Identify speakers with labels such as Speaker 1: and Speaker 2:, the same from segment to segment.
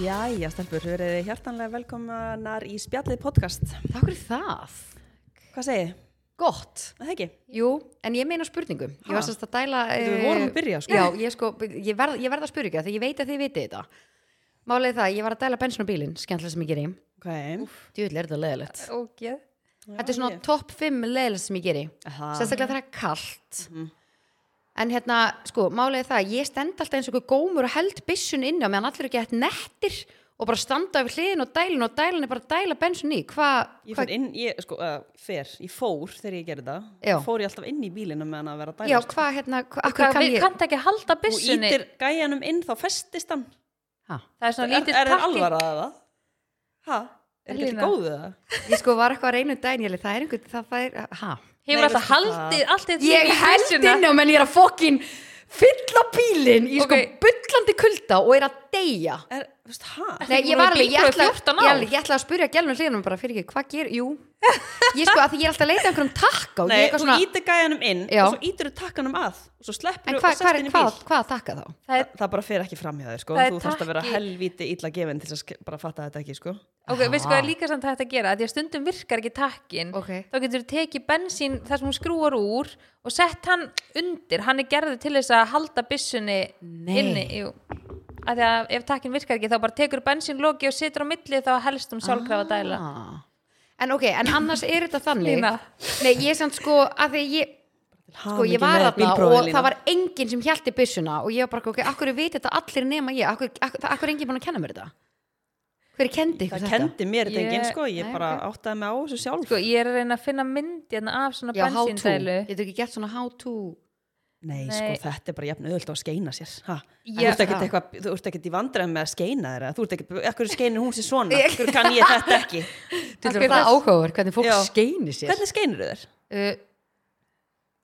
Speaker 1: Jæja, stelpur, verið þið hjartanlega velkomanar í spjallið podcast.
Speaker 2: Takk fyrir það.
Speaker 1: Hvað segið? þið?
Speaker 2: Gott.
Speaker 1: Er Það ekki?
Speaker 2: Jú, en ég meina spurningum. Ég
Speaker 1: Ha?
Speaker 2: var sérst að dæla...
Speaker 1: Þetta við
Speaker 2: eh,
Speaker 1: vorum að byrja, sko.
Speaker 2: Já, ég, sko, ég, verð, ég verð að spyrja ekki það, því ég veit að þið vitið þetta. Málið er það, ég var að dæla bensin á bílinn, skemmtilega sem ég geri.
Speaker 1: Ok.
Speaker 2: Djúvill er þetta leðilegt.
Speaker 1: Ok.
Speaker 2: Þetta er svona topp 5 leðilegt sem ég geri.
Speaker 1: Ah.
Speaker 2: Sérstaklega þegar það er kallt. En hérna, sko, málið er það, ég stend alltaf eins og einhver gómur og held byssun inn á meðan allir eru gett nettir og bara standa yfir hliðin og dælin og dælin er bara að dæla bensin í. Hvað,
Speaker 1: Ég
Speaker 2: hvað,
Speaker 1: fór inn, ég, sko, uh, fer, ég fór þegar ég gerði það.
Speaker 2: Já.
Speaker 1: Fór ég alltaf inn í bílinu meðan að vera að
Speaker 2: já,
Speaker 1: dæla.
Speaker 2: hvað, hérna, hvað,
Speaker 3: Hvað,
Speaker 2: hvað kann
Speaker 3: við
Speaker 2: ég?
Speaker 3: kannta ekki að halda
Speaker 1: Þú
Speaker 3: byssunni
Speaker 1: ítir gæjanum inn, þá festist hann.
Speaker 2: Ha?
Speaker 3: það er svona
Speaker 1: Er,
Speaker 3: lítill
Speaker 1: er þér
Speaker 3: takki
Speaker 1: alvarað að það? Ha? Er ekki
Speaker 3: Lína.
Speaker 1: allt góðu það?
Speaker 2: Ég sko var eitthvað að reyna um daginn, ég leið, það er einhvern, það fær, ha?
Speaker 1: Nei,
Speaker 3: hefur alltaf
Speaker 1: veistu
Speaker 3: haldið allt þetta
Speaker 2: Ég held
Speaker 3: hérna-
Speaker 2: inn á menn ég er að fokkin fylla bílinn í sko
Speaker 3: Ok.
Speaker 2: bullandi kulda og er að deyja.
Speaker 1: Er, þú veist, ha?
Speaker 2: Nei,
Speaker 3: ekki
Speaker 2: ég
Speaker 3: búin að
Speaker 2: var alveg, ég
Speaker 3: bílprófi
Speaker 2: ætla,
Speaker 3: 14
Speaker 2: ég,
Speaker 3: ár?
Speaker 2: ætla, ég ætla að spyrja gælunum hliðanum bara fyrir ekki, hvað ger, jú? Ég sko, að því ég er alltaf að leita að einhverjum takka og
Speaker 1: Nei,
Speaker 2: ég
Speaker 1: þú
Speaker 2: er eitthvað svona,
Speaker 1: ítir gæjanum inn
Speaker 2: Já.
Speaker 1: og svo ítir þú takkanum að og svo sleppur
Speaker 2: en
Speaker 1: þú og
Speaker 2: hvað,
Speaker 1: sest
Speaker 2: hvað,
Speaker 1: inn í bíl.
Speaker 2: hvað, hvað að takka þá?
Speaker 3: það er,
Speaker 1: Það, það bara fer ekki fram hjá þér sko,
Speaker 3: Það er
Speaker 1: þú þarfst að vera
Speaker 3: takki.
Speaker 1: helvíti illa gefin til að ske- bara fatta þetta ekki sko.
Speaker 3: ok, veist hvað er líka samt hægt að gera því að stundum virkar ekki takkin
Speaker 2: Ok.
Speaker 3: þá getur þú tekið bensín þar sem hún skrúar úr og sett hann undir hann er gerður til þess að halda byssunni
Speaker 2: Nei.
Speaker 3: inni jú. af því að ef takkin virkar ekki þá bara tekur bensín loki og situr á milli þá helst um sjálfkrafa dæla
Speaker 2: Ah. En ok, en annars er þetta þannig,
Speaker 3: Lína.
Speaker 2: nei, ég er samt sko, að því ég, sko ég var þarna og það var enginn sem hjælti byssuna og ég var bara ok, akkur veit þetta allir nema ég akkur, akkur, akkur er enginn búin að kenna mér þetta hver kendi ykkur
Speaker 1: Það
Speaker 2: þetta
Speaker 1: kendi mér þetta
Speaker 3: Ég-
Speaker 1: enginn sko, ég
Speaker 2: Nei,
Speaker 1: bara áttaði mig á þessu sjálf.
Speaker 3: sko, ég er að reyna að finna myndi hérna af svona
Speaker 2: já, how to,
Speaker 3: bensíndælu
Speaker 2: ég hef ekki gett svona how to
Speaker 1: Nei, sko,
Speaker 3: Nei.
Speaker 1: þetta er bara jafn auðvöld að skeina sér. Ha?
Speaker 3: Já.
Speaker 1: Þú ert ekkert eitthvað, þú ert ekkert í vandræðum með að skeina þeirra, þú ert ekkert, ekkur skeinir hún sér svona, ekkur kann ég þetta ekki.
Speaker 2: Þetta
Speaker 3: Akkur
Speaker 2: er það
Speaker 3: þess.
Speaker 2: áhugaður hvernig fólk
Speaker 1: Já.
Speaker 2: skeinir sér
Speaker 1: Hvernig skeinir þau þér?
Speaker 2: uh,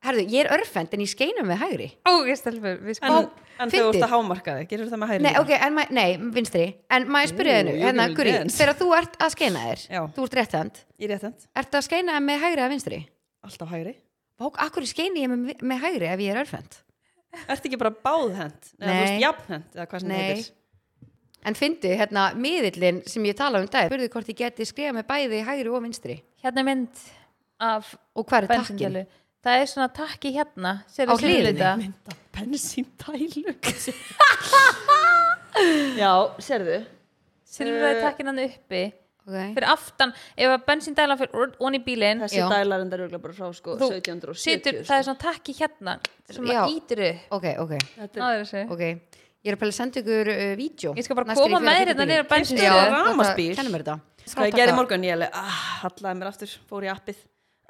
Speaker 2: herðu, ég er örfend en ég skeina með hægri
Speaker 3: ó, ég stelfur, við
Speaker 1: En,
Speaker 3: sko
Speaker 1: en þau ert
Speaker 2: fyndið.
Speaker 1: að hámarka þig, gerur það með hægri?
Speaker 2: Nei, ok, en maður, nei, vinstri En maður spyrja
Speaker 1: Ú,
Speaker 2: þennu,
Speaker 1: you
Speaker 2: hérna,
Speaker 1: can
Speaker 2: Guri
Speaker 1: dance.
Speaker 2: Þegar þú ert að skeina þér,
Speaker 1: Já.
Speaker 2: þú ert rétthend
Speaker 1: Ég er réttend,
Speaker 2: Ertu að skeina með hægri eða vinstri?
Speaker 1: alltaf hægri.
Speaker 2: Vák, akkur skeini ég með, með hægri ef ég er örfend?
Speaker 1: Ert ekki bara báðhend? Nei. Þú
Speaker 2: Nei.
Speaker 1: veist jafnhend, eða hvað sem það
Speaker 2: Nei.
Speaker 1: heitir.
Speaker 2: En fyndi, hérna, miðillin sem ég talaði um dag, spurði hvort ég geti skrifa með bæði hægri og vinstri.
Speaker 3: hérna er mynd af
Speaker 2: Og hvað er takkin?
Speaker 3: bensíndælu það er svona takki hérna
Speaker 2: Á hliðinni?
Speaker 1: mynda bensíndælu Já, serðu
Speaker 3: silfraði takkin hann uppi
Speaker 2: Okay.
Speaker 3: fyrir aftan, ef að bensíndælan fyrir onni bílinn,
Speaker 1: Þessi
Speaker 2: Já.
Speaker 1: dælar enda röglega bara frá sko
Speaker 3: Þú
Speaker 1: 1770
Speaker 3: situr,
Speaker 1: sko.
Speaker 3: það er svona takki hérna sem
Speaker 2: Já.
Speaker 3: maður ítir upp
Speaker 2: ok, ok,
Speaker 1: Þetta er
Speaker 3: Náður þessu.
Speaker 2: ok. Ég er að pæla að senda ykkur uh, vídeo.
Speaker 3: Ég skal bara
Speaker 2: Næst þegar
Speaker 3: koma
Speaker 2: ég fer
Speaker 3: með
Speaker 2: að
Speaker 3: þér hérna
Speaker 2: bílinn.
Speaker 3: niður á bensínstöð.
Speaker 2: Já, þetta-
Speaker 1: Rafmagnsbíl.
Speaker 2: Kennum mér þetta.
Speaker 1: Sko ég gerði í morgun, ég alveg ah, hallaði mér aftur, fór í appið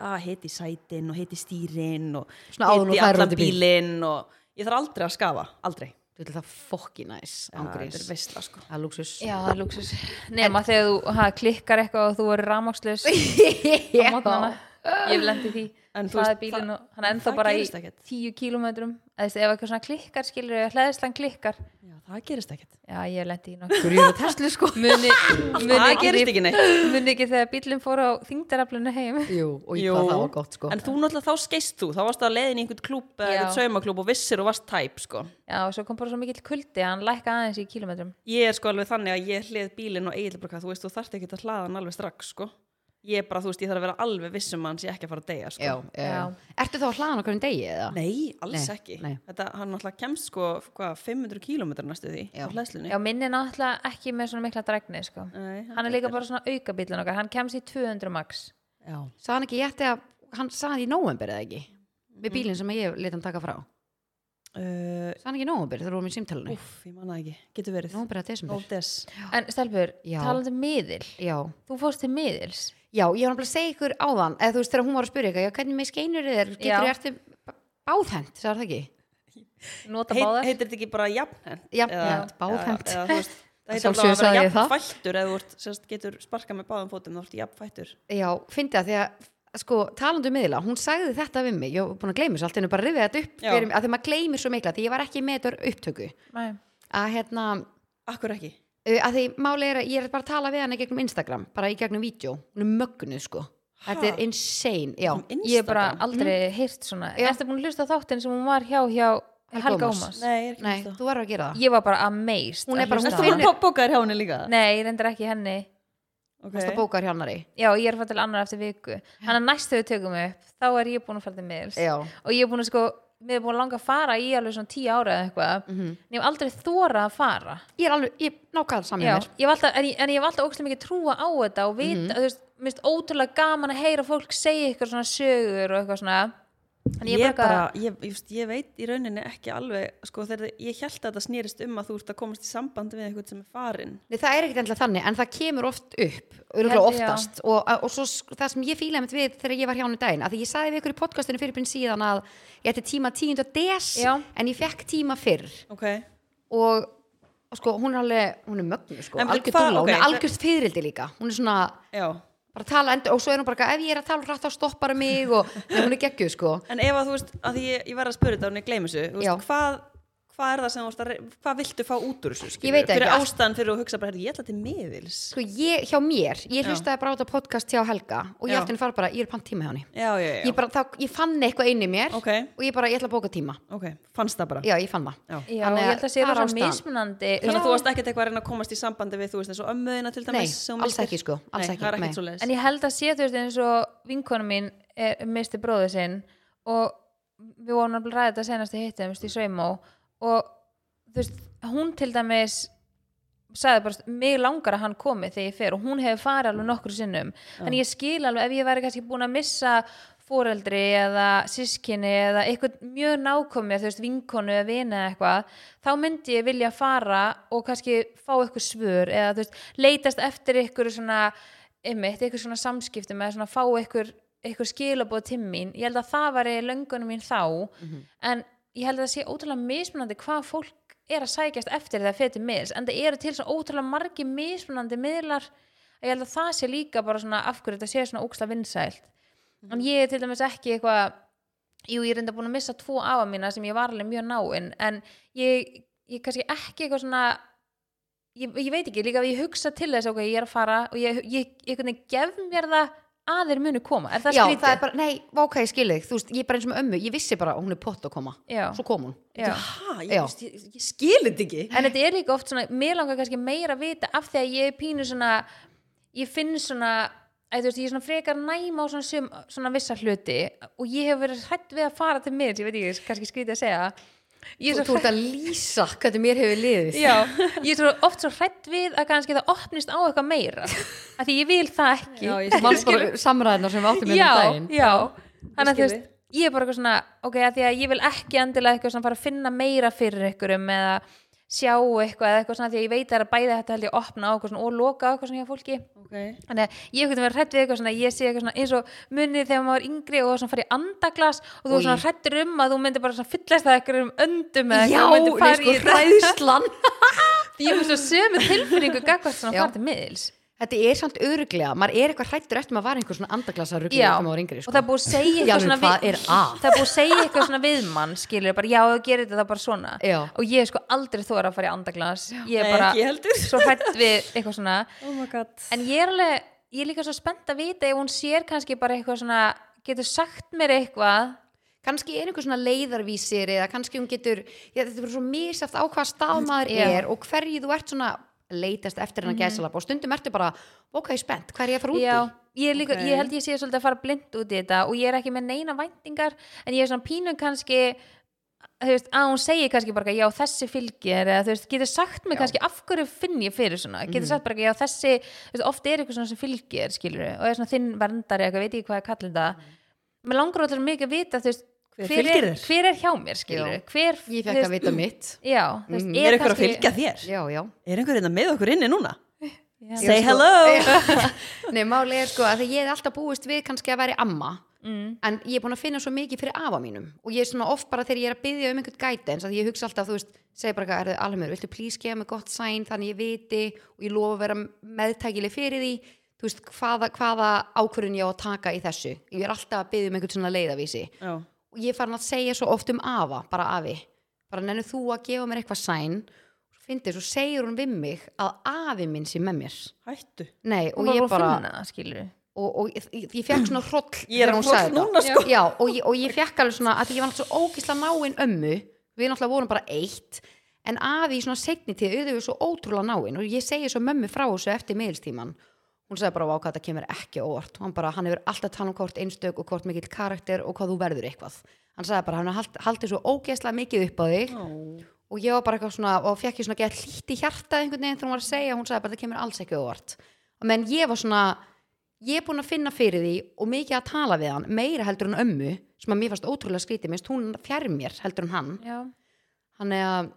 Speaker 1: ah, heiti sætin og heiti stýrin og
Speaker 2: Svona áður en
Speaker 1: heiti
Speaker 2: þú færir
Speaker 1: allan
Speaker 2: út í bíl.
Speaker 1: bílinn og ég þarf aldrei að skafa, aldrei
Speaker 2: Þú vil það fokki næs,
Speaker 1: Það er
Speaker 2: ángurins.
Speaker 1: veistla sko
Speaker 2: Það er luxus.
Speaker 3: já, það er lúksus nema þegar þú ha, klikkar eitthvað og þú er rámakslaus á mótnana ég hef lendið því
Speaker 1: En þú
Speaker 3: hlaði
Speaker 1: veist,
Speaker 3: bílinn
Speaker 1: það-
Speaker 3: og hann er ennþá
Speaker 1: það
Speaker 3: bara í
Speaker 1: gerist ekkert.
Speaker 3: tíu kílómetrum eða þú veist, ef eitthvað svona klikkar skilur eða hlæðislan klikkar
Speaker 1: Já, það gerist ekkert
Speaker 3: já, ég hef lendið í nokkuð
Speaker 2: Þú eru Tesla sko.
Speaker 3: muni,
Speaker 1: Það
Speaker 3: muni,
Speaker 1: gerist
Speaker 3: ekki,
Speaker 1: ekki neitt
Speaker 3: muni ekki þegar bílinn fór á þingdaraflunni heim
Speaker 2: Jú, og ég
Speaker 1: Jú.
Speaker 2: hvað það var gott sko.
Speaker 1: En þú náttúrulega þá skeist þú, þá varst það leiðin í einhvern klúb eða
Speaker 3: Já.
Speaker 1: einhvern saumaklúb og vissir og varst tæp sko
Speaker 3: Já, og svo kom bara svo mikill kuldi að hann lækka aðeins í kílometrum.
Speaker 1: Ég er sko alveg þannig að ég hlið bílinn og eiginlega þú veist, þú þarft ekki að hlaða hann alveg strax, sko. Ég er bara, þú veist, ég þarf að vera alveg viss um að hann sé ekki að fara að deyja, sko.
Speaker 2: Já, já. Ertu þá að hlaðan okkur um degi eða?
Speaker 1: Nei, alls
Speaker 2: Nei,
Speaker 1: ekki.
Speaker 2: nei.
Speaker 1: Þetta, hann náttúrulega kemst sko, hvað, 500 km næstu því
Speaker 2: Já.
Speaker 1: á hlæðslunni.
Speaker 3: Já, minn er náttúrulega ekki með svona mikla drækni, sko.
Speaker 1: Nei,
Speaker 3: Hann er líka bara svona aukabílan okkar, hann kemst í 200 max.
Speaker 1: Já.
Speaker 2: Sað hann ekki ég ætti að, hann sað hann í november eða ekki?
Speaker 3: Mm.
Speaker 2: Með bílinn sem ég lit hann taka frá.
Speaker 1: Uh,
Speaker 2: Sað hann ekki í november þegar þú vorum í símtælunni?
Speaker 1: úff, ég manna ekki. Getur verið.
Speaker 2: November eða desember?
Speaker 1: Ó, des.
Speaker 3: En Stelbur,
Speaker 2: Já.
Speaker 3: talandi um miðil,
Speaker 2: Já,
Speaker 3: þú fórst til miðils.
Speaker 2: já, ég var nefnilega að segja ykkur áðan eða þú veist þegar hún var að spyrja eitthvað, já, hvernig með skeinur þér,
Speaker 3: Já.
Speaker 2: getur þér ertu b- báðhent, sagði það ekki?
Speaker 3: Nota
Speaker 1: Heit,
Speaker 3: báðar.
Speaker 1: heitir þetta ekki bara jafnhend?
Speaker 2: Jafnhent, báðhent.
Speaker 1: Eða, eða, þú veist,
Speaker 2: Að
Speaker 1: það heitir
Speaker 2: sjálfsögðu
Speaker 1: alltaf að
Speaker 2: sagði
Speaker 1: vera
Speaker 2: ég það.
Speaker 1: jafnfættur eða þú ert, sérst, getur sparkað með báðum fótum, þá ertu jafnfættur.
Speaker 2: Já, fyndi það því að, sko, talandu miðla, hún sagði þetta við mig, ég var búin að gleyma þessu allt, en bara rifið þetta upp
Speaker 1: Já.
Speaker 2: fyrir mig, að því maður gleymir svo mikla, því ég var ekki með þetta upptöku,
Speaker 3: Nei.
Speaker 2: að hérna,
Speaker 1: Akkur ekki?
Speaker 2: uh, að því máli er að ég er bara að tala við hana í gegnum Instagram, bara í gegnum vídeo, hún er mögnuð, sko, þetta
Speaker 1: Ha?
Speaker 2: er insane, já,
Speaker 1: Um
Speaker 3: Ég hef bara
Speaker 1: Instagram?
Speaker 3: aldrei heyrt svona.
Speaker 2: Já.
Speaker 3: Erstu búin að hlusta á þáttin sem hún var hjá hjá Helga
Speaker 2: Ómars.
Speaker 3: Ómars
Speaker 1: Nei, ég er
Speaker 2: Nei,
Speaker 1: ekki
Speaker 2: þú verður að gera það
Speaker 3: Ég var bara amazed
Speaker 2: Hún er
Speaker 3: að
Speaker 2: bara-
Speaker 3: hlusta
Speaker 1: Erstu
Speaker 3: á
Speaker 1: búin
Speaker 3: hana.
Speaker 1: að bó- bóka þér hjá henni líka?
Speaker 3: Nei, ég reyndar ekki henni
Speaker 1: Ok.
Speaker 2: Það bókar hjánari
Speaker 3: Já, ég er að fara til annar eftir viku Þannig að næst þegar við tökum upp, þá er ég búin að fara til miðils
Speaker 2: Já,
Speaker 3: Og ég er búin að sko, mér er búin að langa að fara í alveg svona tíu ára eða eitthvað
Speaker 1: Mhm.
Speaker 3: En ég hef aldrei þórað að fara
Speaker 2: ég er alveg, ég nákvæða saman
Speaker 3: Já,
Speaker 2: mér
Speaker 3: ég hef alltaf, en, ég, en ég hef alltaf ógstlega mikið trúa á þetta og vita,
Speaker 1: Mhm.
Speaker 3: þú veist, minnst ótrúlega gaman að heyra fólk segja ykkur svona sögur og eitthvað svona En
Speaker 1: Ég,
Speaker 3: bara,
Speaker 1: bara, ég, ég, veist, ég veit í rauninni ekki alveg, sko, þegar ég held að þetta snýrist um að þú ert að komast í sambandi við eitthvað sem er farinn.
Speaker 2: Nei, það er ekkert endilega þannig, en það kemur oft upp,
Speaker 3: held-
Speaker 2: örgulega oftast og, og svo sk- það sem ég fílaði mitt við þegar ég var hjá henni daginn, að því ég sagði við ykkur í podcastinu fyrir byrjun síðan að ég ætti tíma 10. des
Speaker 3: Já.
Speaker 2: en ég fekk tíma fyrr
Speaker 1: Ok,
Speaker 2: og, og sko, hún er alveg hún er mögnu, sko,
Speaker 1: En veitu
Speaker 2: algjörd
Speaker 1: hvað-
Speaker 2: dúla, hún
Speaker 1: ok,
Speaker 2: er algjörd fyririldi líka, hún er svona
Speaker 1: já.
Speaker 2: bara að tala endur og svo er hún bara eitthvað, ef ég er að tala rætt þá stoppar hún mig og nei, hún er geggjuð, sko
Speaker 1: En ef að þú veist, að því ég, ég verð að spyrja þetta og ég gleymi þessu, þú
Speaker 2: Já.
Speaker 1: veist, hvað, hvað er það sem þú veist að, re- hvað viltu fá út úr þessu, skilur?
Speaker 2: Ég veit það
Speaker 1: Hver er
Speaker 2: ekki.
Speaker 1: ástæðan fyrir að hugsa bara, "Heyrðu, ég ætla til miðils.
Speaker 2: sko, ég, hjá mér,
Speaker 1: Já.
Speaker 2: ég hlustaði bara á þetta podcast hjá Helga og ég
Speaker 1: Já.
Speaker 2: átti henni fara bara, ég er pann tíma hjá henni
Speaker 1: Já, já, já.
Speaker 2: ég, bara, þá, ég fann eitthvað inn í mér
Speaker 1: Ok.
Speaker 2: og ég bara, ég ætla að bóka tíma
Speaker 1: Ok, fannst það bara.
Speaker 2: já, ég fann það
Speaker 1: Já.
Speaker 3: já,
Speaker 2: Þannig
Speaker 3: ég
Speaker 2: að
Speaker 3: held að sé
Speaker 2: það er
Speaker 3: það
Speaker 2: ástæðan.
Speaker 3: mismunandi
Speaker 1: Þannig að
Speaker 3: Já.
Speaker 1: þú varst ekkert eitthvað að reyna að komast í sambandi við, þú veist, eins og ömmuðina til dæmis.
Speaker 2: Nei,
Speaker 1: sem
Speaker 2: alls
Speaker 1: mistir?
Speaker 2: ekki, sko, alls
Speaker 1: Nei,
Speaker 2: ekki,
Speaker 1: það er
Speaker 2: nei.
Speaker 1: ekkert svo leiðis.
Speaker 3: En ég held að sé þú veist eins og vinkonu mín er, misti bróðu sinn og við vorum að ræða þetta senast í hittum í Sveimó og þú veist, hún til dæmis sagði bara, mig langar að hann komi þegar ég fer og hún hefur farið alveg nokkru sinnum en ég skil alveg ef ég væri kannski búin að missa foreldri eða sískinni eða eitthvað mjög nákomi þú veist, vinkonu eða vina eða eitthvað þá myndi ég vilja fara og kannski fá eitthvað svör eða þú veist, leitast eftir eitthvað svona einmitt, eitthvað svona samskiptum eða svona fá eitthvað, eitthvað skilabóð til mín ég held að það var í löngunum mín þá en ég held að það sé ótrúlega mismunandi hvað fólk er að sækjast eftir þegar fyrir til miðils en það eru til svo ótrúlega margi mismunandi miðlar að ég held að það sé líka bara svona af hverju þetta sé svona óksla vinsælt
Speaker 2: Mhm.
Speaker 3: en ég er til dæmis ekki eitthvað jú, ég er enda búin að missa tvo afa mína sem ég var alveg mjög náinn en ég, ég kannski ekki eitthvað svona ég, ég veit ekki, líka að ég hugsa til þess ok, ég er að fara og ég, ég, ég, ég gef mér það að þeir munu koma er það
Speaker 2: já,
Speaker 3: skrítið?
Speaker 2: það er bara, nei, vá, ok, ég skil þig þú veist, ég er bara eins og með ömmu, ég vissi bara að hún er pott að koma
Speaker 3: Já.
Speaker 2: svo kom hún
Speaker 3: Já.
Speaker 1: Hæ, ég,
Speaker 2: Já.
Speaker 1: veist, ég, ég skil þetta ekki.
Speaker 3: en þetta er líka oft svona, mér langar kannski meira að vita af því að ég er pínu svona ég finn svona að, veist, ég er svona frekar næma á svona, sum, svona vissa hluti og ég hef verið hrætt við að fara til miðins, ég veit ekki, kannski skrítið að segja ég
Speaker 2: þú,
Speaker 3: er
Speaker 2: þú
Speaker 3: svo
Speaker 2: ert að lýsa hvernig mér hefur liðið
Speaker 3: Já, ég er svo oft svo hrætt við að kannski það opnist á eitthvað meira af því ég vil það ekki
Speaker 1: Já, ég
Speaker 2: Þú manst bara samræðina sem við áttum með um
Speaker 3: já,
Speaker 2: daginn
Speaker 3: já. þannig að þú
Speaker 1: skil
Speaker 3: veist ég er bara eitthvað svona, ok, að því að ég vil ekki endilega eitthvað svona fara að finna meira fyrir einhverjum eða sjá eitthvað eða eitthvað svona því að ég veit að það er að bæði þetta held ég að opna á eitthvað svona og loka á eitthvað svona hjá fólki
Speaker 1: Okay.
Speaker 3: þannig að ég hef verið hrætt við eitthvað svona ég sé eitthvað svona eins og munið þegar maður var yngri og svona farið í andaglas og þú
Speaker 2: Oj.
Speaker 3: er svona hrættur um að þú myndir bara svona fyllast það eitthvað um öndum eða
Speaker 2: já,
Speaker 3: eitthvað, þú myndir
Speaker 2: nei,
Speaker 3: fara
Speaker 2: sko,
Speaker 3: í þetta.
Speaker 2: hræðslan
Speaker 3: Því ég hef svo sömu tilfinningu gagvart svona
Speaker 2: Já.
Speaker 3: að fara til miðils
Speaker 2: þetta er samt öruglega, maður er eitthvað hrættur eftir maður var einhver svona andaglasa rugli
Speaker 3: Já,
Speaker 2: þegar maður var yngri,
Speaker 3: og
Speaker 2: sko.
Speaker 3: það er búið að segja
Speaker 2: Já,
Speaker 3: eitthvað
Speaker 2: en
Speaker 3: svona
Speaker 2: hvað
Speaker 3: við-
Speaker 2: er að?
Speaker 3: það er búið að segja eitthvað svona við mann skilur bara, já, þú gerir þetta þá bara svona
Speaker 2: Já.
Speaker 3: og ég er sko aldrei þóra að fara í andaglas ég er
Speaker 1: Nei,
Speaker 3: bara
Speaker 1: ekki heldur.
Speaker 3: svo hrætt við eitthvað svona
Speaker 1: Oh my god.
Speaker 3: en ég er alveg, ég er líka svo spennt að vita ef hún sér kannski bara eitthvað svona getur sagt mér eitthvað
Speaker 2: kannski er einhver svona leiðarvísir eða kannski hún getur, já, þetta er bara svo misaft á hvaða stað maður
Speaker 3: Já.
Speaker 2: er og hverju þú ert svona leitast eftir hennar mm og stundum ertu bara, ok, spennt, hvað er ég að fara út
Speaker 3: já,
Speaker 2: í?
Speaker 3: ég, er líka,
Speaker 1: Ok.
Speaker 3: ég held ég sé svolítið að fara blind út í þetta og ég er ekki með neina væntingar en ég er svona pínu kannski þú veist, að hún segir kannski bara já þessi fylgir eða þú veist, getur sagt mig kannski af hverju finn ég fyrir svona
Speaker 1: Mhm.
Speaker 3: getur sagt bara já þessi, þú veist, oft er eitthvað svona sem fylgir skilur og er svona þinn verndari eitthvað, veit ég hvað ég kallir þetta mér langar alltaf mikið að vita þú veist,
Speaker 1: Mhm. Hver
Speaker 3: er,
Speaker 1: fylgir þér?
Speaker 3: hver er hjá mér skilur
Speaker 2: Já.
Speaker 3: hver,
Speaker 2: Ég
Speaker 3: þú
Speaker 2: fekk að
Speaker 3: veist,
Speaker 2: vita mitt.
Speaker 3: já, þú veist,
Speaker 1: Er eitthvað að fylgja þér?
Speaker 2: Já, já.
Speaker 1: Er einhver hérna með okkur inni núna?
Speaker 3: Já.
Speaker 1: Say
Speaker 2: Ég sko-
Speaker 1: hello!
Speaker 2: Nei, máli er sko að því ég er alltaf búist við kannski að vera amma
Speaker 1: Mm.
Speaker 2: en ég er búin að finna svo mikið fyrir afa mínum og ég er svona oft bara þegar ég er að byggja um einhvern guidance að ég hugsa alltaf, þú veist, segi bara er þið alveg, viltu please gefa mig gott sæn þannig ég viti og ég lofa að vera meðtækileg fyrir því, þú veist, hvaða, hvaða ákvörðun ég á að taka í þessu ég er alltaf að byggja um einhvern svona leiðavísi
Speaker 1: Já.
Speaker 2: og ég er farin að segja svo oft um afa bara afi, bara nennu þú að gefa mér eitthvað sæn, svo fyndi, svo segir hún við mig að afi minn sé með mér
Speaker 1: Hættu.
Speaker 2: Nei, og
Speaker 3: hún var
Speaker 2: ég
Speaker 3: bara að
Speaker 2: bara,
Speaker 3: finna það skilur
Speaker 2: og, og ég, ég- ég fekk svona hroll
Speaker 1: Ég er
Speaker 2: þegar hún
Speaker 1: hroll
Speaker 2: sagði þetta.
Speaker 1: núna, sko.
Speaker 2: já, og, ég, og ég fekk alveg svona að ég var alltaf svo ógisla náinn ömmu Þú við náttúrulega vorum bara eitt en afi í svona setni tíð auðvitað við svo ótrúlega náin og ég segi svo mömmu frá þessu eftir miðlstíman hún sagði bara á hvað þetta kemur ekki á óvart hann bara, hann hefur alltaf tala um hvort einstök og hvort mikill karakter og hvað þú verður eitthvað hann sagði bara, hann hefur hald- haldið svo ógeðslega mikið upp á þig og ég var bara eitthvað svona og fekk ég svona gett hlýtt í hjarta einhvern veginn þegar hún var að segja, hún sagði bara það kemur alls ekki á óvart menn ég var svona ég er búin að finna fyrir því og mikið að tala við hann meira heldur en ömmu sem að mér fannst ótrúlega skrítið, minnst hún fjær mér heldur en hann
Speaker 3: já,
Speaker 2: hann er að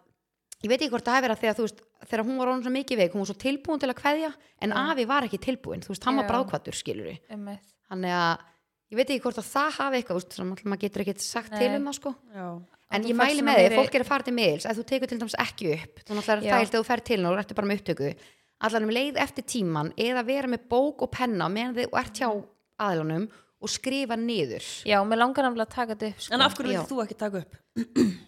Speaker 2: ég veit ekki hvort það hefur að þegar þú veist þegar hún var orðin svo mikið veik, hún var svo tilbúin til að kveðja en afi var ekki tilbúin, þú veist, hann var
Speaker 3: Já.
Speaker 2: brákvættur skilur við,
Speaker 3: einmitt
Speaker 2: hann er að ég veit ekki hvort að það hafi eitthvað, þú veist, þannig að maður getur ekkert sagt
Speaker 3: Nei.
Speaker 2: til um það sko
Speaker 1: já,
Speaker 3: Að
Speaker 2: en
Speaker 3: þú
Speaker 2: ég
Speaker 3: færð
Speaker 2: mæli
Speaker 3: svona
Speaker 2: með því,
Speaker 3: meiri-
Speaker 2: fólk er að fara til miðils ef þú tekur til dæmis ekki upp þannig að það er
Speaker 3: Já.
Speaker 2: þægilt að þú fer til hennar og ertu bara með upptöku allan um leið eftir tíman eða vera með bók og penna meðan þið og ert hjá aðlunum og skrifa niður
Speaker 3: já, mér langar náttúrulega að taka þetta upp sko.
Speaker 1: en af hverju
Speaker 2: Já.
Speaker 1: vilt þú ekki taka upp?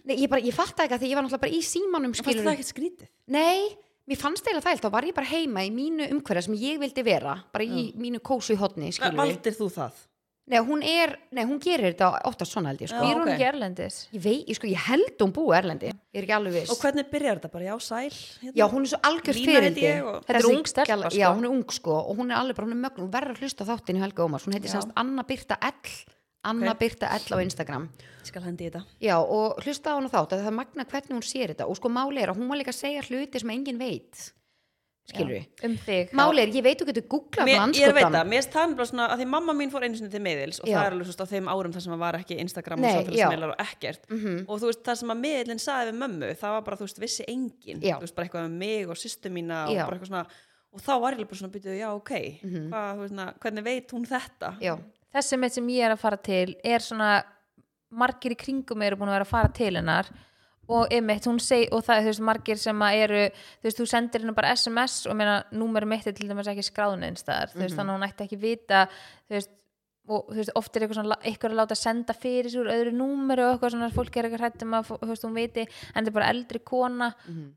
Speaker 2: Nei, ég, bara, ég fatt ekki að því ég var náttúrulega bara í símanum
Speaker 1: fannst
Speaker 2: skilur
Speaker 1: það ekkert skrítið?
Speaker 2: Nei, mér fannst eiginlega þægilt þá var ég bara heima í mínu umhverja sem ég vildi vera bara í mínu kósu hodni skilur við
Speaker 1: Valdir þú það?
Speaker 2: Nei, hún, er, nei, hún gerir þetta oftast svona held ég sko.
Speaker 1: Já.
Speaker 3: býr hún
Speaker 1: ok.
Speaker 3: ekki erlendis
Speaker 2: ég, vei, ég, sko, ég held hún búi erlendi ég er ekki alveg viss
Speaker 1: Og hvernig byrjar þetta bara? Já, sæl? Hérna?
Speaker 2: Já, hún er svo algjör
Speaker 1: Lína heiti
Speaker 2: fyrirldi
Speaker 1: ég og-
Speaker 3: Þetta er ung stelpa, sko.
Speaker 2: Já, hún er ung sko og hún er alveg bara, hún er mögn hún verður að hlusta á þáttinn í Helga Ómars hún heitir
Speaker 3: Já.
Speaker 2: semst Anna Birta L Anna
Speaker 1: Ok.
Speaker 2: Birta L á Instagram
Speaker 1: Ég skal hendi í þetta.
Speaker 2: Já, og hlusta á hún þátt að það er magna hvernig hún sér þetta og sko máli er að hún var líka að segja hluti sem engin veit skilur við
Speaker 3: um þig
Speaker 2: Máli er, ég veit þú getur googlað
Speaker 1: Mér, ég veit
Speaker 2: landskotan
Speaker 1: það, mér stann bara svona að því mamma mín fór einu sinni til miðils og
Speaker 2: Já.
Speaker 1: það er alveg svona á þeim árum þar sem það var ekki Instagram
Speaker 2: Nei,
Speaker 1: og
Speaker 2: já.
Speaker 1: samfélagsmeilar og ekkert
Speaker 2: Mhm.
Speaker 1: og þú veist það sem að miðilin saði við mömmu það var bara þú veist vissi engin
Speaker 2: Já.
Speaker 1: þú veist bara eitthvað um mig og sýstu mína og
Speaker 2: Já. Mhm.
Speaker 1: bara eitthvað svona og þá var ég alveg bara svona býtuð já ok hvað, þú veist, na, hvernig veit hún þetta
Speaker 2: Já,
Speaker 3: þessi mitt sem ég er að fara til er svona margir í kringum eru búin að vera að fara til hennar og einmitt, hún segi, og það er þú veist margir sem að eru, þú veist, þú sendir hennar bara SMS og meina, númer mitt er til dæmis ekki skráðun einstæðar, þú veist, þannig að hún ætti ekki vita, þú veist, og þú veist, oft er eitthvað svona, eitthvað að láta senda fyrir sér úr öðru númeru og eitthvað svona, fólk er eitthvað hrætt um að, fó- þú veist, hún viti, en þetta er bara eldri kona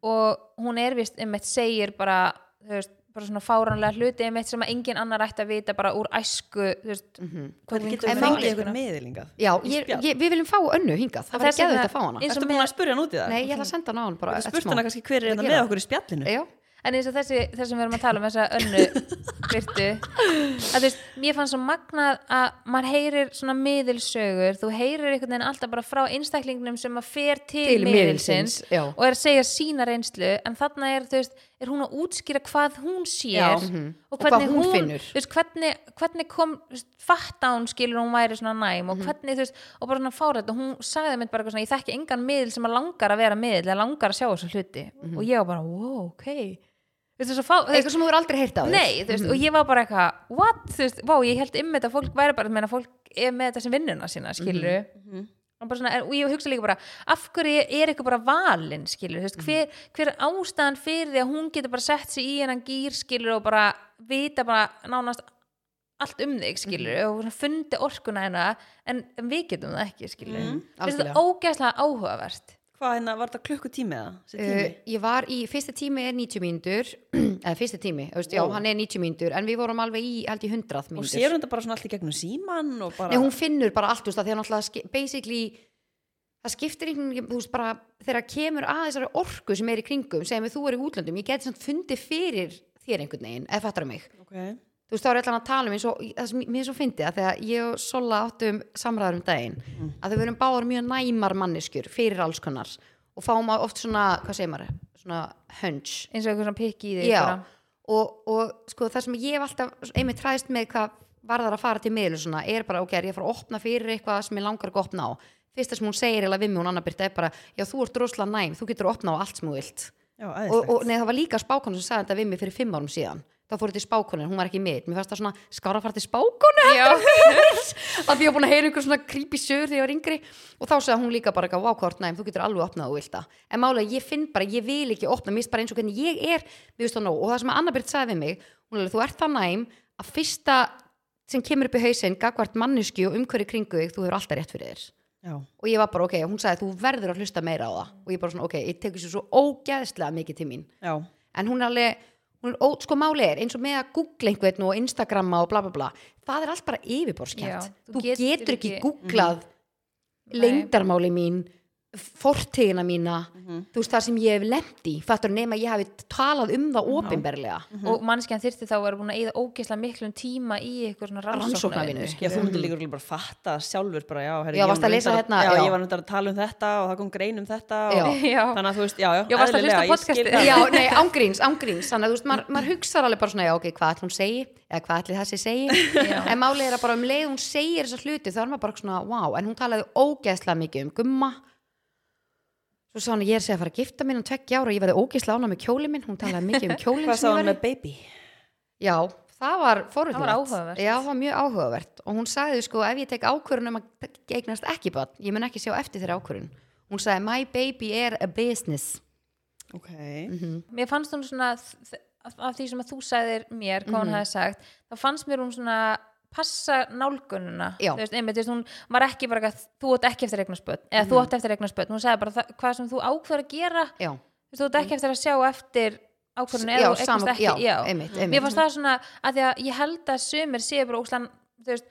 Speaker 3: og hún er vist, einmitt, segir bara, þú veist, bara svona fáranlega hluti einmitt sem að engin annar ætti að vita bara úr æsku, þú veist,
Speaker 1: hvernig getur
Speaker 2: En
Speaker 1: við
Speaker 2: málið-
Speaker 1: fengið eitthvað miðilingað
Speaker 2: mhm. já ég, ég, við viljum fá önnu hingað það var
Speaker 3: Þess
Speaker 2: ekki að
Speaker 3: vegna-
Speaker 2: þetta fá hana
Speaker 3: eins og
Speaker 1: Ertu
Speaker 3: með-
Speaker 1: búin að spurja hann út í það?
Speaker 2: Nei, ég ætla að senda hana á hann bara
Speaker 1: Þú
Speaker 2: eftir
Speaker 1: spurt
Speaker 2: smá.
Speaker 1: hana kannski hver er
Speaker 2: Ég
Speaker 1: þetta
Speaker 2: ætla að
Speaker 1: með
Speaker 2: gera
Speaker 1: okkur í spjallinu
Speaker 2: það. Já,
Speaker 3: en eins og þessi, þessi sem við erum að tala um þessa önnu virtu að þú veist, mér fannst svo magnað að maður heyrir svona miðilsögur þú heyrir einhvern veginn alltaf bara frá einstaklingnum sem að fer til,
Speaker 2: Til miðilsins,
Speaker 3: miðilsins
Speaker 2: já.
Speaker 3: og er að segja sína reynslu en þarna er, þú veist, er hún að útskýra hvað hún sér
Speaker 2: Já, mhm.
Speaker 3: og
Speaker 2: Og hvað
Speaker 3: hvernig
Speaker 2: hún
Speaker 3: hún,
Speaker 2: finnur.
Speaker 3: þú veist, hvernig, hvernig kom þú veist, fatta hún skilur að hún væri svona næm
Speaker 2: Mhm.
Speaker 3: og hvernig, þú veist, og bara svona fárætt og hún sagði mér bara eitthvað svona, ég þekki engan miðil sem að langar að vera miðil, eða langar að sjá þessu hluti
Speaker 2: Mhm.
Speaker 3: og ég var bara, wow, ok þú veist, svo fá, þú veist,
Speaker 2: eitthvað Mhm. sem þú er aldrei heyrt á þér
Speaker 3: nei, þú veist, og ég var bara eitthvað what, þú veist, wow, ég held ymmið að fólk væri bara, menna, fólk er með þetta sem
Speaker 2: Mhm.
Speaker 3: vinnuna sína skilur
Speaker 1: Mhm.
Speaker 3: og, bara svona, og ég hugsa líka bara, af hverju er eitthvað bara valin, skilur, þú
Speaker 2: Mhm.
Speaker 3: veist, hver, hver er ástæðan fyrir því að hún getur bara sett sig í hennan gýr, skilur, og bara vita bara nánast allt um
Speaker 2: Mhm.
Speaker 3: þig, skilur, og svona fundi orkuna hennar, en, en við getum það ekki, skilur, mm -hmm.
Speaker 2: Mhm, algjörlega.
Speaker 3: þetta er ógæslega áhugavert
Speaker 1: Hvað hérna, var þetta klukkutími eða? Þessi
Speaker 2: Uh,
Speaker 1: tími?
Speaker 2: ég var í, fyrsta tími er 90 mínútur eða fyrsta tími, þú veist, já,
Speaker 1: Wow.
Speaker 2: hann er 90 mínútur en við vorum alveg í, held ég, 100
Speaker 1: og
Speaker 2: mínútur
Speaker 1: sér hún þetta bara svona allt í gegnum síman og bara
Speaker 2: Nei, hún finnur bara allt, þú veist, að því hann alltaf ski- basically, það skiptir einhvern veginn, þú veist, bara þegar kemur að þessari orku sem er í kringum, segjum við þú er í útlöndum ég geti samt fundið fyrir þér einhvern veginn eða fattar mig,
Speaker 1: okay.
Speaker 2: þú veist, þá er allan að tala um eins og, það sem mér er svo fyndið að þegar ég og Sola áttum samræður um daginn
Speaker 1: Mm.
Speaker 2: að þau verum báðar mjög næmar manneskjur fyrir alls konar og fáum oft svona, hvað segir maður, svona hunch
Speaker 3: eins og eitthvað svona pikki í því
Speaker 2: Já, og, og sko það sem ég hef alltaf einmitt træðist með hvað varðar að fara til miðlu svona, er bara ok, er ég að fara að opna fyrir eitthvað sem ég langar ekki að opna á fyrsta sem hún segir eða við mig, hún annar byrta er bara já, þú ert drosla næm, þú getur að opna á allt sem þú vilt
Speaker 1: Já,
Speaker 2: og,
Speaker 1: æðislegt.
Speaker 2: og nei, það var líka spákonu sem sagði þetta við mig fyrir fimm árum síðan þá fór þetta í spákonin, hún var ekki mitt mér fannst það svona skára að fara til spákonu
Speaker 3: Já.
Speaker 2: af því ég var búin að heyra einhver svona creepy sögur þegar ég var yngri og þá sagði hún líka bara eitthvað vákvort, næm, þú getur alveg opnað og vilt það en málega ég finn bara, ég vil ekki opna mér finnst bara eins og hvernig ég er, mér finnst það nóg og það sem Anna Byrd sagði við mig, hún er alveg, þú ert það næm að fyrsta sem kemur upp í hausinn gagvart mannesku og umhverju kringu þig, þú hefur alltaf rétt fyrir þér
Speaker 1: Já.
Speaker 2: og ég var bara ok, hún sagði þú verður að hlusta meira á það og ég bara svona ok, ég tekur sér svo ógeðslega mikið til mín
Speaker 1: Já.
Speaker 2: en hún er alveg hún er ó, sko máli er eins og með að googla einhvern og instagramma og bla bla bla það er allt bara
Speaker 3: Já,
Speaker 2: yfirborskjönt
Speaker 3: þú
Speaker 2: þú getur,
Speaker 3: getur
Speaker 2: ekki
Speaker 3: ekki-
Speaker 2: googlað
Speaker 3: Nei.
Speaker 2: leyndarmáli mín fortíðina mína
Speaker 3: Mhm.
Speaker 2: þú veist það sem ég hef lemt í fattur nema ég hafi talað um það opinberlega
Speaker 3: og mannskjan þyrfti þá að vera búin að eyða ógeðslega miklum tíma í eitthvað svona
Speaker 2: rannsóknarvinnu
Speaker 3: rannsóknarvinnu
Speaker 1: Já, þú myndir líka örugglega bara fatta sjálfur bara, já, herri,
Speaker 2: Já,
Speaker 1: ég
Speaker 2: varstu
Speaker 1: var
Speaker 2: að lesa
Speaker 1: reyndar
Speaker 2: hérna,
Speaker 1: já,
Speaker 2: já.
Speaker 1: ég var reyndar að tala um þetta og það kom grein um þetta
Speaker 2: Já.
Speaker 1: og,
Speaker 3: Já.
Speaker 1: þannig að þú veist, já, já,
Speaker 3: Já, varstu að hlusta á
Speaker 1: eðlilega, ég skil
Speaker 3: podcastið?
Speaker 1: það.
Speaker 2: já, nei, ángríns, ángríns þannig að þú veist, maður mað hugsar alveg bara svona já, ok, hvað ætli hún segi, eða hvað ætli þessi segi
Speaker 3: Já.
Speaker 2: en málið er að bara um leið hún segir þessa hluti, þá er maður bara svona, wow en hún talaði ógeðslega mikið um gumma svo sá hann að ég er að segja að fara að gifta minn um tveggja ára og ég verði ógeðslega ána með kjólin minn, hún talaði mikið um kjólin
Speaker 1: Hvað sá
Speaker 2: sem ég
Speaker 1: hann
Speaker 2: var í.
Speaker 1: með baby?
Speaker 2: já, það var forutnilegt
Speaker 3: Það var áhugavert.
Speaker 2: já, það var mjög áhugavert og hún sagði sko, ef ég tek ákvörun um að eignast ekki bann, ég mun ekki sjá eftir þeirra ákvörun hún sagði, my baby er a business
Speaker 1: Ok,
Speaker 2: Mhm.
Speaker 3: mér fannst hún svona þ- af af því sem að þú sagðir mér hvað
Speaker 2: Mhm.
Speaker 3: hún hafi sagt, þá fannst mér hún svona passa nálgununa
Speaker 2: Já.
Speaker 3: þú veist, einmitt, þú veist, hún var ekki bara eitthvað, þú átt ekki eftir eignarspöld, eða
Speaker 2: Mhm.
Speaker 3: þú átt eftir eignarspöld hún sagði bara "Það- hvað sem þú ákveður að gera
Speaker 2: já,
Speaker 3: þú veist, þú átt ekki eftir að sjá eftir ákvörðinu
Speaker 2: Mhm. Já,
Speaker 3: eða þú
Speaker 2: sama-
Speaker 3: eignast ekki
Speaker 2: já, einmitt, einmitt.
Speaker 3: mér fannst það svona að því að ég held að sumir séu bara ókslan þú veist,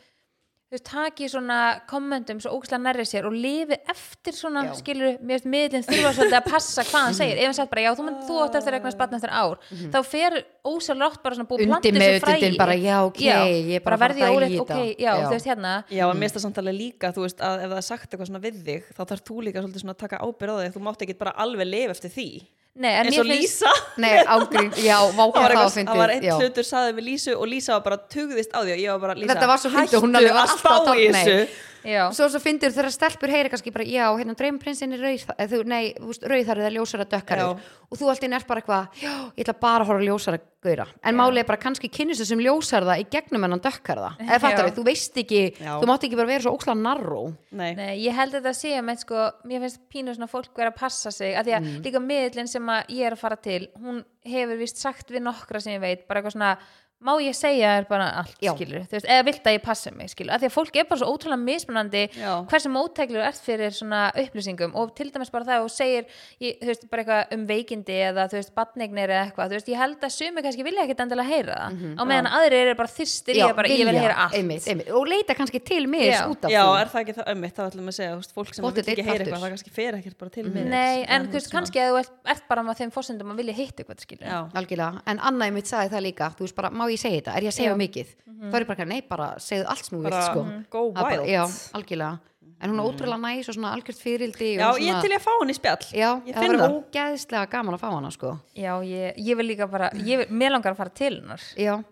Speaker 3: þú veist, taki svona kommentum svo ókslan nærri sér og lifi eftir svona
Speaker 2: Já.
Speaker 3: skilur, mér veist, miðlinn þurfa svolítið að passa hvað hann segir, ef hann sagt bara já, þú, mynd, þú átt eftir að eignast batna eftir ár, þá fer ósjálfrátt bara svona búið að planta þessu
Speaker 2: Undirmeðvitundin Mhm. bara, já, ok, ég er bara að fara að
Speaker 3: verði ég
Speaker 2: dæla í
Speaker 3: ólétt,
Speaker 2: þetta.
Speaker 3: ok, já,
Speaker 2: Já.
Speaker 3: þú veist, hérna
Speaker 1: já, en mér stað samtalið líka, þú veist, að ef það er sagt eitthvað svona við þig, þá þarf þú líka svolítið svona að taka ábyrð á þig, þú mátt ekki bara alveg lifa eftir því
Speaker 3: Nei, en
Speaker 1: eins
Speaker 3: mér
Speaker 1: og
Speaker 3: finnst-
Speaker 1: Lísa
Speaker 2: Nei, ángrín, já, vákvæm
Speaker 1: það
Speaker 2: það
Speaker 1: var,
Speaker 2: að
Speaker 1: það var einn
Speaker 2: já.
Speaker 1: hlutur saði með Lísu og Lísa var bara tugðist á því og ég var bara Lísa,
Speaker 2: Þetta var svo fyndið, hún
Speaker 1: hættu
Speaker 2: alveg var
Speaker 1: að
Speaker 2: alltaf
Speaker 1: spá
Speaker 2: að tala-
Speaker 1: í
Speaker 2: nei.
Speaker 1: þessu
Speaker 3: já,
Speaker 2: Svo svo fyndir þegar stelpur heyri kannski bara, já, hérna dreymprinsinn er rauð, eða þú, nei, þú veist, rauðarið er ljósara dökkarið og þú allt inn er bara eitthvað, já, ég ætla bara að horfa á ljósara gauðra, en málið er bara kannski kynnist þessum ljósarða í gegnum hennan dökkarða, eða fattar
Speaker 3: Já.
Speaker 2: við, þú veist ekki,
Speaker 1: Já.
Speaker 2: þú mátt ekki bara vera svo óksla narró.
Speaker 1: nei.
Speaker 3: Nei, ég held að það sé að með sko, mér finnst pínu svona fólk vera að passa sig, að því að
Speaker 2: Mm.
Speaker 3: líka miðlinn sem að ég er að fara til, hún hefur vist sagt við nokkra sem ég veit, bara eitthvað svona má ég segja þér bara allt,
Speaker 2: Já.
Speaker 3: skilur þú veist, eða vilt að ég passa mig, skilur, að því að fólk er bara svo ótrúlega mismunandi
Speaker 1: Já.
Speaker 3: hversu móttæklu ert fyrir svona upplýsingum og til dæmis bara það og segir ég, þú veist, bara eitthvað um veikindi eða þú veist, batneignir eða eitthvað, þú veist, ég held að sumi kannski vilja ekkit endilega heyra það, á meðan aðrir eru bara þyrstir, ég er bara, ég vil
Speaker 2: Mhm, vilja,
Speaker 3: heyra allt
Speaker 2: Einmitt, einmitt, og leita kannski til mig
Speaker 3: Já.
Speaker 2: út af
Speaker 1: Já,
Speaker 2: því.
Speaker 1: er það ekki það ömmið, það ætlum að segja þú veist, fólk sem vil
Speaker 2: Pottet
Speaker 1: ekki
Speaker 2: einn
Speaker 1: heyra
Speaker 2: þáttur.
Speaker 1: eitthvað, það kannski fer ekkert bara til miðils.
Speaker 3: Nei, en
Speaker 1: Það
Speaker 3: þú
Speaker 1: er
Speaker 3: veist,
Speaker 1: svona.
Speaker 3: kannski að þú ert, ert bara með þeim fórsendum að vilja hitt eitthvað, skilja.
Speaker 1: Já,
Speaker 2: algjörlega, en Anna einmitt sagði það líka þú veist bara, má ég segja þetta, er ég að segja mikið þá er ég bara, eitthvað, nei, bara segðu allt sem þú vilt
Speaker 1: Mhm. bara mm,
Speaker 2: sko.
Speaker 1: go
Speaker 2: Það bara-
Speaker 1: wild Mhm.
Speaker 2: já, algjörlega, en hún er ótrúlega næs og svona algjört fyrildi
Speaker 1: Já, ég er til ég að fá hann í spjall
Speaker 2: já,
Speaker 1: Ég
Speaker 2: það
Speaker 1: finn
Speaker 2: var
Speaker 1: það
Speaker 2: ógeðslega gaman að fá hana sko.
Speaker 3: Já, ég, ég vil líka bara, ég vil, mér langar að fara til hennar.
Speaker 2: já,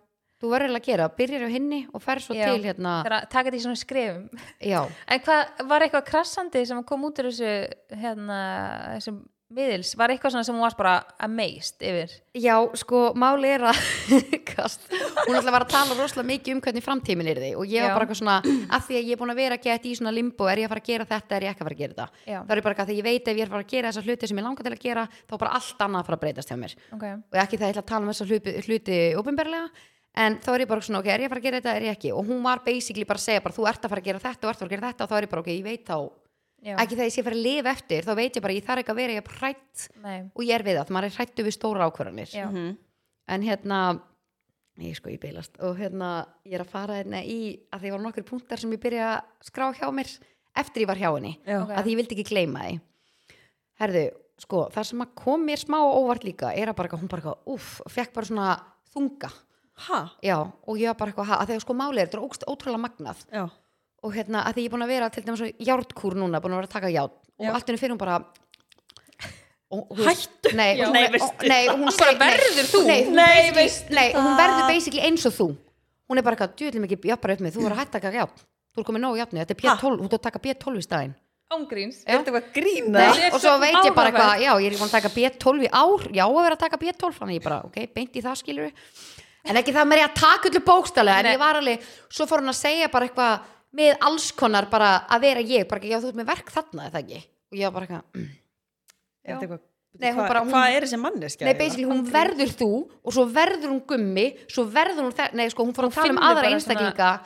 Speaker 2: þú verður eiginlega að gera byrjar á henni og fer svo
Speaker 3: Já.
Speaker 2: til hérna
Speaker 3: Það er að taka þetta í svona skrefum.
Speaker 2: já,
Speaker 3: En hvað, var eitthvað krassandi sem kom út úr þessu, hérna, þessum miðils? Var eitthvað svona sem hún var bara amazed yfir?
Speaker 2: já, sko, máli er að kast, hún ætla að vera að tala rosalega mikið um hvernig framtímin er því og ég var
Speaker 3: Já.
Speaker 2: bara eitthvað svona, af því að ég er búin að vera að geta í svona limbo, er ég að fara að gera þetta, er ég ekki að fara að gera þetta
Speaker 3: Já,
Speaker 2: það er bara eitthvað þegar ég veit ef ég er að fara að gera þessar hluti sem ég langar til að gera þá er bara allt annað að fara að breytast hjá mér
Speaker 3: ok.
Speaker 2: og ekki það ég ætla að tala um þessar hluti, hluti ofinberlega en þá er ég bara svona ok, er ég að fara að gera þetta, er ég ekki og hún var basically bara að segja bara þú ert að fara að gera þetta og ert að fara að gera þetta og þá er ég bara ok, ég veit þá
Speaker 3: Já,
Speaker 2: ekki það ég sé að fara að lifa eftir, þá veit ég bara að ég þarf ekki að vera ég prætt
Speaker 3: nei,
Speaker 2: og ég er við það, maður er hrættu við stóra ákvarðanir
Speaker 3: já,
Speaker 1: Mhm.
Speaker 2: en hérna ég sko ég beilast og hérna ég er að fara hérna í að því var nokkur punktar sem ég byrja að skrá hjá mér eftir ég var hjá henni
Speaker 1: Já.
Speaker 3: Ok.
Speaker 2: að því ég vildi ekki gleyma því herðu, sko, það sem að kom mér smá á óvart líka er að bara eitthvað, hún bara eitthvað, uff, fekk bara svona þunga
Speaker 1: Ha,
Speaker 2: já, og ég var bara eitthvað, ha, að þegar sko málið er, þetta er ógst- ótrúlega magnað
Speaker 1: já,
Speaker 2: og hérna, að því ég er búin að vera til dæmis svona járnkúr núna, búin að vera að taka járn og
Speaker 1: Já.
Speaker 2: allt henni fyrir hún bara og, og,
Speaker 1: Hættu.
Speaker 2: nei,
Speaker 1: Já.
Speaker 2: hún,
Speaker 1: Nei,
Speaker 2: nei,
Speaker 1: veistu
Speaker 2: nei, hún segir, verður þú nei, hún,
Speaker 1: Nei,
Speaker 2: basically-
Speaker 1: veistu
Speaker 2: nei, hún
Speaker 1: það.
Speaker 2: verður basically eins og þú hún er bara eitthvað, djúðlega mikið jafnbar upp með þú verður að hætta að taka járn, þú er komin nóg járni þetta er B12, þú ert að taka B12 í staðinn
Speaker 3: ángríns.
Speaker 1: er þetta eitthvað grín
Speaker 2: Nei,
Speaker 1: eða?
Speaker 3: er
Speaker 2: og svo
Speaker 3: svo
Speaker 2: veit ég bara
Speaker 3: áhugavert.
Speaker 2: hvað, já, ég er búin að taka B12 í ár, já, að vera að taka B12 þannig ég bara, ok, beint í það skilur en ekki það með ég að taka öllu bókstælega en
Speaker 3: Nei.
Speaker 2: ég var alveg, svo fór hann að segja bara eitthvað með alls konar bara að vera ég, bara ekki, já, þú ert með verk þarna eða ekki, og ég var bara eitthvað mm.
Speaker 1: Er þetta eitthvað-
Speaker 2: Nei, hún
Speaker 1: hvað-
Speaker 2: bara- hún-
Speaker 1: Hvað er þessi manneskja?
Speaker 2: nei,
Speaker 1: eiginlega?
Speaker 2: basically, hún verður þú og svo verður hún gummi, svo verður hún þe- nei, sko, hún fór að tala um
Speaker 3: finnur
Speaker 2: aðra
Speaker 3: bara
Speaker 2: einstaklinga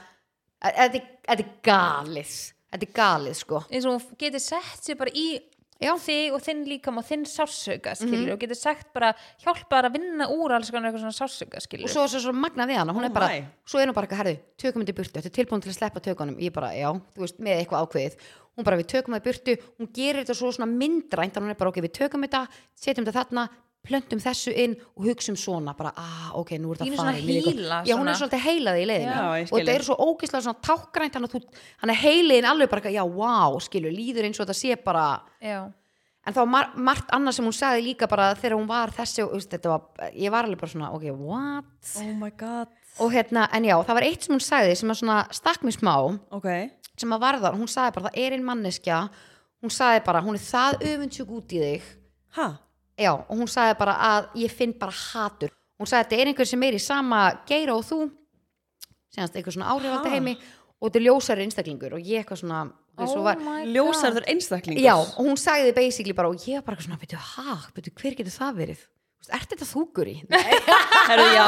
Speaker 2: E- þetta er- þetta er galið þetta er galið, sko
Speaker 3: Eins og hún geti sett sér bara í
Speaker 2: Já.
Speaker 3: þig og þinn líkam og þinn sásauka skilur og getur sagt bara hjálpa þær að vinna úr alls konar eitthvað svona sásauka skilur
Speaker 2: og svo er svo, svo magnað við hana hún
Speaker 1: Oh
Speaker 2: er bara,
Speaker 1: my.
Speaker 2: svo er hún bara, herðu, tökum þetta í burtu þetta er tilbúin til að sleppa tökunum, ég bara, já þú veist, með eitthvað ákveðið, hún bara við tökum þetta í burtu hún gerir þetta svo svona myndrænt að hún er bara, ok, við tökum þetta, setjum þetta þarna plöntum þessu inn og hugsum svona bara, ah, ok, nú er
Speaker 3: Pínu
Speaker 2: þetta
Speaker 3: svona
Speaker 2: farið við líkum."
Speaker 3: hýla,
Speaker 2: já, hún er
Speaker 3: svona.
Speaker 2: svolítið heilaði í leiðinu
Speaker 1: Já, ég
Speaker 2: og
Speaker 1: skil.
Speaker 2: þetta er svo ógeðslega svona tákgrænt hann að þú, hann er heiliðin alveg bara, eitthvað, já, wow, skilur, líður eins og þetta sé bara
Speaker 3: já,
Speaker 2: en þá mar margt annað sem hún sagði líka bara þegar hún var þessi og, þú veist, þetta var, ég var alveg bara svona, ok, what
Speaker 1: Oh my god.
Speaker 2: og hérna, en já, það var eitt sem hún sagði sem að svona stakk mér smá
Speaker 1: Ok.
Speaker 2: sem að varða, hún sagði bara, það er einn manneskja hún sagði bara, hún er það öfundsjúk út í þig
Speaker 1: Ha?
Speaker 2: já, og hún sagði bara að ég finn bara hatur hún sagði, þetta er einhver sem er í sama geira og þú segjast einhver svona áhrifaldi
Speaker 1: Ha?
Speaker 2: heimi og þetta er ljósari einstaklingur og ég eitthvað svona þú veist, svo var,
Speaker 3: my god.
Speaker 1: Ljósarður einstaklingur.
Speaker 2: já, og hún sagði basically bara, og ég var bara eitthvað svona, betur, ha, betur, hver getur það verið Þú veist, ert þetta þúkur í?
Speaker 1: Herru, já,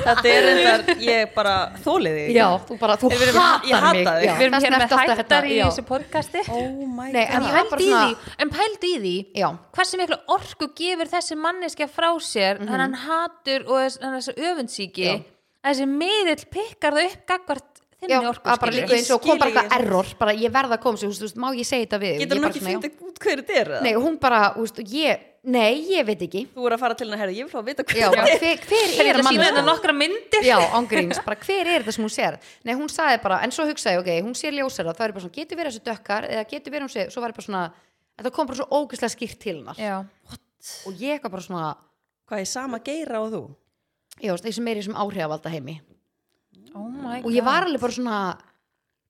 Speaker 1: þetta er reyndar, ég bara þólið þig.
Speaker 2: Já, þú bara, þú
Speaker 1: Við erum-
Speaker 2: hatar
Speaker 1: ég hata
Speaker 2: mig
Speaker 1: þig.
Speaker 2: Já,
Speaker 3: við erum
Speaker 2: þess
Speaker 3: hér
Speaker 2: vegna
Speaker 3: með
Speaker 2: ertu alltaf
Speaker 3: hættar
Speaker 2: þetta-
Speaker 3: í
Speaker 2: já.
Speaker 3: þessu podcasti
Speaker 1: Oh my
Speaker 2: Nei,
Speaker 1: god.
Speaker 2: en ég var bara
Speaker 3: pældi í
Speaker 2: svona
Speaker 3: því, en pældi í því
Speaker 2: Já,
Speaker 3: hversu miklu orku gefur þessi manneskja frá sér mm hann hatur og þess- hann þessi öfundsíki
Speaker 2: Mhm. Já.
Speaker 3: að þessi miðill pikkar það upp gagvart
Speaker 2: já,
Speaker 3: þinni orku
Speaker 2: að bara
Speaker 3: skilur.
Speaker 2: líka eins og
Speaker 1: Ég
Speaker 2: kom
Speaker 1: skil
Speaker 2: bara
Speaker 1: ekki
Speaker 2: eitthvað error bara ég verða að koma sér, þú veist, þú veist, má ég segja þetta við
Speaker 1: Getur
Speaker 2: Ég
Speaker 1: hún
Speaker 2: bara
Speaker 1: ekki
Speaker 2: svona, já.
Speaker 1: fundið út hverju þetta er það?
Speaker 2: Nei, hún bara, þú veist, og ég, nei, ég veit ekki
Speaker 1: Þú er að fara til hennar, herru, ég vil fá að vita
Speaker 2: Já,
Speaker 1: hverju
Speaker 2: bara,
Speaker 1: þetta er.
Speaker 2: hver, hver
Speaker 3: Þeir
Speaker 2: er
Speaker 3: eru að sína þetta
Speaker 2: mann
Speaker 3: nokkra myndir
Speaker 2: Já, ángríns, bara hver er þetta sem hún sér Nei, hún sagði bara, en svo hugsaði, ég, ok, hún sér ljósara það er ég bara svona, getur verið þessu dökkar eða getur verið hún sér, svo var ég bara svona þetta kom bara svo ógeðslega skýrt til hennar
Speaker 3: Já.
Speaker 2: og ég eitthvað bara svona,
Speaker 1: Hvað er
Speaker 3: Eh,
Speaker 1: sama geira og þú?
Speaker 2: já, þessi meiri sem áhrifavalda heimi
Speaker 3: Oh my
Speaker 2: og ég
Speaker 3: God.
Speaker 2: var alveg bara svona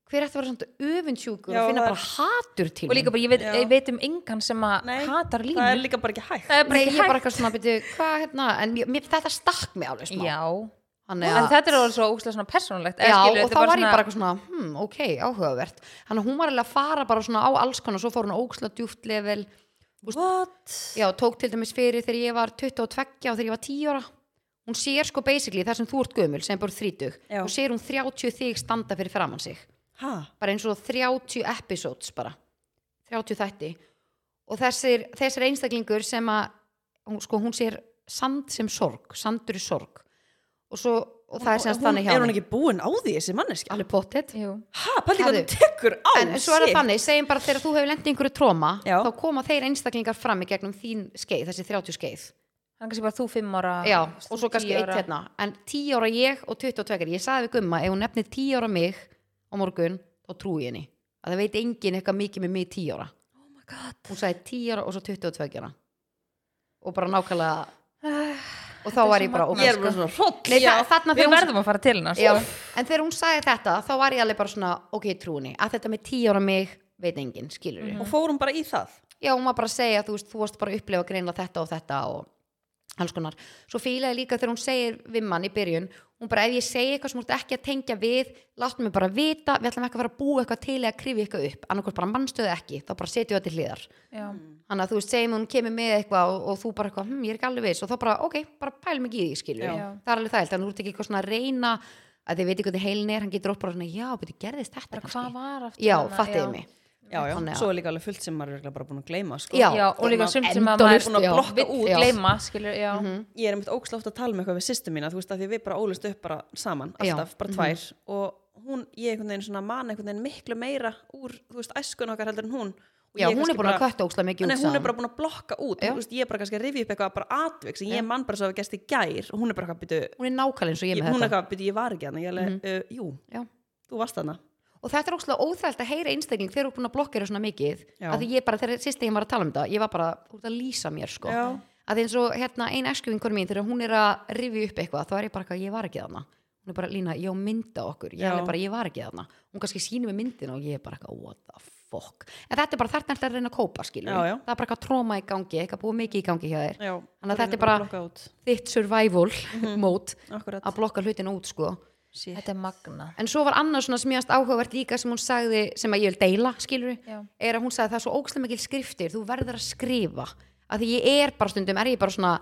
Speaker 2: hver ætti að vera svona öfundsjúkur
Speaker 1: Já,
Speaker 2: og finna
Speaker 1: það-
Speaker 2: bara hatur til
Speaker 3: og líka bara, ég veit,
Speaker 1: Já.
Speaker 3: ég veit um engan sem að
Speaker 1: Nei,
Speaker 3: hatar Eh, línu
Speaker 1: Það er líka bara ekki hægt.
Speaker 3: það er bara
Speaker 2: Nei,
Speaker 3: ekki
Speaker 2: ég bara
Speaker 3: hægt
Speaker 2: eitthvað svona byrju, hvað hérna, en mér, mér, þetta stakk mig alveg smá
Speaker 3: Já,
Speaker 2: Þannig
Speaker 3: en
Speaker 2: að-
Speaker 3: þetta er alveg svo óslega svona persónulegt eða
Speaker 2: já
Speaker 3: skilur,
Speaker 2: og
Speaker 3: þetta
Speaker 2: þá
Speaker 3: er
Speaker 2: var ég bara eitthvað svona, hmm, ok, áhugavert Þannig að hún var alveg að fara bara svona á alls konar svo fór hún óksla djúft level
Speaker 1: What?
Speaker 2: já, tók til dæmis fyrir þegar ég var 22 og þegar ég var 10 ára hún sér sko basically þar sem þú ert gömul sem er bara 30,
Speaker 1: Já.
Speaker 2: hún sér hún 30 þig standa fyrir framann sig
Speaker 1: Ha?
Speaker 2: bara eins og 30 episodes bara 30 þætti og þessir, þessir einstaklingur sem að hún, sko, hún sér sand sem sorg, sandur í sorg og svo, og það er semst
Speaker 1: Hún-
Speaker 2: þannig hjá
Speaker 1: Er hún ekki búin á því, þessi manneskja?
Speaker 2: alveg pottet
Speaker 3: Jú.
Speaker 1: Ha? Pældi hvað
Speaker 2: Herru.
Speaker 1: þú tekur á
Speaker 2: en svo er
Speaker 1: sig.
Speaker 2: það þannig, segjum bara þegar þú hefur lendið einhverju tróma,
Speaker 1: Já.
Speaker 2: þá koma þeir einstaklingar fram í gegnum þín skeið, þessi 30 skeið
Speaker 3: Hann kannski bara þú fimm ára
Speaker 1: Ah,
Speaker 2: já,
Speaker 3: þú
Speaker 2: og svo kannski
Speaker 3: tíu
Speaker 2: eitt
Speaker 3: ára.
Speaker 2: hérna en 10 ára ég og 22 ég saði við gumma, ef hún nefnir 10 ára mig á morgun, þá trúi ég henni að það veit enginn eitthvað mikið með mig 10 ára
Speaker 3: Oh my god
Speaker 2: hún sagði 10 ára og svo 22 ára og bara nákvæmlega og þá
Speaker 3: Þetta er
Speaker 2: var
Speaker 3: svo
Speaker 2: ég bara
Speaker 3: magnað.
Speaker 1: Ég er
Speaker 2: ógeð,
Speaker 1: bara
Speaker 2: sko.
Speaker 1: svona hróll.
Speaker 2: Nei,
Speaker 1: Já.
Speaker 2: þa- þarna
Speaker 3: Við
Speaker 2: þegar hún-
Speaker 3: verðum að fara til hennar
Speaker 2: Já, en þegar hún sagði þetta þá var ég alveg bara svona, ok, trúni að þetta með 10 ára mig veit enginn, skilur við
Speaker 3: Mhm.
Speaker 1: Og fórum bara í það.
Speaker 2: já, hún var bara að segja, þú veist, þú varst bara að upplifa greinlega þetta og þetta og alls konar svo fílaði ég líka þegar hún segir við mann í byrjun, hún bara, ef ég segi eitthvað sem hún ert ekki að tengja við, láttu mig bara vita við ætlum ekki að fara að búa eitthvað til eða krifja eitthvað upp annarkvæmst bara mannstöðu ekki, þá bara setjum við þetta til hliðar
Speaker 3: Já.
Speaker 2: þannig að þú veist, segjum að hún kemur með eitthvað og, og þú bara eitthvað, hm, ég er ekki alveg viss og þá bara, ok, bara pælum ekki í því, skilur
Speaker 3: Já.
Speaker 2: það er alveg það, þannig að þú ert ekki eitthvað svona að reyna að þið veit ekki hvað heilin er, hann getur upp bara svona já, betur gerðist þetta
Speaker 3: Bara hvað var aftur
Speaker 2: já,
Speaker 3: þarna?
Speaker 2: fattiði mig
Speaker 1: Já, já.
Speaker 2: Þannig að-
Speaker 1: Svo er líka alveg fullt sem maður er örugglega bara búin að gleyma, sko.
Speaker 2: Já.
Speaker 3: Já, og líka sumt sem að
Speaker 2: endalaust,
Speaker 3: maður búin
Speaker 2: já.
Speaker 3: að blokka
Speaker 2: Vill,
Speaker 3: út
Speaker 2: já.
Speaker 3: gleyma, skilur, já Mhm.
Speaker 1: ég er einmitt ókslátt að tala með eitthvað við sýstu mína þú veist að því við bara ólust upp bara saman
Speaker 2: Já. Mhm.
Speaker 1: alltaf, bara tvær og hún, ég einhvern veginn svona man einhvern veginn miklu meira úr, þú veist, æskun okkar heldur en hún og
Speaker 2: já,
Speaker 1: ég
Speaker 2: hún
Speaker 1: kannski
Speaker 2: er búin að
Speaker 1: bara-
Speaker 2: kötta óksla
Speaker 1: Nei,
Speaker 2: mikið út
Speaker 1: hún er
Speaker 2: saman
Speaker 1: bara búin að blokka út
Speaker 2: Já.
Speaker 1: þú veist, ég er bara kannski að rifja upp eitthvað bara atvik sem ég man bara svo að gæst í gær og hún er bara eitthvað byrju,
Speaker 2: hún er nákvæmlega eins og ég
Speaker 1: ég-
Speaker 2: með
Speaker 1: hún er
Speaker 2: þetta Mhm.
Speaker 1: eitthvað byrju, ég var ekki hann ég alveg, uh, jú,
Speaker 2: Já.
Speaker 1: þú varst hana
Speaker 2: og þetta er ókslega óþælt að heyra einstakling þegar þú er búin að blokkera svona mikið
Speaker 1: Já.
Speaker 2: að því ég bara, þegar sýst ég var að tala um þetta ég var bara út að lýsa mér sko
Speaker 1: Já.
Speaker 2: að því eins og hérna ein eskjöfingur mín þegar hún er að rifi upp eitthvað þá er ég bara eitthvað, ég var ekki þarna hún er bara lína, já mynda okkur, ég,
Speaker 1: Já.
Speaker 2: alveg bara, ég var ekki þarna hún kannski sýnir mig myndina og ég er bara eitthvað what the fuck, en þetta er bara þarna ertu að reyna að kópa skilur,
Speaker 1: Já, já.
Speaker 2: það er bara eitthvað tróma í gangi eitthvað búið mikið í gangi hjá þér
Speaker 1: Já,
Speaker 2: Þannig
Speaker 1: þú
Speaker 2: að þetta er
Speaker 1: reynir
Speaker 2: bara-
Speaker 1: að blokka út
Speaker 2: þitt survival
Speaker 1: Mhm.
Speaker 2: mót
Speaker 1: Akkurat.
Speaker 2: að blokka hlutin út sko
Speaker 1: Shit.
Speaker 3: Þetta er magna
Speaker 2: En svo var annars svona sem ég aðst áhugavert líka sem hún sagði, sem að ég vil deila, skilur
Speaker 3: Já.
Speaker 2: er að hún sagði það er svo ógstlega mikil skriftir, þú verður að skrifa. Af því ég er bara stundum, er ég bara svona,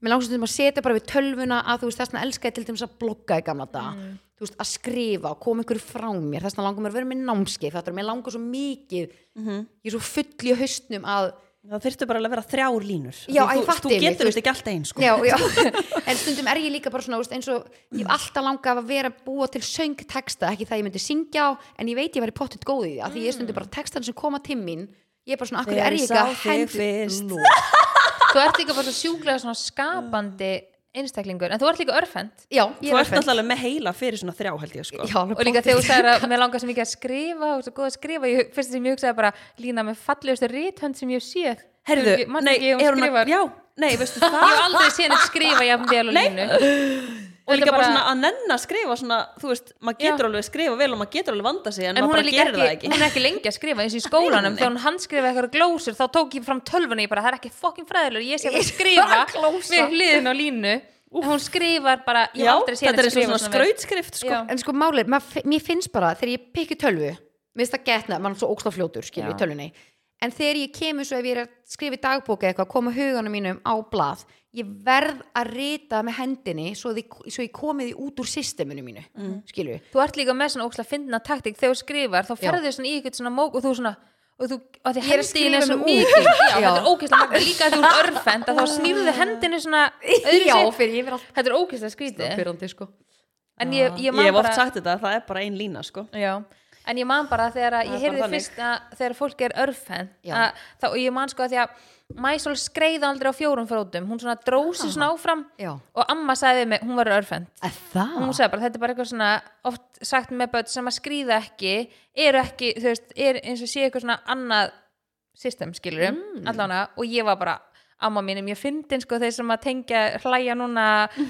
Speaker 2: mér langar stundum að setja bara við tölvuna að þú veist þessna elskaði til dæmis að blogga í gamla daga. Þú veist, að skrifa, koma ykkur frá mér, þessna langar mér að vera með námskeið, þetta er mér langar svo mikið, ég er svo full í haustnum að
Speaker 1: það þurftu bara alveg að vera þrjár línur
Speaker 2: Já,
Speaker 1: Því
Speaker 2: ég
Speaker 1: þú,
Speaker 2: fatti
Speaker 1: þú
Speaker 2: mig, þú
Speaker 1: getur
Speaker 2: veist.
Speaker 1: veist ekki alltaf einn sko.
Speaker 2: já, já. en stundum er ég líka bara svona úst, eins og ég hef alltaf langað að vera að búa til söngteksta, ekki það ég myndi syngja á en ég veit ég væri pottitt góð í því af því ég er stundum
Speaker 1: Mm.
Speaker 2: bara textan sem koma til mín ég er bara svona, akkur er ég ekki að hendur
Speaker 1: fyrst
Speaker 3: þú ert líka bara svo sjúklega svona skapandi einstaklingur, en þú ert líka örfend
Speaker 2: já, ég
Speaker 1: þú
Speaker 2: er
Speaker 1: ert
Speaker 2: örfend.
Speaker 1: náttúrulega alveg með heila fyrir svona þrjá held ég sko.
Speaker 2: Já, alveg
Speaker 3: og líka
Speaker 2: pottet.
Speaker 3: þegar þú sagðir að mér langar sem ekki að skrifa og svo góð að skrifa, ég, fyrst sem ég hugsaði bara lína með fallegustu rithönd sem ég hef séð
Speaker 1: herðu,
Speaker 3: Ég man
Speaker 1: nei,
Speaker 3: ekki ef
Speaker 1: er
Speaker 3: hún
Speaker 1: hún
Speaker 3: skrifar
Speaker 1: að já, nei, veistu það
Speaker 3: ég hef aldrei séð henni skrifa jafn vel og
Speaker 1: Nei.
Speaker 3: línu
Speaker 1: og líka
Speaker 3: Þetta
Speaker 1: bara svona að nenn að skrifa svona, þú veist, maður getur alveg að skrifa vel og maður getur alveg að vanda sig en,
Speaker 3: en hún
Speaker 1: maður
Speaker 3: er
Speaker 1: bara
Speaker 3: líka
Speaker 1: gerir það
Speaker 3: ekki,
Speaker 1: ekki
Speaker 3: hún er ekki lengi að skrifa eins og í skólanum,
Speaker 1: Nei, nei.
Speaker 3: þegar hún handskrifa eitthvað glósur, þá tók ég fram tölvunni ég bara, það er ekki fokkin fræðilegur, ég sé
Speaker 2: Ég
Speaker 3: að
Speaker 2: sé bara
Speaker 3: skrifa
Speaker 2: glósa.
Speaker 3: við hliðin á línu en hún skrifar bara, ég
Speaker 1: já,
Speaker 3: hef aldrei séð
Speaker 1: þetta
Speaker 3: henni
Speaker 1: er svona svona
Speaker 3: skrifa vel.
Speaker 1: skrautskrift sko.
Speaker 3: Já.
Speaker 2: en sko málið, maður- mér finnst bara þegar ég pikki tölvu, mér finnst það getna maður er svo óksla fljótur, skilur
Speaker 3: Já.
Speaker 2: í tölvunni en þegar ég kemur svo ef ég er að skrifa í dagbók eða eitthvað, koma huganum mínum á blað ég verð að rita með hendinni svo, því, svo ég komi því út úr systeminu mínu, mm. skilur
Speaker 3: þú ert líka með svona óksla fyndna taktik þegar þú skrifar, þá
Speaker 2: Já.
Speaker 3: ferðu þér svona í eitthvað svona mók og þú svona og þú, og því
Speaker 2: Ég er að
Speaker 3: hendin
Speaker 2: skrifa
Speaker 3: er svo
Speaker 2: mig út.
Speaker 3: mikið já,
Speaker 2: Já.
Speaker 3: þetta er ókvæslega magna, líka að þú ert örfend að þá snýrðu hendinu svona öðru
Speaker 2: já, fyrir ég verð alltaf
Speaker 3: þetta er ókvæslega skrítið
Speaker 2: pyrrandi sko
Speaker 3: en ég, ég,
Speaker 1: ég
Speaker 3: man
Speaker 1: hef
Speaker 3: bara-
Speaker 1: oft sagt þetta, það er bara ein lína sko.
Speaker 3: Já, en ég man bara þegar
Speaker 1: Það
Speaker 3: að
Speaker 1: er
Speaker 3: ég
Speaker 1: bara
Speaker 3: heyrði
Speaker 1: þannig.
Speaker 3: fyrst að þegar fólk er örfen
Speaker 2: Já.
Speaker 3: að, þá, og ég man sko að því að Mæsól skreið aldrei á fjórum frótum hún svona drósi ah. svona áfram
Speaker 2: Já.
Speaker 3: og amma sagði við mig, hún var örfend
Speaker 2: að það,
Speaker 3: hún sagði bara, þetta er bara eitthvað svona oft sagt með börn sem að skríða ekki eru ekki, þú veist, er eins og sé eitthvað svona annað system skilur mm. allána og ég var bara amma mínum, ég fyndi sko þeir sem að tengja hlæja núna,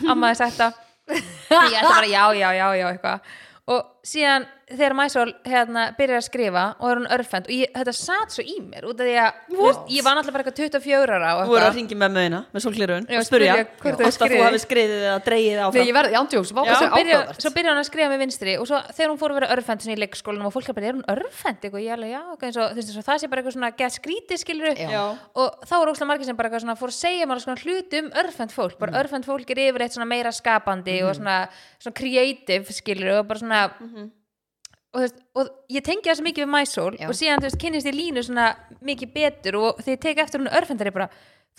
Speaker 3: amma þess þetta ég ætla bara já, já, já, já eitthvað og síðan þegar Mæsól hérna byrjar að skrifa og er hún örfend og ég, þetta satt svo í mér út af því að þú veist, ég var náttúrulega bara eitthvað 24 ára
Speaker 1: þú
Speaker 3: og
Speaker 1: voru
Speaker 3: eitthvað.
Speaker 1: að ringi með möguna með sólglirun
Speaker 3: Já,
Speaker 1: og spurja
Speaker 3: spyrja hvort þau
Speaker 1: hvort að þú
Speaker 3: skrifi.
Speaker 1: hafi skriðið eða dreigið áfram
Speaker 2: þegar ég verð, ándjóks,
Speaker 3: Já,
Speaker 2: vákast
Speaker 3: svo,
Speaker 2: það
Speaker 3: byrja,
Speaker 2: ákvæðvart
Speaker 3: svo byrja hann að skrifa með vinstri og svo þegar hún fór að vera örfend svona í leikskólanum og fólk er bara, er hún örfend? Eitthvað, ég alveg, já, ok, eins og, þú veist, eins og það sé bara eitthvað svona gett skrítið skilur
Speaker 2: Já.
Speaker 1: Já.
Speaker 3: og þá er óslega margir sem bara eitthvað svona fór að segja mér svona hlut um örfend fólk bara
Speaker 2: Mm.
Speaker 3: örfend fólk er yfirleitt svona meira skapandi og svona, svona creative skilur og bara svona og, þú veist, og ég tengi það svo mikið við Mysol
Speaker 2: Mhm. Já.
Speaker 3: og síðan þú veist, kynnist ég línu svona mikið betur og þegar ég tek eftir hún örfend er ég bara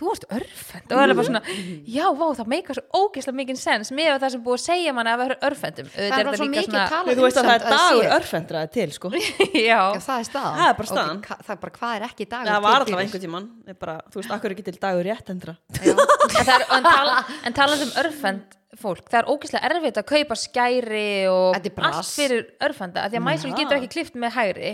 Speaker 3: þú ert örfend og það er bara svona já, vá, það meikar svo ógeðslega mikið sens með það sem búið að segja manna að vera örfendum
Speaker 2: það er bara svo mikið
Speaker 1: Nei,
Speaker 2: talað
Speaker 1: þú veist að það
Speaker 2: samt
Speaker 1: er dagur
Speaker 2: sé-
Speaker 1: örfendraði til sko.
Speaker 3: um já,
Speaker 2: Já, það er staðan
Speaker 1: Það er bara
Speaker 2: Ok,
Speaker 1: staðan.
Speaker 2: ka- það er bara hvað er ekki dagur
Speaker 1: það var
Speaker 2: til
Speaker 1: allavega
Speaker 2: fyrir?
Speaker 1: einhvern tímann Ég bara, þú veist, akkur er ekki til dagur réttendra
Speaker 3: en, það er, en, tala, en talað um örfend fólk, það er ógeðslega erfitt að kaupa skæri og
Speaker 2: Þetta er bras.
Speaker 3: allt fyrir örfenda, af því að Mysol getur ekki klift með hægri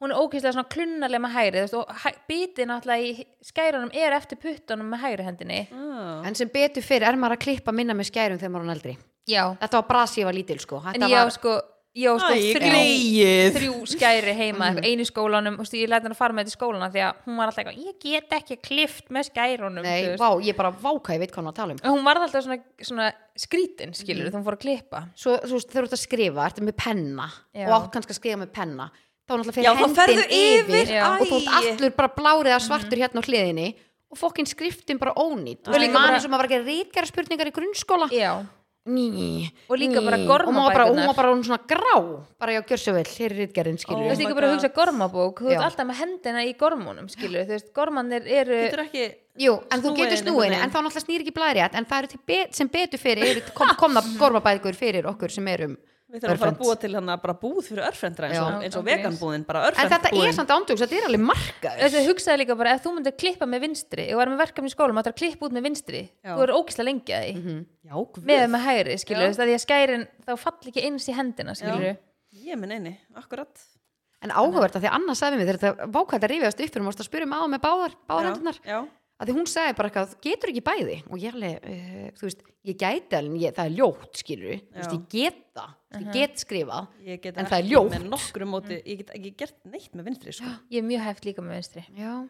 Speaker 3: hún er ógeðslega svona klunnalega með hægri þú veist, og hæ, bítið náttúrulega í skærunum er eftir puttunum með hægri hendinni
Speaker 2: En sem betur fyrir er maður að klippa minna með skærum þegar maður er eldri.
Speaker 3: já,
Speaker 2: Þetta var brasi ég var lítil sko.
Speaker 3: en
Speaker 2: Þetta
Speaker 3: ég á
Speaker 2: var,
Speaker 3: sko, ég á sko þrjú,
Speaker 1: greið
Speaker 3: þrjú skæri heima mm. einu í skólanum, og ég læti hann að fara með þetta í skólana því að hún var alltaf eitthvað, ég get ekki klift með skærunum
Speaker 2: nei,
Speaker 3: þú veist.
Speaker 2: vá, ég bara váka, ég veit hvað hann var að tala um.
Speaker 3: En hún var alltaf svona, svona skrítin skilur, mm. þú fór að klippa
Speaker 2: Svo, svo þegar þú ert að skrifa, ertu með penna
Speaker 3: Já.
Speaker 2: og átt kannski að skrifa með penna. Þá náttúrulega
Speaker 1: Já,
Speaker 2: fyrir
Speaker 1: þá ferðu
Speaker 2: hendin
Speaker 1: yfir,
Speaker 2: yfir
Speaker 3: já. Mhm.
Speaker 2: og þú ert
Speaker 1: æ.
Speaker 2: allur bara blárið að svartur hérna á hliðinni og fokkin skriftin bara ónýtt. Þú
Speaker 3: Og líka
Speaker 2: veist, mann
Speaker 3: bara-
Speaker 2: sem að var að gera rítkjara spurningar í grunnskóla.
Speaker 3: já,
Speaker 2: Ný,
Speaker 3: Og líka bara
Speaker 2: ný.
Speaker 3: gormabækurnar.
Speaker 2: Og maður bara, hún var bara orðin svona grá, bara já, gjör svo vel, hér er rítkjarin
Speaker 1: Ó.
Speaker 3: þú
Speaker 2: skilur.
Speaker 3: veist
Speaker 1: Oh my
Speaker 3: ekki bara að
Speaker 1: God.
Speaker 3: hugsa gormabók þú
Speaker 2: Já.
Speaker 3: ert alltaf með hendina í gormunum skilur, þú veist, gormanir eru
Speaker 1: getur ekki
Speaker 2: Jú, en þú getur
Speaker 1: Snúið einhvern
Speaker 2: snúin en þá náttúrulega snýr ekki blæðrétt en það eru til be sem betur fyrir eru, kom, komna gormabæðgur fyrir okkur sem um erum
Speaker 1: við þurfum að fara að
Speaker 2: örvhent.
Speaker 1: búa til hann bara búð fyrir örfendra eins
Speaker 2: Já.
Speaker 1: og, eins og
Speaker 3: Ok.
Speaker 1: veganbúðin bara
Speaker 2: En þetta er
Speaker 1: örfendbúðin
Speaker 2: samt ándjóks, þetta er alveg markaður
Speaker 3: Þessi hugsaði líka bara ef þú myndir klippa með vinstri og var með verkefni í skólum og það er að klippa út með vinstri
Speaker 1: Já.
Speaker 3: þú er ógislega lengi að því
Speaker 1: Já, guð.
Speaker 3: með með hægri skilur,
Speaker 1: Já.
Speaker 3: þú veist, að því að skærin þá fall ekki eins í hendina skilur
Speaker 1: ég minn eini, akkurat
Speaker 2: En áhugavert að því annars sagði mér þetta vákvæmt að rífiðast upp fyrir mást að spyrja mig á með báðar
Speaker 1: Já,
Speaker 2: báðarhendunar
Speaker 1: já.
Speaker 2: að því hún sagði bara eitthvað, getur ekki bæði og ég alveg, uh, þú veist, ég gæti alveg en ég, það er ljótt, skilur
Speaker 1: Já. Mhm.
Speaker 2: veist, ég get það, ég get skrifað
Speaker 1: ég get
Speaker 2: En það er
Speaker 1: ekki
Speaker 2: ljótt.
Speaker 1: með nokkru móti, ég get ekki gert neitt með vinstri sko.
Speaker 3: ég er mjög hæft líka með vinstri
Speaker 2: Já,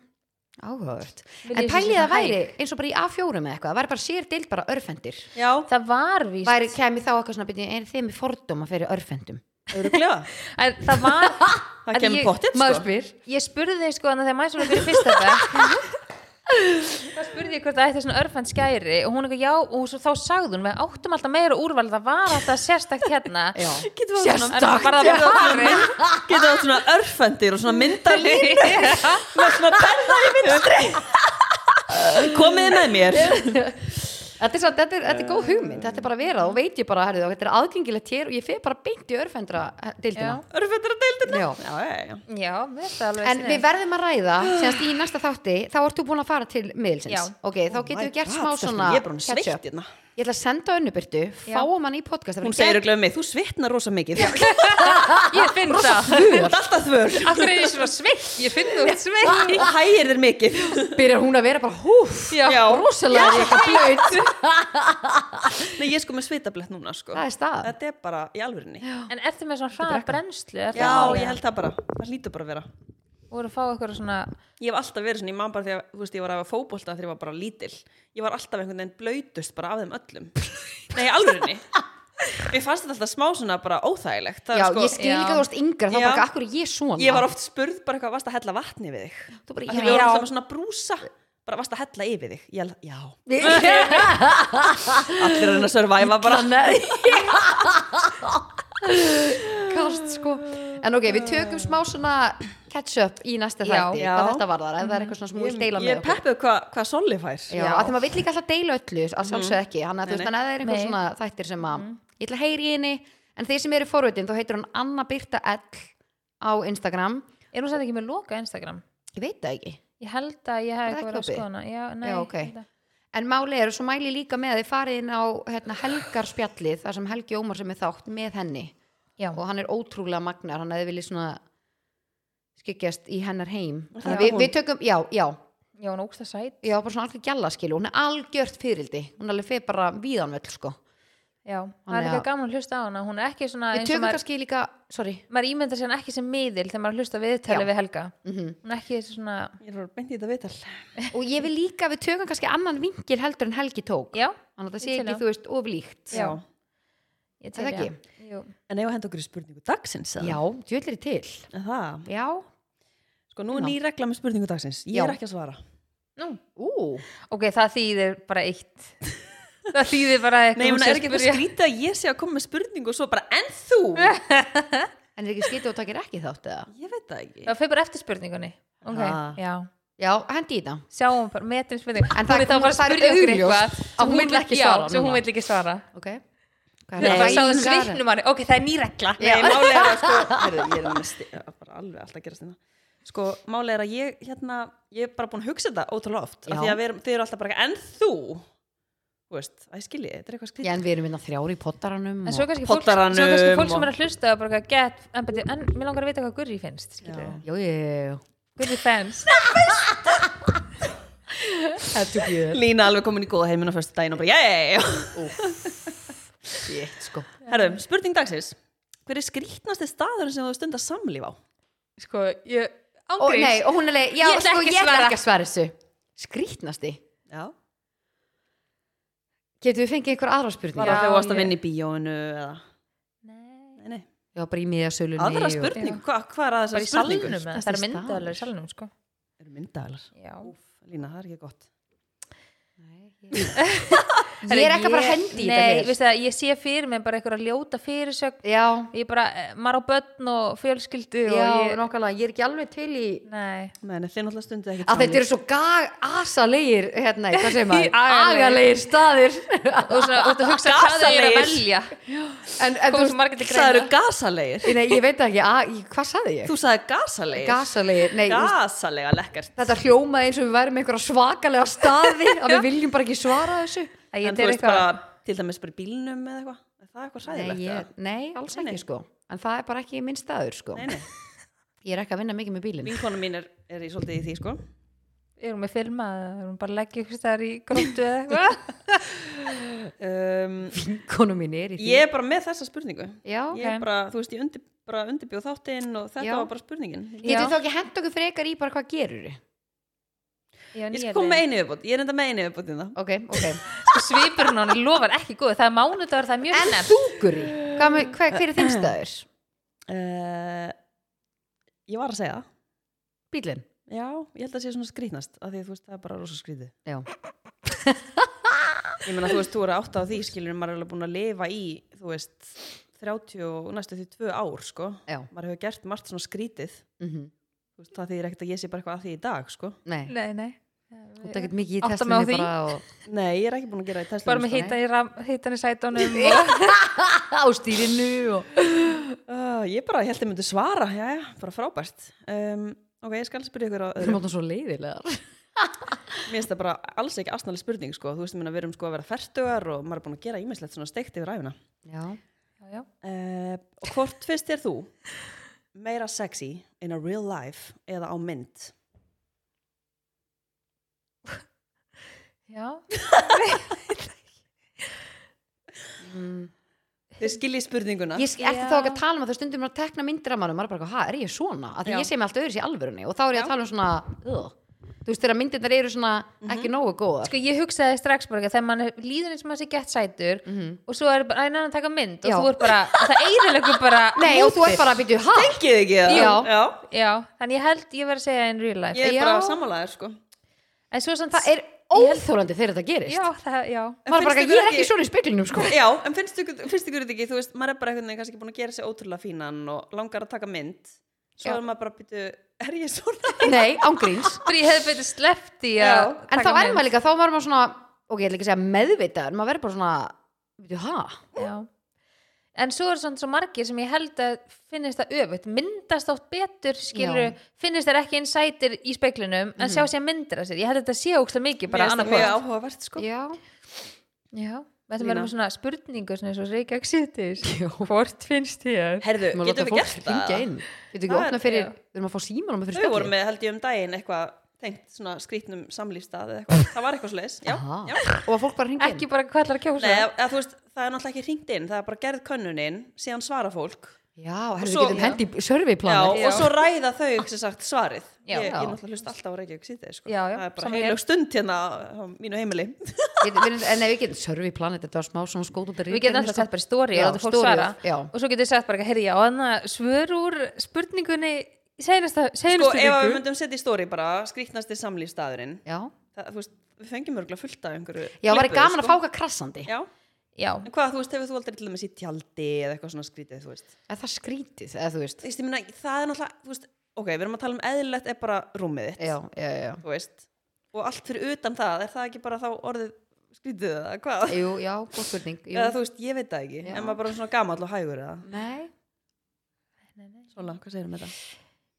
Speaker 2: áhugavert
Speaker 3: Viljið
Speaker 2: En
Speaker 3: þið
Speaker 2: pælið
Speaker 3: sé
Speaker 2: að
Speaker 3: svona
Speaker 2: væri, eins og bara í A4 með eitthvað, það væri bara sér deild bara örfendir
Speaker 1: já,
Speaker 3: það var víst
Speaker 2: væri, kemi þá eitthvað svona byrja, er þið með fordóma fyrir örfendum
Speaker 1: öruglega
Speaker 3: en, það var
Speaker 1: það
Speaker 3: En
Speaker 1: kemur
Speaker 3: ég-
Speaker 1: pottitt sko.
Speaker 2: spyr
Speaker 3: ég spurði þig sko þannig að þegar maður svona fyrir fyrsta dag það spurði ég hvort það ætti svona örfand skæri og hún eitthvað já og svo, þá sagði hún við áttum alltaf meira úrval það var alltaf sérstakt hérna
Speaker 2: Já.
Speaker 1: Getur það
Speaker 3: En
Speaker 1: svona,
Speaker 2: Sérstakt,
Speaker 3: bara það var farið.
Speaker 1: getur það svona örfendir og svona myndalín og svona berða í vinstri Komiði með mér
Speaker 2: Þetta er, svo, þetta, er, þetta er góð hugmynd, þetta er bara verað og veit ég bara, herrðu, þetta er aðgengilegt hér og ég fer bara beint í örfendra eh, deildina.
Speaker 1: Örfendir að deildina
Speaker 2: Já.
Speaker 1: Já, já, já
Speaker 3: já, mér finnst það alveg
Speaker 2: En við verðum að ræða, semst í næsta þátti, þá ert þú búin að fara til miðilsins.
Speaker 3: Já.
Speaker 2: Ok, þá getum við gert
Speaker 1: Oh My
Speaker 2: smá
Speaker 1: God, stelpur,
Speaker 2: svona
Speaker 1: Ég er bara
Speaker 2: catch
Speaker 1: sveitt
Speaker 2: up.
Speaker 1: hérna
Speaker 2: Ég ætla að senda önnubyrtu,
Speaker 3: Já.
Speaker 2: fáum hann í podcast.
Speaker 1: Hún segir auðvitað mig, þú svitnar rosa mikið Þú
Speaker 3: ég finn það
Speaker 1: ert alltaf þvör
Speaker 3: af hverju er ég svona sveitt, ég finn þú
Speaker 2: Ah.
Speaker 3: sveitt
Speaker 1: og hægir þér mikið
Speaker 2: Byrjar hún að vera bara húf,
Speaker 3: Já.
Speaker 2: rosalega er ég eitthvað blöyt.
Speaker 1: Nei, ég er sko með svitablett núna sko
Speaker 2: Það er stað.
Speaker 1: Þetta er bara í alvörinni Já,
Speaker 3: en ertu með svona hraða brennslu ertu að-
Speaker 1: ég held það bara Það hlýtur bara að vera
Speaker 3: voru að fá eitthvað svona
Speaker 1: Ég hef alltaf verið svona, ég man bara þegar, þú veist, ég var að hafa fótbolta þegar ég var bara lítil. Ég var alltaf einhvern veginn blautust bara af þeim öllum. Nei, alvörinni. Mér fannst þetta alltaf smá svona bara óþægilegt. Það er
Speaker 2: Já,
Speaker 1: sko,
Speaker 2: ég skil
Speaker 3: já.
Speaker 2: líka þú veist yngra, þá
Speaker 1: Já.
Speaker 2: bara, akkur er ég svona?
Speaker 1: ég var oft spurð bara eitthvað, varst að hella vatni við þig?
Speaker 2: Þú bara,
Speaker 1: Þegar
Speaker 2: já.
Speaker 1: við vorum alltaf með svona brúsa, bara varst að hella yfir þig? Ég, held- já, allir er henni að survive bara.
Speaker 2: kast sko en ok, við tökum smá svona catch up í næsta
Speaker 3: Já,
Speaker 2: þætti
Speaker 1: já.
Speaker 2: hvað þetta varðar, ef það er eitthvað svona smúl deila
Speaker 1: Ég
Speaker 2: með okkur
Speaker 1: peppuð hvað hva Solli fær.
Speaker 2: já,
Speaker 3: Já.
Speaker 2: af því maður vill líka alltaf deila öllu að sjálfsög ekki, hann að þú veist,
Speaker 1: Mhm. Nei, Mhm. nei.
Speaker 2: þannig að það er eitthvað
Speaker 3: Nei.
Speaker 2: svona þættir sem að, ég ætla að heyri í henni en þeir sem eru forvitin, þá heitir hann Anna Birta L á Instagram
Speaker 3: er hún sætt ekki með loka Instagram
Speaker 2: ég veit það ekki,
Speaker 3: ég held að ég hef
Speaker 2: Er það
Speaker 3: eitthvað verið
Speaker 2: ekki
Speaker 3: að
Speaker 2: opið?
Speaker 3: skoðana já, nei,
Speaker 2: Já, ok.
Speaker 3: ég held að-
Speaker 2: en máli eru svo mæli ég líka með að þið farið inn á hérna, helgarspjallið, þar sem Helgi Ómar sem er þátt með henni
Speaker 3: já,
Speaker 2: og hann er ótrúlega magnar hann hefði viljið svona skyggjast í hennar heim
Speaker 1: Og það
Speaker 2: Þannig
Speaker 1: er
Speaker 2: að við,
Speaker 1: hún.
Speaker 2: við tökum, já, já,
Speaker 3: já, hún ógst að sæt
Speaker 2: já bara svona algjör gjalla skilu, hún er algjört fyrildi hún alveg fyrir bara víðanvöll sko
Speaker 3: já, það
Speaker 2: Þannig
Speaker 3: er
Speaker 2: að-
Speaker 3: eitthvað gaman að hlusta á hana hún er ekki svona
Speaker 2: við
Speaker 3: eins og
Speaker 2: tökum
Speaker 3: maður
Speaker 2: kannski líka, sorry
Speaker 3: maður ímyndar sér hann ekki sem miðil þegar maður hlusta viðtalið
Speaker 2: Já.
Speaker 3: við Helga
Speaker 2: mm
Speaker 3: hún er ekki svona,
Speaker 1: Ég er bara beint í þetta viðtal.
Speaker 2: og ég vil líka, við tökum kannski annan vingil heldur en Helgi tók
Speaker 3: já,
Speaker 2: þannig að það
Speaker 3: ég
Speaker 2: sé
Speaker 3: til
Speaker 2: ekki,
Speaker 3: á.
Speaker 2: þú veist, oflíkt
Speaker 3: Já. ég
Speaker 2: Er það
Speaker 3: í
Speaker 2: ekki?
Speaker 3: það. Jú.
Speaker 1: En eigum að henda okkur í spurningu dagsins? eða?
Speaker 2: já, djöllir til
Speaker 1: Er Það.
Speaker 2: já,
Speaker 1: Sko, nú er
Speaker 2: Já.
Speaker 1: ný regla með spurningu dagsins. Ég er
Speaker 2: Já.
Speaker 1: ekki að svara.
Speaker 3: Nú.
Speaker 2: ú
Speaker 3: ok, það þýðir bara eitt það þýðir bara eitthvað
Speaker 1: Nei,
Speaker 3: hún
Speaker 1: hún
Speaker 3: sé
Speaker 1: er ekki að
Speaker 3: spyrja.
Speaker 1: skrýta að ég sé að koma með spurningu og svo bara, en þú?
Speaker 2: en er ekki skytið og takir ekki þátt eða
Speaker 1: Ég veit það ekki.
Speaker 3: það fyrir bara eftir spurningunni ok,
Speaker 1: Ha.
Speaker 3: já,
Speaker 2: já, hendi í það
Speaker 3: sjáum bara, metum spurningunni
Speaker 2: En það-
Speaker 3: en það er þá
Speaker 2: hún-
Speaker 3: bara að
Speaker 2: það er
Speaker 3: spyrja okkur
Speaker 2: augljóst
Speaker 3: eitthvað
Speaker 2: að
Speaker 3: sem
Speaker 2: hún vill ekki svara
Speaker 3: já, sem
Speaker 2: núna.
Speaker 3: hún vil ekki svara
Speaker 2: ok, hvað
Speaker 1: Nei,
Speaker 3: það
Speaker 2: það?
Speaker 3: bara sáðu
Speaker 2: Ræningar-
Speaker 3: svipnum hann ok, það er ný regla
Speaker 1: Nei, málið er að sko, heyrðu, ég er með sti- bara alveg alltaf að gerast þetta. Sko, málið er að ég, hérna, ég er bara búin að hugsa þetta ótrúlega oft.
Speaker 2: Já.
Speaker 1: af Því að við erum, þið eru alltaf bara, en þú? Þú veist, að ég skilji, þetta er eitthvað
Speaker 2: Já,
Speaker 1: skrýta.
Speaker 2: en við erum innan þrjári í pottaranum
Speaker 3: en
Speaker 2: og-
Speaker 3: svo er kannski fólk, svo
Speaker 1: Poddaranum
Speaker 3: er kannski fólk
Speaker 1: og-
Speaker 3: sem er að hlusta og bara eitthvað, get, en, betur, en mér langar að vita hvað Gurri finnst skilurðu.
Speaker 2: Jú, jú, jú, jú.
Speaker 3: Gurri fans
Speaker 2: Það tók ég þér.
Speaker 1: Lína alveg komin í góða heiminn á fyrstu daginn og bara, jæ,
Speaker 2: Shit, sko.
Speaker 1: herru, spurning dagsins. Hver er skrýtnasti staðurinn sem þú stundar samlíf á?
Speaker 3: sko, ég
Speaker 2: Og,
Speaker 3: ángríns
Speaker 2: nei, og hún er leið, já,
Speaker 3: Ég ætla
Speaker 2: sko,
Speaker 3: ekki
Speaker 2: ég ætla
Speaker 3: svara.
Speaker 2: ekki að svara þessu. Skrítnasti.
Speaker 1: Já,
Speaker 2: Getum við fengið einhver aðra spurning?
Speaker 1: bara
Speaker 3: Já,
Speaker 1: þegar þú varst að
Speaker 3: ég-
Speaker 1: vinna í bíóinu eða,
Speaker 3: Nei,
Speaker 1: nei, nei.
Speaker 2: Já, bara í miðasölunni.
Speaker 1: Aðra
Speaker 2: og-
Speaker 1: spurningu, hvað hva er að
Speaker 3: bara í
Speaker 1: þessari
Speaker 3: salnum
Speaker 1: spurningu?
Speaker 3: eða? það er
Speaker 2: Skrítnasti
Speaker 3: myndaðalega í
Speaker 2: staður.
Speaker 3: salnum sko.
Speaker 1: Eru myndaðalar?
Speaker 3: já,
Speaker 1: Lína, það er ekki gott.
Speaker 2: Nei, ég- Ég er ekki að fara að hendi í
Speaker 3: nei,
Speaker 2: þetta hér.
Speaker 3: veistu það, ég sé fyrir mig bara einhverja ljóta fyrirsögn
Speaker 2: Já,
Speaker 3: ég bara, eh, maður á börn og fjölskyldu
Speaker 2: já,
Speaker 3: og ég,
Speaker 2: nákvæmlega, ég er ekki alveg til í...
Speaker 3: nei
Speaker 1: Nei, nei, þið náttúrulega stundið ekki
Speaker 2: Að þetta eru svo gag, asalegir, hérna, hvað segir maður?
Speaker 3: Agalegir.
Speaker 2: Agalegir staðir.
Speaker 3: og svona, þú ert að hugsa hvað það er að
Speaker 1: Gasalegir.
Speaker 3: velja
Speaker 2: en, en þú
Speaker 3: komið svo
Speaker 2: veist,
Speaker 3: margir til
Speaker 1: Það eru
Speaker 3: greina
Speaker 1: gasalegir.
Speaker 2: nei, ég veit ekki, að, ég- hvað saði ég?
Speaker 1: Þú sagði gasalegir.
Speaker 2: Gasalegir, nei, þú veist,
Speaker 1: Gasalega lekkert.
Speaker 2: þetta hljómaði eins og við værum með einhverja svakalega staði að við viljum bara ekki svara þessu
Speaker 3: Æ,
Speaker 1: En
Speaker 3: ég
Speaker 1: þú
Speaker 3: er
Speaker 1: veist
Speaker 3: eitthvað
Speaker 1: bara, til dæmis bara í bílnum eða eitthvað. Er það eitthvað
Speaker 2: nei,
Speaker 1: sæðilegt?
Speaker 2: ég, nei alls
Speaker 1: Nei,
Speaker 2: ekki
Speaker 1: nei.
Speaker 2: sko en það er bara ekki minn staður sko
Speaker 1: Nei, nei.
Speaker 2: ég er ekki að vinna mikið með bílinn
Speaker 1: Vinkona mín er, er í svolítið í því, sko.
Speaker 3: erum við filma, erum bara að leggja ykkur staðar í gróttu eða eitthvað
Speaker 1: Um,
Speaker 2: vinkonu mín er í því
Speaker 1: ég er bara með þessa spurningu.
Speaker 2: já,
Speaker 1: Ég er bara, þú veist, ég undir, bara undirbjóð þáttinn og þetta
Speaker 2: Já.
Speaker 1: var bara spurningin.
Speaker 2: getur þá ekki hend okkur frekar í bara hvað gerur
Speaker 3: Já,
Speaker 1: Ég
Speaker 3: nýja
Speaker 1: skal koma með
Speaker 3: leið.
Speaker 1: einu viðbót. Ég er enda með einu hérna. viðbót í það.
Speaker 2: ok, ok
Speaker 3: Sko, svipurinn á hann lofar ekki góð það er mánudagur, það er mjög
Speaker 2: en
Speaker 3: nefn
Speaker 2: þú guri, hvað, með- hvað- hver er þinn staður?
Speaker 1: Uh, Eh, ég var að segja það.
Speaker 2: bílinn
Speaker 1: Já, ég held að það sé svona skrýtnast af því að þú veist, það er bara rosa skrýtið
Speaker 2: Já,
Speaker 1: Ég meina, þú veist, þú eru átt á því, skilur maður er alveg búin að lifa í, þú veist 30 og næstu því tvö ár, sko
Speaker 2: já,
Speaker 1: maður hefur gert margt svona skrýtið
Speaker 2: mhm,
Speaker 1: Þú veist, það þýðir ekkert að ég sé bara eitthvað að því í dag, sko
Speaker 2: nei
Speaker 3: Nei, nei
Speaker 2: Þú tekit mikið í
Speaker 3: Átta mig á
Speaker 2: testinni
Speaker 3: því.
Speaker 2: bara og,
Speaker 1: Nei, ég er ekki búin að gera í Tesla
Speaker 3: Bara með
Speaker 1: hitta
Speaker 3: hýtan í, ram- hitann í sætunum
Speaker 2: á stýrinu og
Speaker 1: Ah, Ég bara held að myndi svara, já, já, bara frábært um, Ok, ég skal spyrja ykkur á
Speaker 2: Það er
Speaker 1: öðru
Speaker 2: mátum svo leiðilegar
Speaker 1: Mér finnst það bara alls ekki asnaleg spurning, sko Þú veist, ég meina, við erum sko að vera fertugar og maður er búin að gera ímislegt svona steikt yfir æfina
Speaker 2: Já,
Speaker 3: Já, já.
Speaker 1: uh, Og hvort finnst þér þú meira sexy in a real life eða á mynd?
Speaker 3: já.
Speaker 2: mm.
Speaker 1: Þið skiljið spurninguna
Speaker 2: Ég ertu
Speaker 3: Já.
Speaker 2: þá ekki að tala um að það stundum maður að tekna myndir af mannum, maður er bara, eitthvað, ha, er ég svona? Af því
Speaker 1: Já.
Speaker 2: ég sé mig allt öðru í alvörunni og þá er
Speaker 1: Já.
Speaker 2: ég að tala um svona, ugh. þú veist, þegar myndirnar eru svona ekki nógu góðar.
Speaker 3: Sko, ég hugsaði strax bara ekki þegar mann er- líður eins og maður sé gett sætur
Speaker 2: Mhm.
Speaker 3: og svo er bara, æ, neina, taka mynd og
Speaker 2: Já.
Speaker 3: þú er bara, og það eiginlegur bara
Speaker 2: Nei, og þú ert
Speaker 3: mótið.
Speaker 2: bara að byrja, ha?
Speaker 1: Þengið ekki það?
Speaker 2: Já.
Speaker 1: já
Speaker 3: Já, þannig ég held ég verið að segja in real life
Speaker 1: Ég er bara
Speaker 2: Já.
Speaker 1: sammálaðir, sko
Speaker 3: En svo samt
Speaker 2: Það er óþólandi þegar þetta gerist.
Speaker 3: Já, það, já
Speaker 2: Maður er bara
Speaker 1: finnst
Speaker 2: ekki,
Speaker 1: ykkur
Speaker 2: ég er ekki
Speaker 1: ekki-
Speaker 2: svona í speklinum, sko.
Speaker 1: Já, en finnst ykkur, finnst ykkur þetta ekki, þú veist, maður er bara einhvern veginn kannski búin að gera sér ótrúlega fínan og langar að taka mynd svo
Speaker 3: Já.
Speaker 1: er maður bara að byrja, er ég svona?
Speaker 2: Nei, ángríns.
Speaker 3: Bara ég hefði betur sleppt í
Speaker 1: Já.
Speaker 3: að
Speaker 2: En þá
Speaker 3: taka
Speaker 2: er
Speaker 3: mynd.
Speaker 2: maður líka, þá var maður svona, ok, ég ætla ekki að segja meðvitaður, maður verður bara svona, byrju, ha?
Speaker 3: Já. En svo er svona svo margir sem ég held að finnist það öfugt, myndast átt betur skilur, finnist þær ekki insightir í speiklinum, en sjá sér myndir að sér ég held að þetta sé ógst mikið, bara
Speaker 1: Mér finnst
Speaker 3: annað
Speaker 1: það mjög áhugavert, sko.
Speaker 2: Já.
Speaker 3: Já, þetta
Speaker 1: Lína.
Speaker 3: verður með svona spurningu svona eins og Reykjavík sittis Hvort finnst þér?
Speaker 1: Herðu,
Speaker 2: Maður
Speaker 1: getum
Speaker 2: láta
Speaker 1: við
Speaker 2: fólk
Speaker 1: gert
Speaker 2: hringja
Speaker 1: það?
Speaker 2: inn.
Speaker 1: Það
Speaker 2: Getum við ekki
Speaker 1: er-
Speaker 2: opnað fyrir,
Speaker 3: já.
Speaker 2: við erum að fá símanúmer fyrir
Speaker 1: Þau voru
Speaker 2: spjallið.
Speaker 1: með, held ég um daginn, eitthvað tengt svona skrítnum samlýfstað eða eitthvað, það var eitthvað svoleiðis, já,
Speaker 2: Aha.
Speaker 1: já.
Speaker 2: Og að fólk bara hringja inn.
Speaker 3: Ekki bara hvað allar að kjósa
Speaker 1: Nei, eða, þú veist, það er náttúrulega ekki hringt inn, það er bara gerð könnunin, síðan svara fólk,
Speaker 2: Já, herru,
Speaker 1: svo-
Speaker 2: við getum
Speaker 1: Já.
Speaker 2: hendi
Speaker 1: já,
Speaker 2: surveyplanar.
Speaker 1: og svo ræða þau, sem sagt, svarið.
Speaker 3: Já.
Speaker 1: ég, ég
Speaker 2: Já.
Speaker 1: náttúrulega hlust alltaf á Reykjavík sítið, sko.
Speaker 3: Já, já,
Speaker 1: það er bara
Speaker 3: sama hér.
Speaker 1: heilög stund hérna á á mínu heimili.
Speaker 2: Getum- við- En nei, við getum Survey Planet, þetta var smá svona skót út af sko.
Speaker 3: Við getum alltaf sett bara í story
Speaker 2: Já,
Speaker 3: og fólk
Speaker 2: story,
Speaker 3: svara
Speaker 2: já.
Speaker 3: og svo getum við sett bara að heyrja á annað svör úr spurningunni í seinasta,
Speaker 1: Sko,
Speaker 3: seinastu
Speaker 1: ef að við
Speaker 3: viku
Speaker 1: myndum setja í stóri bara, skrítnasti samlýfstaðurinn,
Speaker 2: Já,
Speaker 1: það, þú veist, við fengjum örgulega fullt af einhverju
Speaker 2: já var
Speaker 1: klippuðu,
Speaker 2: gaman að fá
Speaker 1: sko.
Speaker 2: hvað krassandi
Speaker 1: já,
Speaker 3: Já,
Speaker 1: en hvað, þú veist, hefur þú aldrei til dæmis í tjaldi eða eitthvað svona skrítið, þú veist
Speaker 2: En það skrítið, eða þú veist
Speaker 1: þú veist, ég meina, það er náttúrulega, þú veist ok, við erum að tala um eðlilegt er bara rúmið þitt
Speaker 2: Já, já, já
Speaker 1: þú veist, og allt fyrir utan það er það ekki bara þá orðið skrítið eða hvað,
Speaker 2: Jú, já, góð spurning jú.
Speaker 1: eða þú veist, ég veit það ekki
Speaker 2: Já.
Speaker 1: en maður bara svona gamall og hægur eða
Speaker 2: Nei
Speaker 1: svona, hvað segir um þetta?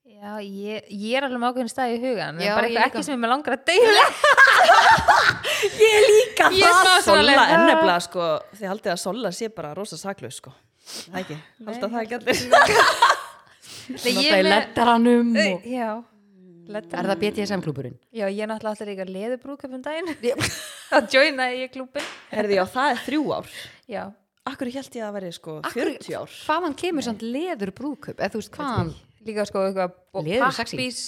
Speaker 3: já ég, ég er alveg með ákveðin stað í hugan
Speaker 2: Já,
Speaker 3: en bara
Speaker 2: ég
Speaker 3: eitthvað
Speaker 2: líka.
Speaker 3: ekki sem ég með langar að deila
Speaker 1: Líka
Speaker 3: Ég er það, smá svona
Speaker 1: Sola
Speaker 3: leið.
Speaker 1: er nefnilega sko, þið haldið að Sola sé bara rosa saklaus sko, það ekki, haldið það ekki allir
Speaker 3: Nei,
Speaker 2: Nota
Speaker 3: ég
Speaker 2: í
Speaker 3: með-
Speaker 2: lettaranum og...
Speaker 3: Já, lettur
Speaker 2: Er það BTSM klúburinn?
Speaker 3: Já, ég er náttúrulega alltaf líka leðubrúkup um daginn þá joinaði ég klúbin
Speaker 1: Herði, já, það er þrjú ár
Speaker 3: Já,
Speaker 1: Akkur held ég að veri sko
Speaker 2: Af hverju-
Speaker 1: 40 ár
Speaker 2: Hvaðan kemur samt leður brúðkaup? Eða þú veist
Speaker 1: Ah.
Speaker 2: hvaðan?
Speaker 3: líka sko eitthvað
Speaker 2: Leður sexy.
Speaker 3: pappís,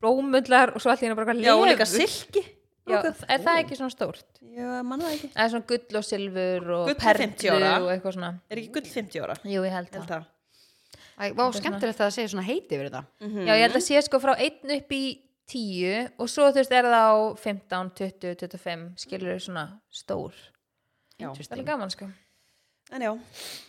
Speaker 3: blómullar og svo allir bara eitthvað
Speaker 1: Já, og líka
Speaker 3: leður.
Speaker 1: silki
Speaker 3: Já,
Speaker 1: brúðkaup.
Speaker 3: er það ekki svona stórt?
Speaker 1: Já, manna það ekki
Speaker 3: Það er svona gull og silfur og
Speaker 1: Gull og 50
Speaker 3: perlu
Speaker 1: ára.
Speaker 3: og eitthvað svona
Speaker 1: Er ekki gull 50 ára?
Speaker 3: Jú, ég held
Speaker 1: Ég held
Speaker 3: það
Speaker 1: það
Speaker 2: Æ, vá, skemmtilegt að það segja svona heiti yfir þetta
Speaker 1: Mhm.
Speaker 3: Já, ég
Speaker 1: Mm.
Speaker 3: held að sé sko frá 1 upp í 10 og svo þú veist er það á 15, 20, 25 skilur þau svona stór Það er
Speaker 1: já.
Speaker 3: alveg gaman sko
Speaker 1: En já,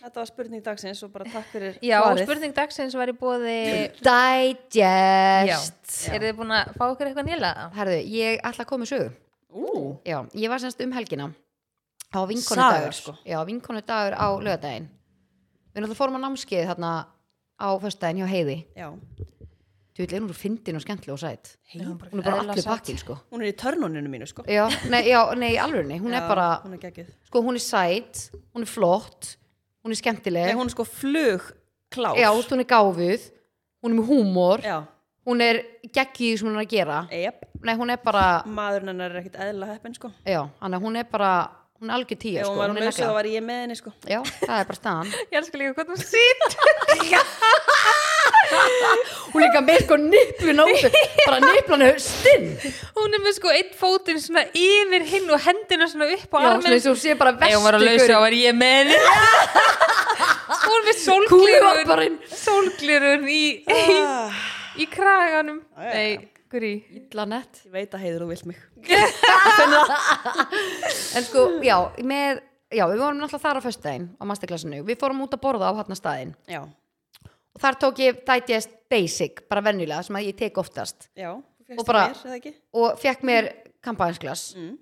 Speaker 1: þetta var spurning dagsins og bara takk fyrir
Speaker 3: Já, og
Speaker 1: svarið.
Speaker 3: spurning dagsins var í bóði Já,
Speaker 2: Digest
Speaker 3: eru þið búin að fá okkur eitthvað nýla?
Speaker 2: Herðu, ég ætla að koma í sögu
Speaker 1: Ú,
Speaker 2: Já, ég var semst um helgina á
Speaker 1: Saga,
Speaker 2: vinkonudagur
Speaker 1: sko.
Speaker 2: Já, vinkonudagur á lögadaginn Við náttúrulega fórum á námskeið þarna á föstudaginn hjá Heiði
Speaker 1: já
Speaker 2: Þú veit, hún er fyndin og skemmtileg og sætt
Speaker 1: Heiði
Speaker 2: Hún er bara
Speaker 3: Eðla
Speaker 2: allir
Speaker 3: sæt.
Speaker 2: pakkin, sko
Speaker 1: Hún er í törnuninu mínu sko
Speaker 2: Já, nei, já, nei, alveg, hún
Speaker 1: Já,
Speaker 2: er bara
Speaker 1: Hún er geggjuð
Speaker 2: Sko, hún er sætt, hún er flott Hún er skemmtileg
Speaker 1: Nei, hún er sko flugklár
Speaker 2: Já, þú veist, hún er gáfuð Hún er með húmor
Speaker 1: Já,
Speaker 2: Hún er geggið sem hún er að gera
Speaker 1: ep
Speaker 2: Nei, hún er bara,
Speaker 1: Maðurinn hennar er ekkert eðla heppin sko
Speaker 2: já, hann er, hún er bara Hún er algjör tíu,
Speaker 1: Ef
Speaker 2: sko
Speaker 1: hún var
Speaker 2: Hún er
Speaker 1: laus þá
Speaker 2: negla
Speaker 1: var ég með henni sko
Speaker 2: Já, það er bara staðan
Speaker 3: Ég elskar líka hvað þú sýt
Speaker 2: hún líka með sko nippun á þessu bara nipplan er stinn
Speaker 3: Hún er með sko eitt fótinn svona yfir hinn og hendina svona upp á
Speaker 2: já, svona
Speaker 3: arminn
Speaker 2: eins og hún sé bara vestu
Speaker 3: var ég með henni Hún er með
Speaker 2: Kúluvarparinn.
Speaker 1: Ah.
Speaker 3: sólglirun Sólglirun í, í, í kraganum
Speaker 1: já, já.
Speaker 3: Nei, Grí
Speaker 2: illa nett
Speaker 1: Ég veit að heiður þú vilt mig
Speaker 2: en sko, já, með, já, við vorum náttúrulega þar á föstudaginn á masterclassinu, við fórum út að borða á hann staðinn
Speaker 1: Já,
Speaker 2: og þar tók ég digest basic, bara venjulega sem að ég tek oftast
Speaker 1: já
Speaker 2: Og bara-
Speaker 1: mér, eða ekki?
Speaker 2: og fekk mér kampaðinsglas
Speaker 1: Mm.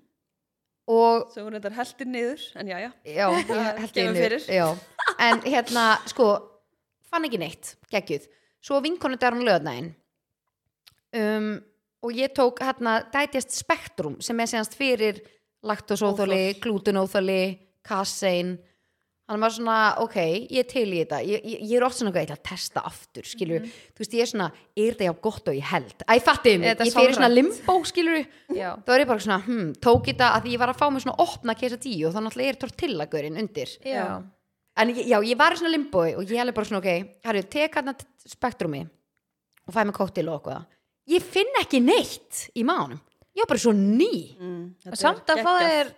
Speaker 2: og
Speaker 1: Svo hún reyndar heldur niður, en já, já
Speaker 2: já, ég held ég
Speaker 1: kemur
Speaker 2: einu
Speaker 1: fyrir.
Speaker 2: já. en hérna, sko fann ekki neitt, geggjuð svo vinkonu dagur hún löðnaðin um, og ég tók hérna dætjast spektrum sem er séðanst fyrir laktósóþóli, glútenóþóli kassein þannig maður svona, ok, ég er til í þetta ég, ég, ég er oft svona eitthvað, ég ætla að testa aftur skilur, þú veist, ég er svona, er þetta já gott og ég held, æ, fatti mig,
Speaker 3: Er Mhm. þetta
Speaker 2: ég fyrir svona
Speaker 3: sálrænt?
Speaker 2: limbó, skilur,
Speaker 3: Já.
Speaker 2: þá er ég bara svona, hm, tók ég þetta að því ég var að fá mér svona opna kesa tíu og þá náttúrulega er tortillagurinn undir
Speaker 3: Já,
Speaker 2: en ég, já, ég var í svona limbói og ég hefði bara svona, ok, herru, tek hann spektrumi og fæ mig kóttil og okkur ég finn ekki neitt í mánum, ég var bara svo ný
Speaker 1: mm, þetta
Speaker 3: og
Speaker 1: er
Speaker 3: samt að fá
Speaker 1: geggjað.
Speaker 3: þér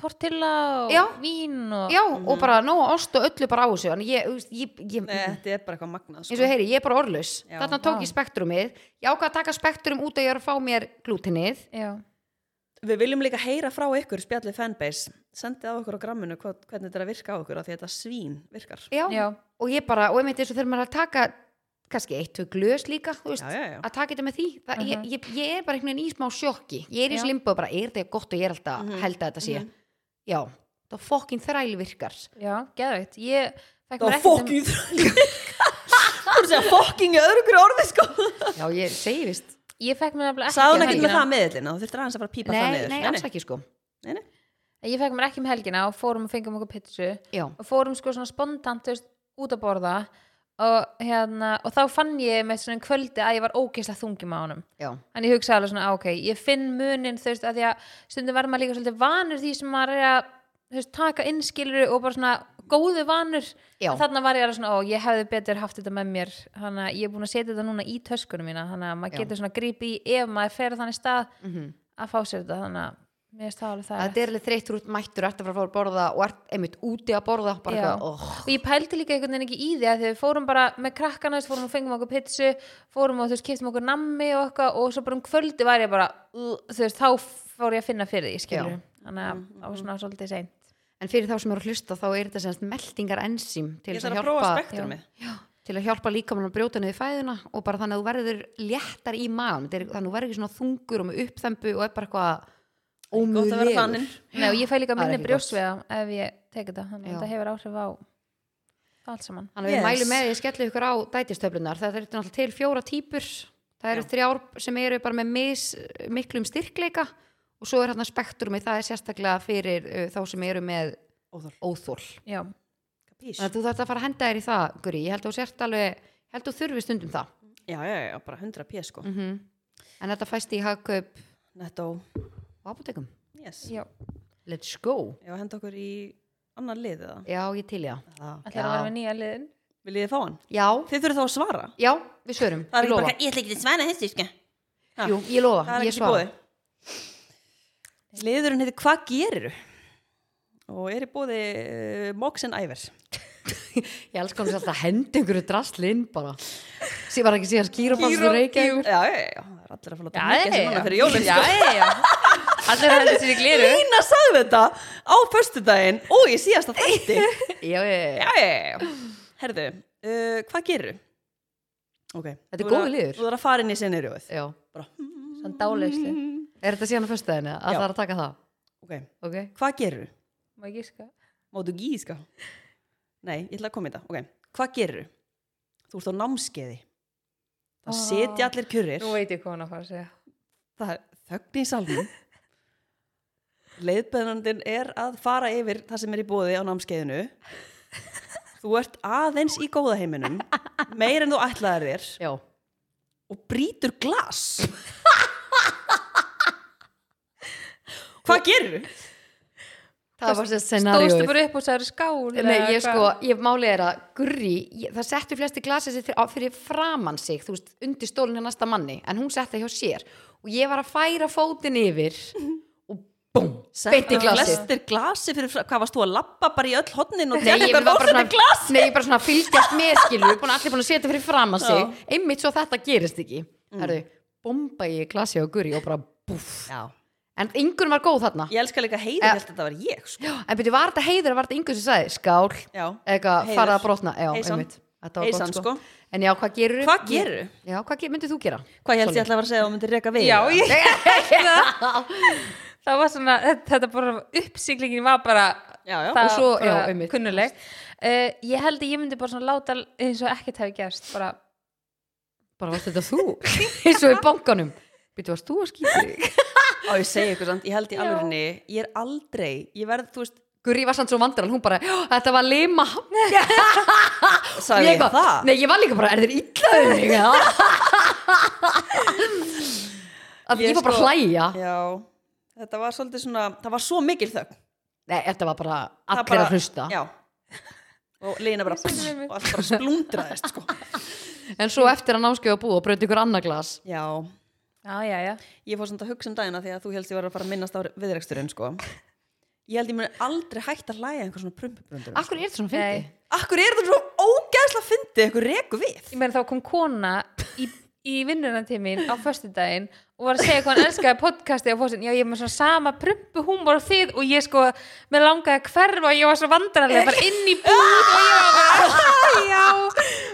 Speaker 3: tortilla og
Speaker 2: Já.
Speaker 3: vín og
Speaker 2: já, og bara nóg ost og öllu bara á þessu en ég, þú veist, ég, ég
Speaker 1: Nei, þetta er bara eitthvað magnað sko.
Speaker 2: eins og ég heyri, ég er bara orðlaus
Speaker 1: Já.
Speaker 2: þarna tók
Speaker 3: Vá.
Speaker 2: ég spektrumið, ég ákvað að taka spektrum út að ég er að fá mér glútenið
Speaker 3: Já.
Speaker 1: Við viljum líka heyra frá ykkur spjallið fanbase Sendið á okkur á gramminu hvað, hvernig þetta er að virka á okkur af Því þetta svín virkar
Speaker 2: já.
Speaker 3: Já.
Speaker 2: og ég bara, og ég meinti eins og þegar maður er að taka kannski eitt, tvö glös líka þú veist,
Speaker 1: Já, já, já.
Speaker 2: að taka þetta með því það,
Speaker 3: Mhm.
Speaker 2: ég, ég, ég er bara einhvern veginn í smá sjokki ég er í
Speaker 3: Já.
Speaker 2: slimbu og bara, er þetta gott og ég er alltaf mm
Speaker 1: Mhm.
Speaker 2: held að þetta sé,
Speaker 1: Mhm.
Speaker 2: já þá fokkin þræl virkar
Speaker 3: Já, geðveikt Ég fekk
Speaker 1: Það
Speaker 3: mér
Speaker 1: var
Speaker 3: ekkert um-
Speaker 1: fokking þröng Þú voru að segja fokking í öðru hverju orði sko
Speaker 2: já, ég segi vist,
Speaker 3: Ég fekk mér nefnilega
Speaker 1: Sáðu hún
Speaker 3: ekki
Speaker 1: ekkert
Speaker 3: um
Speaker 1: með það meðillina Þú þurftir aðeins að fara að pípa það
Speaker 2: nei,
Speaker 1: niður
Speaker 2: nei, alls ekki sko
Speaker 1: nei, nei.
Speaker 3: Ég fekk mér ekki um helgina og fórum og fengum okkur pizzu
Speaker 2: já,
Speaker 3: og fórum sko svona spontant þú veist, út að borða og, hérna, og þá fann ég með svona um kvöldi að ég var ógeislega þungum á honum
Speaker 2: já,
Speaker 3: en ég hugsaði alveg svona á, ok, ég finn munin þú veist, að því að stundum verður maður líka svolítið vanur því sem maður er að þú veist, taka innskilur og bara svona góðu vanur
Speaker 2: Já.
Speaker 3: þannig var ég alveg svona, ó, ég hefði betur haft þetta með mér þannig að ég er búin að setja þetta núna í töskunum mína þannig að maður
Speaker 2: Já.
Speaker 3: getur svona grípi í ef maður fer á þannig stað að fá sér þetta þannig að mér finnst það alveg það
Speaker 2: Mhm. þetta er alveg þreytt þú ert mættur, ert að fara að fara að borða og ert einmitt úti að borða bara
Speaker 3: Já.
Speaker 2: eitthvað, oh,
Speaker 3: og ég pældi líka einhvern veginn ekki í því að þegar við fórum bara með krakkana þú veist, fórum og fengum okkur pitsu fórum og þú veist, kiptum okkur nammi og eitthvað og svo bara um kvöldi var ég bara uh, þú veist, þá fór ég að finna fyrir því, skilur þannig
Speaker 2: Mm,
Speaker 3: að það var svona svolítið seint
Speaker 2: en fyrir þá sem eru að hlusta þá er þetta semst meldingar ensím til
Speaker 1: Ég
Speaker 2: þess
Speaker 1: þarf
Speaker 2: að
Speaker 1: að prófa
Speaker 2: hjálpa
Speaker 1: spektrumið
Speaker 2: Já, til að hjálpa líkamann að brjóta niður fæðuna og bara þannig að þú verður léttar í maðan þannig að þú verður ekki svona þungur og með uppþembu og er bara eitthvað
Speaker 1: Gótt að vera þannig
Speaker 2: ómöðlegur
Speaker 3: Nei, og ég fæ líka
Speaker 2: Það er
Speaker 3: minni
Speaker 2: ekki
Speaker 3: brjósveða ef ég teki þetta, þannig
Speaker 2: Já.
Speaker 3: að þetta hefur áhrif á allt saman
Speaker 2: Þannig að við
Speaker 1: Yes.
Speaker 2: mælum með því að skella ykkur á dætistöflunar það eru náttúrulega til fjóra típur það eru
Speaker 1: Já.
Speaker 2: þrjár sem eru bara með mis, miklum styrkleika og svo er hérna spektrumi, það er sérstaklega fyrir uh, þá sem eru með
Speaker 1: Óþol.
Speaker 2: óþól
Speaker 3: Já,
Speaker 1: Kapís
Speaker 2: þannig að þú þarft að fara að henda þér í það Guri, ég held að þú sért alveg ég held að þú þurfi stundum það
Speaker 1: Já, já, já, bara 100 pés sko
Speaker 2: mm en þetta fæst í hagkaup
Speaker 1: Nettó
Speaker 2: og apotekum
Speaker 1: Yes
Speaker 3: já,
Speaker 2: Let's go.
Speaker 1: Ég var að henda okkur í annan lið eða
Speaker 2: Já, ég til já.
Speaker 1: Það.
Speaker 3: allir að vera með nýja liðin
Speaker 1: Viljið þið fá hann?
Speaker 2: Já,
Speaker 1: Þið þurfið þá að svara
Speaker 2: já, við svörum.
Speaker 1: Það er
Speaker 2: ég
Speaker 1: ekki
Speaker 2: lofa.
Speaker 1: bara, ég ætla ekki að svara þessu sko. Ha,
Speaker 2: Jú, ég lofa.
Speaker 1: Það er
Speaker 2: ég
Speaker 1: ekki bóði Liðurinn heitir Hvað geriru? Og er í bóði uh, Moxen Æver
Speaker 2: Ég elskar hann alltaf að henda einhverju drasli inn bara. Sér var ekki síðan skýrabans og reykja
Speaker 1: Já, já, já, já, það er allir að fá láta mikið sem núna fyrir jólum
Speaker 3: já,
Speaker 1: sko.
Speaker 3: já, já. Allir að hendur sér í gleru
Speaker 1: Lína sagði þetta á föstudaginn og ég síðast að þætti
Speaker 2: Já, ég,
Speaker 1: já, já, já. Herðu, uh, hvað gerir Ok.
Speaker 2: Þetta er
Speaker 1: Þú verður
Speaker 2: góður
Speaker 1: að-
Speaker 2: liður.
Speaker 1: Þú þarf að fara inn í sinnirjóð.
Speaker 2: já.
Speaker 3: Svona dáleyslu
Speaker 2: Er þetta síðan á föstudaginu að
Speaker 1: Já.
Speaker 2: það er að taka það?
Speaker 1: Ok,
Speaker 2: Ok.
Speaker 1: hvað gerir
Speaker 3: Má ég gíska?
Speaker 1: Máttu gíska? sko. Nei, ég ætla að koma í þetta. Ok, hvað gerir Þú ert á námskeiði. Það
Speaker 3: Ah.
Speaker 1: setja allir kurrir.
Speaker 3: Nú veit ég hvað hún á að fara að segja
Speaker 1: Það er þögn í salnum. Leiðbennandin er að fara yfir það sem er í bóði á námskeiðinu. Þú ert aðeins í góða heiminum, meir en þú ætlaðir þér
Speaker 2: Já.
Speaker 1: og brýtur glas. Hvað gerir
Speaker 2: Það var sérst
Speaker 3: Stóðstu
Speaker 2: scenarióið.
Speaker 3: bara upp og sagði skál eða
Speaker 2: Nei, ég
Speaker 3: hvað?
Speaker 2: sko, ég málið er að gurri, ég, það settu flesti glasið sér fyrir, á- fyrir framann sig, þú veist, undir stólinn hjá næsta manni, en hún setti hjá sér og ég var að færa fótinn yfir og búm, beint í glasið.
Speaker 1: Flestir glasi fyrir, fra- hvað varst þú að lappa bara í öll hodnin og
Speaker 2: Nei, ég var
Speaker 1: tjekka
Speaker 2: bara
Speaker 1: bóðsinn
Speaker 2: svona,
Speaker 1: í glas?
Speaker 2: nei, ég bara svona að fylgjast með skilur, búin að allir búin að setja fyrir fram að sig,
Speaker 1: Já. Mm.
Speaker 2: einmitt svo þetta gerist ekki. Herðu, bomba í glasi og guri og bara búff
Speaker 4: Já.
Speaker 2: en yngur var góð þarna
Speaker 1: Ég elska líka heiði
Speaker 2: Ja.
Speaker 1: held að þetta var ég sko.
Speaker 2: en byrju, var þetta heiður, eða var þetta yngur sem sagði skál,
Speaker 1: Já,
Speaker 2: eitthvað
Speaker 1: Heiður.
Speaker 2: farað að brotna já,
Speaker 1: Heysan.
Speaker 2: einmitt, þetta var
Speaker 1: heisan
Speaker 2: gott sko
Speaker 1: sko
Speaker 2: en já, hvað gerur
Speaker 1: Hvað gerðu?
Speaker 2: já, hvað ger, myndir þú gera?
Speaker 1: Hvað ég held ég ætla að vera að segja um að þú myndir reka við?
Speaker 3: Já, ég Það var svona, þetta- þetta bara uppsiklingin var bara
Speaker 1: Já, já.
Speaker 3: það
Speaker 2: Og svo,
Speaker 3: bara
Speaker 2: já, einmitt.
Speaker 3: kunnuleg uh, Ég held að ég myndi bara svona láta eins og ekkert hefði gerst bara,
Speaker 2: bara varst þetta þú, eins og í bankanum byrju, varst þú að skýta þig?
Speaker 1: Á, ég segi ykkur samt, ég held í alvegni, ég er aldrei, ég verð, þú veist,
Speaker 2: Guri var samt svo vandral, hún bara, "Já, þetta var lima
Speaker 1: sagði ég
Speaker 2: bara-
Speaker 1: það?
Speaker 2: Nei, ég var líka bara, er þér illaður þig? eða?" Af því
Speaker 1: Ég
Speaker 2: ég var bara að
Speaker 1: sko-
Speaker 2: hlæja
Speaker 1: Já, þetta var svolítið svona, það var svo mikil þögn.
Speaker 2: Nei, þetta var bara
Speaker 1: Það
Speaker 2: allir
Speaker 1: bara-
Speaker 2: að hlusta
Speaker 1: Já, og Lina bara,
Speaker 3: Ég segi við mig.
Speaker 1: og allt bara splundraðist, sko.
Speaker 2: En svo eftir að námskeið að búa og breyta ykkur annað glas
Speaker 1: Já,
Speaker 3: Já, já, já
Speaker 1: ég fór svona að hugsa um dagina því að þú helst ég var að fara að minnast á viðreksturinn, sko. Ég held ég muni aldrei hægt að læja einhver svona prumpubrundur.
Speaker 2: Akkur er þetta svona fyndi?
Speaker 3: Nei.
Speaker 1: Akkur er þetta svo ógæðslega fyndið, einhver reku við?
Speaker 3: Ég meina þá kom kona í, í vinnuna til mín á föstudaginn og var að segja hvað hann elskaði podcasti á fósin Já, ég er með svona sama prumpu húmor og þið og ég sko, mér langaði að hverfa og ég var svo vandræðlega bara inn í búð og ég var bara, já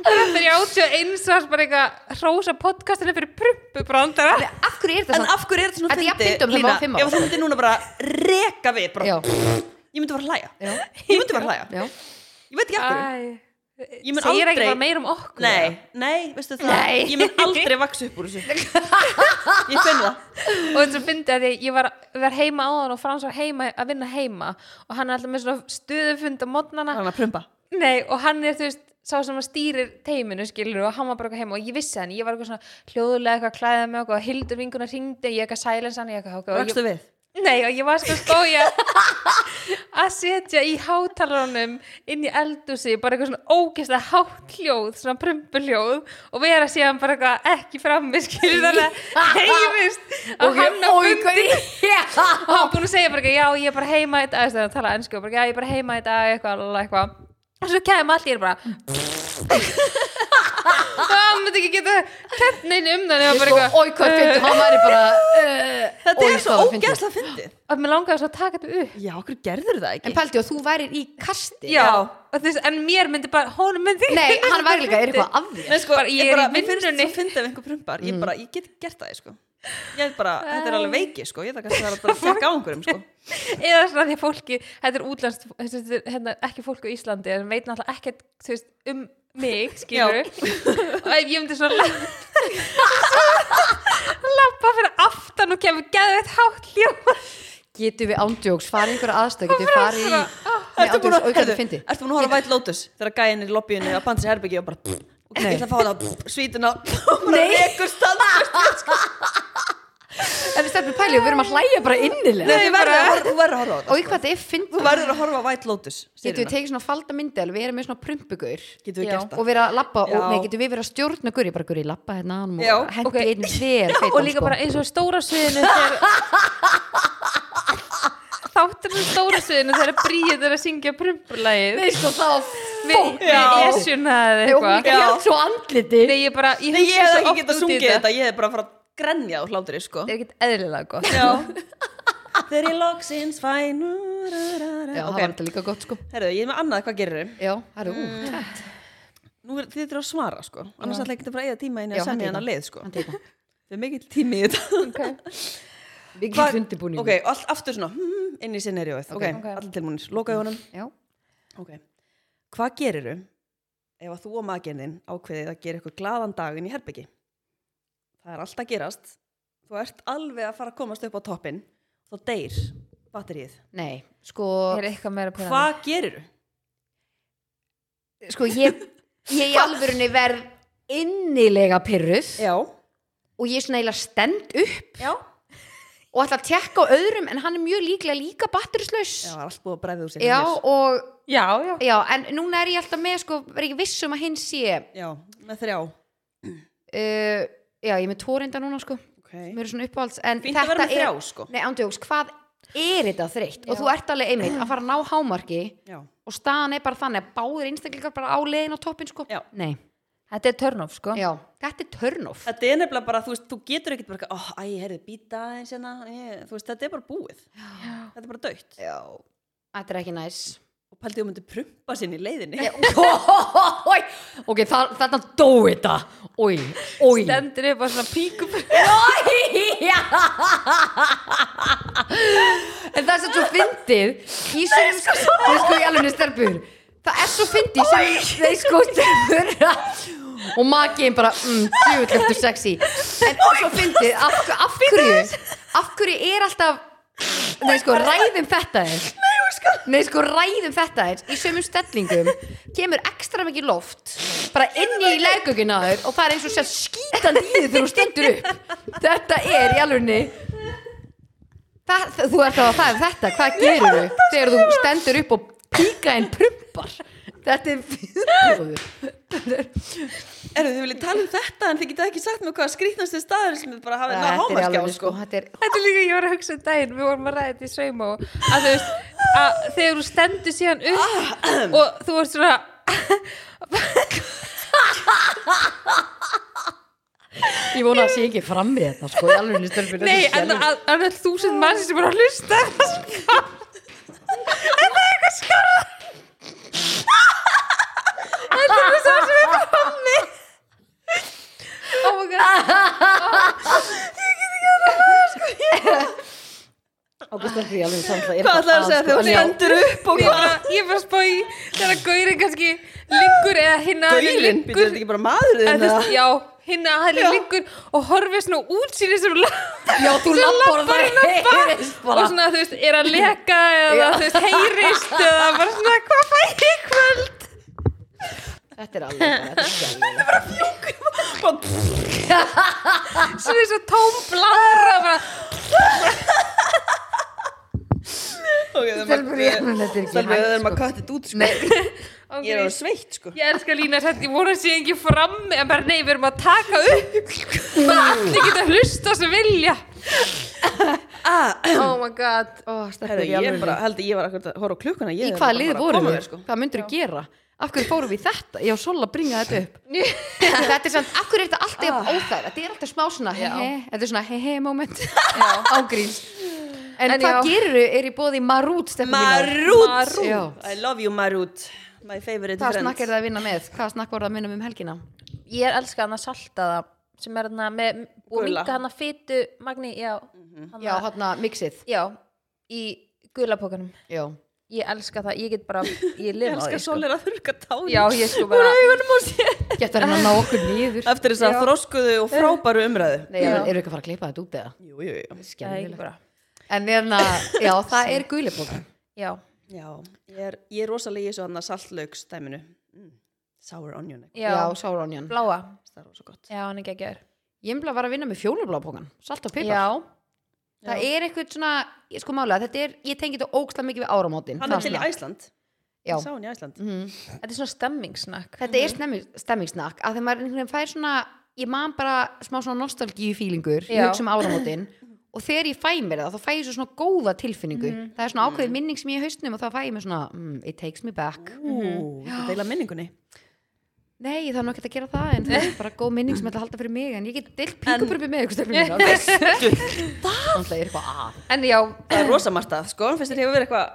Speaker 3: Þetta er ég átjóð eins og bara eitthvað hrósa podcastinu fyrir prumpu brandara
Speaker 2: Akkur er þetta
Speaker 1: En
Speaker 2: svona?
Speaker 1: af hverju er þetta svona
Speaker 2: Þetta er jafn fyndið um þegar
Speaker 1: Lína,
Speaker 2: maður var fimm ára.
Speaker 1: ef þú myndir núna bara reka við, bara,
Speaker 2: Já,
Speaker 1: ég myndi bara að hlæja.
Speaker 2: já,
Speaker 1: Ég myndi bara að hlæja.
Speaker 2: já
Speaker 1: Ég veit ekki af hverju.
Speaker 3: Æ,
Speaker 1: Ég mun
Speaker 3: segir ekki
Speaker 1: aldrei-
Speaker 3: bara meir um okkur
Speaker 1: Nei, nei, veistu það
Speaker 2: Nei.
Speaker 1: Ég mun aldrei vaksa upp úr þessu Ég finn það
Speaker 3: og þetta fyndi að ég, ég var, var heima á hann og Frans var heima að vinna heima og hann er alltaf með svona stöðufund á modnana
Speaker 1: Hann að prumpa
Speaker 3: Nei, og hann er, þú veist, sá sem að stýrir teiminu, skilur, og hann var bara eitthvað heima og ég vissi hann, ég var eitthvað svona hljóðulega eitthvað að klæða með okkur og hildur vinguna hringdi, ég eitthvað silence hann, ég eitthvað okay, og
Speaker 1: Vakstu
Speaker 3: ég,
Speaker 1: við
Speaker 3: Nei, og ég var sko spója að setja í hátalarunum inn í eldúsi, bara eitthvað svona ógeðslega hátt hljóð, svona prumpuljóð og vera síðan bara eitthvað ekki frammi, skilur þannig að heimist að hann á fundi og hann búin að segja bara eitthvað, já ég er bara heima í dag þannig að tala ennsku, bara, já ég er bara heima í dag eitthvað, lalala, eitthvað og svo kemum allir ég er bara og hann myndi ekki geta kent neinu um það nema bara eitthvað "Eh,
Speaker 2: Ói, hvað fyndi, hann væri bara uh,
Speaker 1: Þetta
Speaker 2: oj,
Speaker 1: er svo
Speaker 2: hvað fyndið.
Speaker 1: ógæðslega fyndið
Speaker 3: og mér langaði svo að taka þetta upp
Speaker 1: Já, okkur gerður það
Speaker 2: En
Speaker 1: ekki
Speaker 2: pældi og þú væri í kasti
Speaker 3: já, og þess, en mér myndi bara, hún myndi
Speaker 2: Nei, hann væri líka, er eitthvað af þér?
Speaker 1: Nei, sko,
Speaker 3: bara, ég er í
Speaker 1: mér finnst
Speaker 3: vinnunni.
Speaker 1: svo fyndið ef einhver prumpar Ég bara, ég get ekki gert það sko. Ég er bara, þetta er alveg veiki sko. Ég þarf kannski að bara að tekka á einhverjum sko.
Speaker 3: eða svona því að fólki, þetta er útlænst þetta er hérna, ekki fólk á Íslandi en veit náttúrulega ekkert þú veist, um mig skilur og ef ég myndi svona lappa fyrir aftan og kemur geðveitt hátt hljóð
Speaker 2: Getum við ándjóks, farið einhverja aðstöð, getum við farið í Nei,
Speaker 1: Ertu búin að,
Speaker 2: ándjóks, oi,
Speaker 1: heyrðu,
Speaker 2: hvað þetta fyndi?
Speaker 1: ertu búin að horfa á White Lotus Þegar gæinn er í lobbyinu að bandis herbyggi og bara og Ég
Speaker 2: Nei.
Speaker 1: ætla að fá það svítuna og bara rekur standast
Speaker 2: En við stefnum pælið, við erum að hlæja bara innilega
Speaker 1: Nei, þú verður að horfa- þú verður að horfa á þetta
Speaker 2: Og hvað þetta er fyndið
Speaker 1: Þú verður að horfa á White Lotus
Speaker 2: Getum við
Speaker 1: serjuna.
Speaker 2: tekið svona falda myndi alveg, við erum með svona prumpugur
Speaker 1: Getum við
Speaker 3: Já.
Speaker 1: gert það
Speaker 2: og vera að lappa, og,
Speaker 1: Já.
Speaker 2: nei, getum við verið að stjórna guri, bara guri, lappa hérna ánum
Speaker 1: Já,
Speaker 2: og hendi
Speaker 3: ok.
Speaker 2: okay. einn þér
Speaker 3: og líka bara eins og stóra sviðinu þegar þáttur um stóra sviðinu þegar bríðið er að syngja prumpulægið
Speaker 2: Nei, sko, það var
Speaker 3: við
Speaker 2: fokk
Speaker 1: Já.
Speaker 3: esjuna eða
Speaker 2: Nei, og hún
Speaker 3: eitthvað
Speaker 2: líka
Speaker 1: Já.
Speaker 2: hjátt svo andliti
Speaker 3: Nei, ég bara, ég
Speaker 1: Nei, ég
Speaker 3: hugsa
Speaker 1: hef
Speaker 3: svo
Speaker 1: ekki
Speaker 3: oft
Speaker 1: getað
Speaker 3: út í
Speaker 1: sungið þetta, ég hef bara farað að grenja úr hlátri, sko.
Speaker 3: þetta er ekkert eðlilega gott
Speaker 1: Já. Þegar ég loksins fæn. Já,
Speaker 2: Já, það var þetta líka gott, sko
Speaker 1: Herðu, ég er með annað, hvað gerir þið?
Speaker 2: Já, það er út
Speaker 1: Nú er þið þurfa að svara, sko. Annars ætla ég ekki að bara eða tíma inn að
Speaker 2: Já, hann
Speaker 1: semja
Speaker 2: tekur.
Speaker 1: hana leið, sko.
Speaker 2: Hann tekur.
Speaker 1: Þið er mikill tími í þetta. Hva-
Speaker 2: Mikið undirbúning
Speaker 1: Ok, allt aftur svona, hmm, inn í scenarióið. Ok,
Speaker 3: ok.
Speaker 1: allir tilmúnir. Lokaðu honum.
Speaker 2: Já,
Speaker 1: Ok. Hvað gerir þið ef að þú og maginn þinn ákveðið að gera eitthvað glaðan daginn í herbyggi? Það er allt að gerast. Þú ert alveg að fara að komast upp á toppin. Þá deyr batteríið.
Speaker 2: nei, sko
Speaker 3: er eitthvað meira pyrrandi.
Speaker 1: Hvað gerir þú?
Speaker 2: Sko, ég, ég í alvörunni verð innilega pyrruð
Speaker 1: Já.
Speaker 2: og ég er svona eiginlega stend upp
Speaker 1: Já.
Speaker 2: og ætla að tekka á öðrum en hann er mjög líklega líka batterislaus
Speaker 1: það er allt búið að bræða úr sér.
Speaker 2: Já,
Speaker 1: hjá
Speaker 2: og
Speaker 3: já, já
Speaker 2: Já, en núna er ég alltaf með sko, er ég viss um að hinn sé uh,
Speaker 1: þér. Já, með þrjá.
Speaker 2: Já, ég er með tvo reynda núna sko
Speaker 1: Ok.
Speaker 2: Mér eru svona uppáhalds en
Speaker 1: Fínt að
Speaker 2: þetta
Speaker 1: vera með
Speaker 2: er-
Speaker 1: þrjá, sko.
Speaker 2: Nei, ándjóks, hvað er þetta þreytt? Og þú ert alveg einmitt að fara að ná hámarki
Speaker 1: Já.
Speaker 2: og staðan er bara þannig að báðir einstaklingar bara á leiðin á toppin sko
Speaker 1: Já.
Speaker 2: Nei,
Speaker 3: þetta er törnóf sko
Speaker 2: Já, þetta er turn off
Speaker 1: Þetta er nefnilega bara, þú veist, þú getur ekkert bara, oh, æ, heyrðu, býta eins hérna, ég- þú veist, þetta er bara búið.
Speaker 3: Já.
Speaker 1: Þetta er bara dögt.
Speaker 2: Já, þetta er ekki næs
Speaker 1: Og pældi, þú myndir prumpa sinni í leiðinni.
Speaker 2: Ói, Ok, þa- þarna dói þetta Ói, ói
Speaker 3: stendur upp á svona píkum
Speaker 2: Já En það er satt svo fyndið í sem sko, sko í alveg stelpur Það er svo fyndið sem þeir sko stelpur og makiðin bara mm, djúvillöftur sexy en svo fyndið af, af hverju af hverju er alltaf Nei sko, ræðum þetta eins Nei, sko. ræðum þetta eins Í sömum stellingum kemur ekstra mikið loft bara inn í legugina þér og það er eins og sér skítandi í þig þegar þú stendur upp Þetta er í alvegni Þú ert þá að fæða þetta Hvað gerir þau þegar þú stendur upp og píka en prumpar Þetta er viðbjóður
Speaker 1: Erðu, þið viljið tala um þetta, en þið getið ekki sagt mér hvað skrýtnastu staður sem þið bara hafið náð
Speaker 2: Þetta er
Speaker 1: hámarki á,
Speaker 2: alveg
Speaker 1: sko.
Speaker 2: sko Þetta er
Speaker 3: Þetta er líka, ég var að hugsa um daginn, við vorum að ræða þetta í saumó að þú veist, að þegar þú stendur síðan upp og þú ert svona
Speaker 2: Ég vona að sé ekki fram í þetta sko Í alvegni stelpur þetta er
Speaker 3: Nei,
Speaker 2: svo
Speaker 3: en
Speaker 2: skelfilegt.
Speaker 3: að það er þúsund mann sem er að hlusta sko. En það er eitthvað skara Þetta er það sem er frammi Oh my god
Speaker 2: Ágústa því alveg samt það er
Speaker 1: Hvað
Speaker 2: bara
Speaker 1: ætlaðu að segja
Speaker 2: sko,
Speaker 1: þegar þú
Speaker 2: já.
Speaker 1: stendur upp og
Speaker 3: Ég
Speaker 1: hvað?
Speaker 3: bara, ég bara spá í þegar gaurinn kannski liggur eða hinn að
Speaker 1: Gaurinn, býtur
Speaker 3: liggur
Speaker 1: þetta ekki bara maðurinn?
Speaker 3: En þú
Speaker 1: eða?
Speaker 3: veist, já, hinn að hæli
Speaker 1: Já.
Speaker 3: liggur og horfið svona út síni sem lappar
Speaker 2: Já, þú lappar og það heyrist
Speaker 3: og
Speaker 2: bara
Speaker 3: svona, þú veist, er að leka eða
Speaker 2: Já.
Speaker 3: þú veist, heyrist eða bara svona, hvað fæ ég í kvöld?
Speaker 2: Þetta er alveg bara, þetta er skelfilegt.
Speaker 3: Svona eins og tóm blara bara,
Speaker 1: Ok, það er
Speaker 2: Stelpur í
Speaker 1: maður-
Speaker 2: alveg, þetta er
Speaker 1: Stelpur,
Speaker 2: ekki
Speaker 1: við
Speaker 2: hægt
Speaker 1: erum
Speaker 2: sko.
Speaker 1: að kvæta þetta út, sko.
Speaker 2: Nei,
Speaker 3: ok,
Speaker 1: Ég er alveg sveitt, sko.
Speaker 3: ég elska lína þetta, ég vona að sé ekki fram en bara, nei, við erum að taka upp bara allir geta hlusta sem vilja
Speaker 1: Ah,
Speaker 3: Oh my god
Speaker 2: ó, stelpur
Speaker 1: herðu,
Speaker 2: í
Speaker 1: ég
Speaker 2: alveg
Speaker 1: bara, held að ég var akkurat að horfa á klukkuna.
Speaker 2: Í
Speaker 1: ég er
Speaker 2: hvaða
Speaker 1: bara
Speaker 2: lið
Speaker 1: að
Speaker 2: vorum
Speaker 1: koma
Speaker 2: við?
Speaker 1: þér, sko.
Speaker 2: Hvað myndur þú gera? Af hverju fórum við í þetta? Já, Sola, bringa þetta upp Þetta er samt, Ah. af hverju er þetta alltaf jafn óþægilegt? Þetta er alltaf smá svona he-he Þetta er svona he-he moment Ágríns En,
Speaker 3: En
Speaker 2: hvað
Speaker 3: já.
Speaker 2: gerirðu? Er í bóði Marút stefnum
Speaker 1: Marút!
Speaker 2: Já.
Speaker 1: I love you, Marút. My favorite
Speaker 2: Hvað
Speaker 1: friend.
Speaker 2: snakk er það að vinna með? Hvað snakk voru það að vinna með um helgina?
Speaker 3: ég er elska hana saltaða sem er hana með og
Speaker 1: Gula.
Speaker 3: minga hana fytu magni, Mhm. já hana,
Speaker 2: Já, hátna, mixið
Speaker 3: já, í gulapókanum
Speaker 2: Já,
Speaker 3: ég elska það, ég get bara ég lifa
Speaker 1: Ég elska
Speaker 3: því, sko.
Speaker 1: Sólir að þurrka tárin.
Speaker 3: já, ég sko bara
Speaker 2: getur hann að ná okkur nýður
Speaker 1: Eftir þess að þróskuðu og frábæru umræðu.
Speaker 2: Nei,
Speaker 3: Já.
Speaker 2: eru ekki að fara að klippa þetta út eða?
Speaker 1: Jú, jú, jú.
Speaker 3: Já, ég
Speaker 2: Skelfilegt.
Speaker 3: bara,
Speaker 2: En hérna, já, það er gulibókan
Speaker 3: já,
Speaker 1: Já, ég er, ég er rosalega í þessu hann að saltlaugstæminu. Mm. Sour onion. eitthvað.
Speaker 3: já,
Speaker 2: Já, Sauronjan
Speaker 3: bláa
Speaker 1: Það er rosa gott.
Speaker 3: já, hann er geggjör
Speaker 2: Ég emla var að vinna með fjólublábókan Salt og pipar
Speaker 3: já,
Speaker 2: Það er eitthvað svona, ég sko málega Þetta er, ég tengi þetta óksla mikið við áramótin
Speaker 1: Hann er
Speaker 2: Það
Speaker 1: til í
Speaker 2: svona.
Speaker 1: Æsland.
Speaker 2: Já. Mhm.
Speaker 1: Ég sá hann í Æsland.
Speaker 3: þetta er svona stemmingsnakk
Speaker 2: Þetta er stemmi, stemmingsnakk að þegar maður einhvern veginn fær svona ég man bara smá svona nostalgíu fílingur ég
Speaker 3: Já.
Speaker 2: hugsa um áramótin og þegar ég fæ mér það þá fæ ég svo svona góða tilfinningu
Speaker 3: Mhm.
Speaker 2: það er svona ákveðið minning sem ég er í haustnum og þá fæ ég mér svona, mm, it takes me back
Speaker 3: Mhm.
Speaker 1: Ú, þetta deila minningunni.
Speaker 2: nei, það er nú ekkert að gera það en það er bara góð minning sem ætla að halda fyrir mig en ég get deilt píkubröfi með ykkur stelpur mínar. Þannig að ég er eitthvað að
Speaker 3: en já,
Speaker 1: Það er rosa margt að, sko. Fyrst þér hefur verið eitthvað,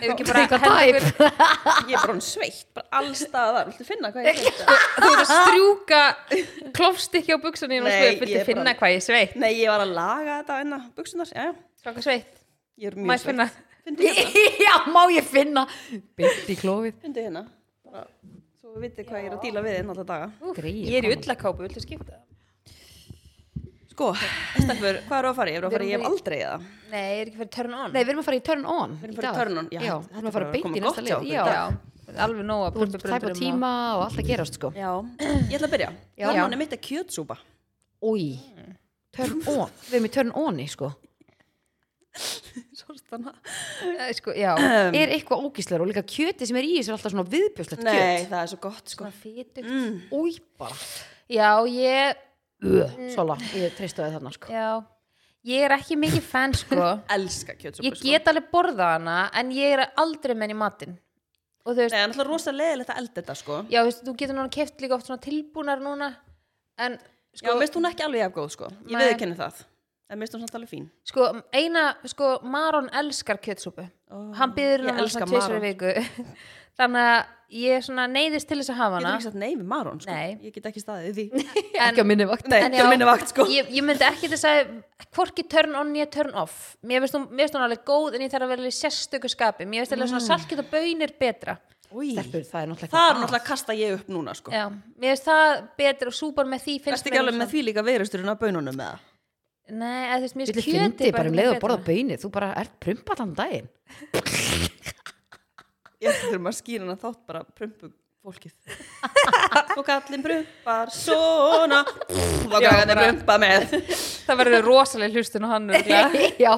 Speaker 3: ef ekki bara
Speaker 2: Eitthvað
Speaker 3: henda
Speaker 2: dæp.
Speaker 3: ykkur-
Speaker 1: ég er bara hann sveitt, bara allstaðar. Viltu finna hvað ég sveitt?
Speaker 3: þú ert að strjúka klófst ekki á buksunum og
Speaker 1: Nei,
Speaker 3: sko, viltu
Speaker 1: ég er bara-
Speaker 3: finna hvað ég er sveitt
Speaker 1: Nei, ég var að laga þetta enna, buksunar, já, já.
Speaker 3: svaka sveitt,
Speaker 1: Ég er
Speaker 3: maður
Speaker 1: mjög sveitt.
Speaker 3: finna
Speaker 1: Findu hérna,
Speaker 2: já, má ég finna beint í klófið
Speaker 1: findu hérna. Bara, svo við vitið hvað ég er að díla við einn alltaf daga.
Speaker 3: ég er í ullakápu, viltu skipta?
Speaker 1: Sko, stelpur, hvað eru að fara? í? Ég er að fara í- ég hef aldrei eða.
Speaker 3: nei, ég er ekki fyrir turn on
Speaker 2: Nei, við erum að fara í turn on
Speaker 1: erum að fara
Speaker 2: í
Speaker 1: í
Speaker 2: dag.
Speaker 1: turn on, já,
Speaker 2: Já,
Speaker 1: þetta
Speaker 2: við erum
Speaker 1: er
Speaker 2: að fara
Speaker 1: bara
Speaker 2: beint í
Speaker 1: komið
Speaker 2: næsta
Speaker 1: gott hjá
Speaker 2: leið
Speaker 1: okkur í
Speaker 2: Já,
Speaker 3: já, alveg nóg að
Speaker 2: þú ert tæp á tíma og allt að gerast sko
Speaker 1: Já. Ég ætla að byrja.
Speaker 2: Já.
Speaker 1: Hormónið mitt er kjötsúpa.
Speaker 2: Új, turn on Við erum í turn onni sko
Speaker 1: Svolstana.
Speaker 3: Eh, sko, já,
Speaker 1: Ehm,
Speaker 2: Er eitthvað ógíslar og líka kjöti sem er í þessu er alltaf svona viðbjörslegt
Speaker 1: Um. Nei,
Speaker 2: kjöt
Speaker 1: það er svo gott, sko.
Speaker 3: fítugt
Speaker 1: Mm.
Speaker 2: Új, bara
Speaker 3: já, ég
Speaker 1: Mm.
Speaker 2: Ö, Sola, ég treystu það þarna sko
Speaker 3: já, ég er ekki mikið fan sko
Speaker 1: Elska sko. kjötsúpa,
Speaker 3: ég get alveg borða hana en ég er aldrei með henni í matinn og og þú
Speaker 1: Nei,
Speaker 3: veist,
Speaker 1: það er náttúrulega rosa leðilegt að elda þetta sko
Speaker 3: já, þú veist, þú getur núna keft líka oft svona tilbúnar núna en
Speaker 1: Já,
Speaker 3: sko,
Speaker 1: minnst hún ekki alveg jafn góð sko Ég
Speaker 3: Nei.
Speaker 1: veið ekki henni það En minnst hún samt alveg fín
Speaker 3: sko eina, sko, Maron elskar kjötsúpu
Speaker 1: oh.
Speaker 3: hann
Speaker 1: Ég
Speaker 3: byður núna
Speaker 1: elska
Speaker 3: svona tvisar
Speaker 1: Maron.
Speaker 3: viku þannig að ég svona neyðist til þess að hafa
Speaker 1: Getur
Speaker 3: hana
Speaker 1: ekki sagt nei við Maron sko
Speaker 3: Nei.
Speaker 1: Ég get ekki staðið í því
Speaker 3: en-
Speaker 2: ekki á minni vakt
Speaker 1: Nei,
Speaker 3: En
Speaker 1: ekki
Speaker 3: já,
Speaker 1: á minni vakt sko
Speaker 3: ég, ég myndi ekki þess að hvorki turn on ég turn off mér finnst hún, mér finnst hún alveg góð en ég þarf að vera í sérstöku skapi mér finnst
Speaker 1: Mm.
Speaker 3: alveg svona salkið og bönir betra
Speaker 1: Új,
Speaker 2: Stelpur, það er náttúrulega
Speaker 1: Það
Speaker 2: eitthvað
Speaker 1: er
Speaker 2: að.
Speaker 1: náttúrulega að kasta ég upp núna sko
Speaker 3: já, mér finnst það betra og súpan með því finnst
Speaker 1: Ertu ekki alveg
Speaker 3: svona-
Speaker 1: með því líka veirusturinn af bönunum með það?
Speaker 3: nei, eða þú veist, mér
Speaker 2: Þú
Speaker 3: finnst
Speaker 2: fyndi
Speaker 3: kjöti
Speaker 2: bara um leið að borða
Speaker 3: betra.
Speaker 2: bönið, þú bara ert prumpa allan daginn.
Speaker 1: Ég ætla þurfum að skýra hana þátt bara prumpu fólkið Og kallin prumpar svona Og kallin
Speaker 3: bara-
Speaker 1: prumpa með
Speaker 3: það verður rosaleg hlustun og hann örugglega.
Speaker 2: Já,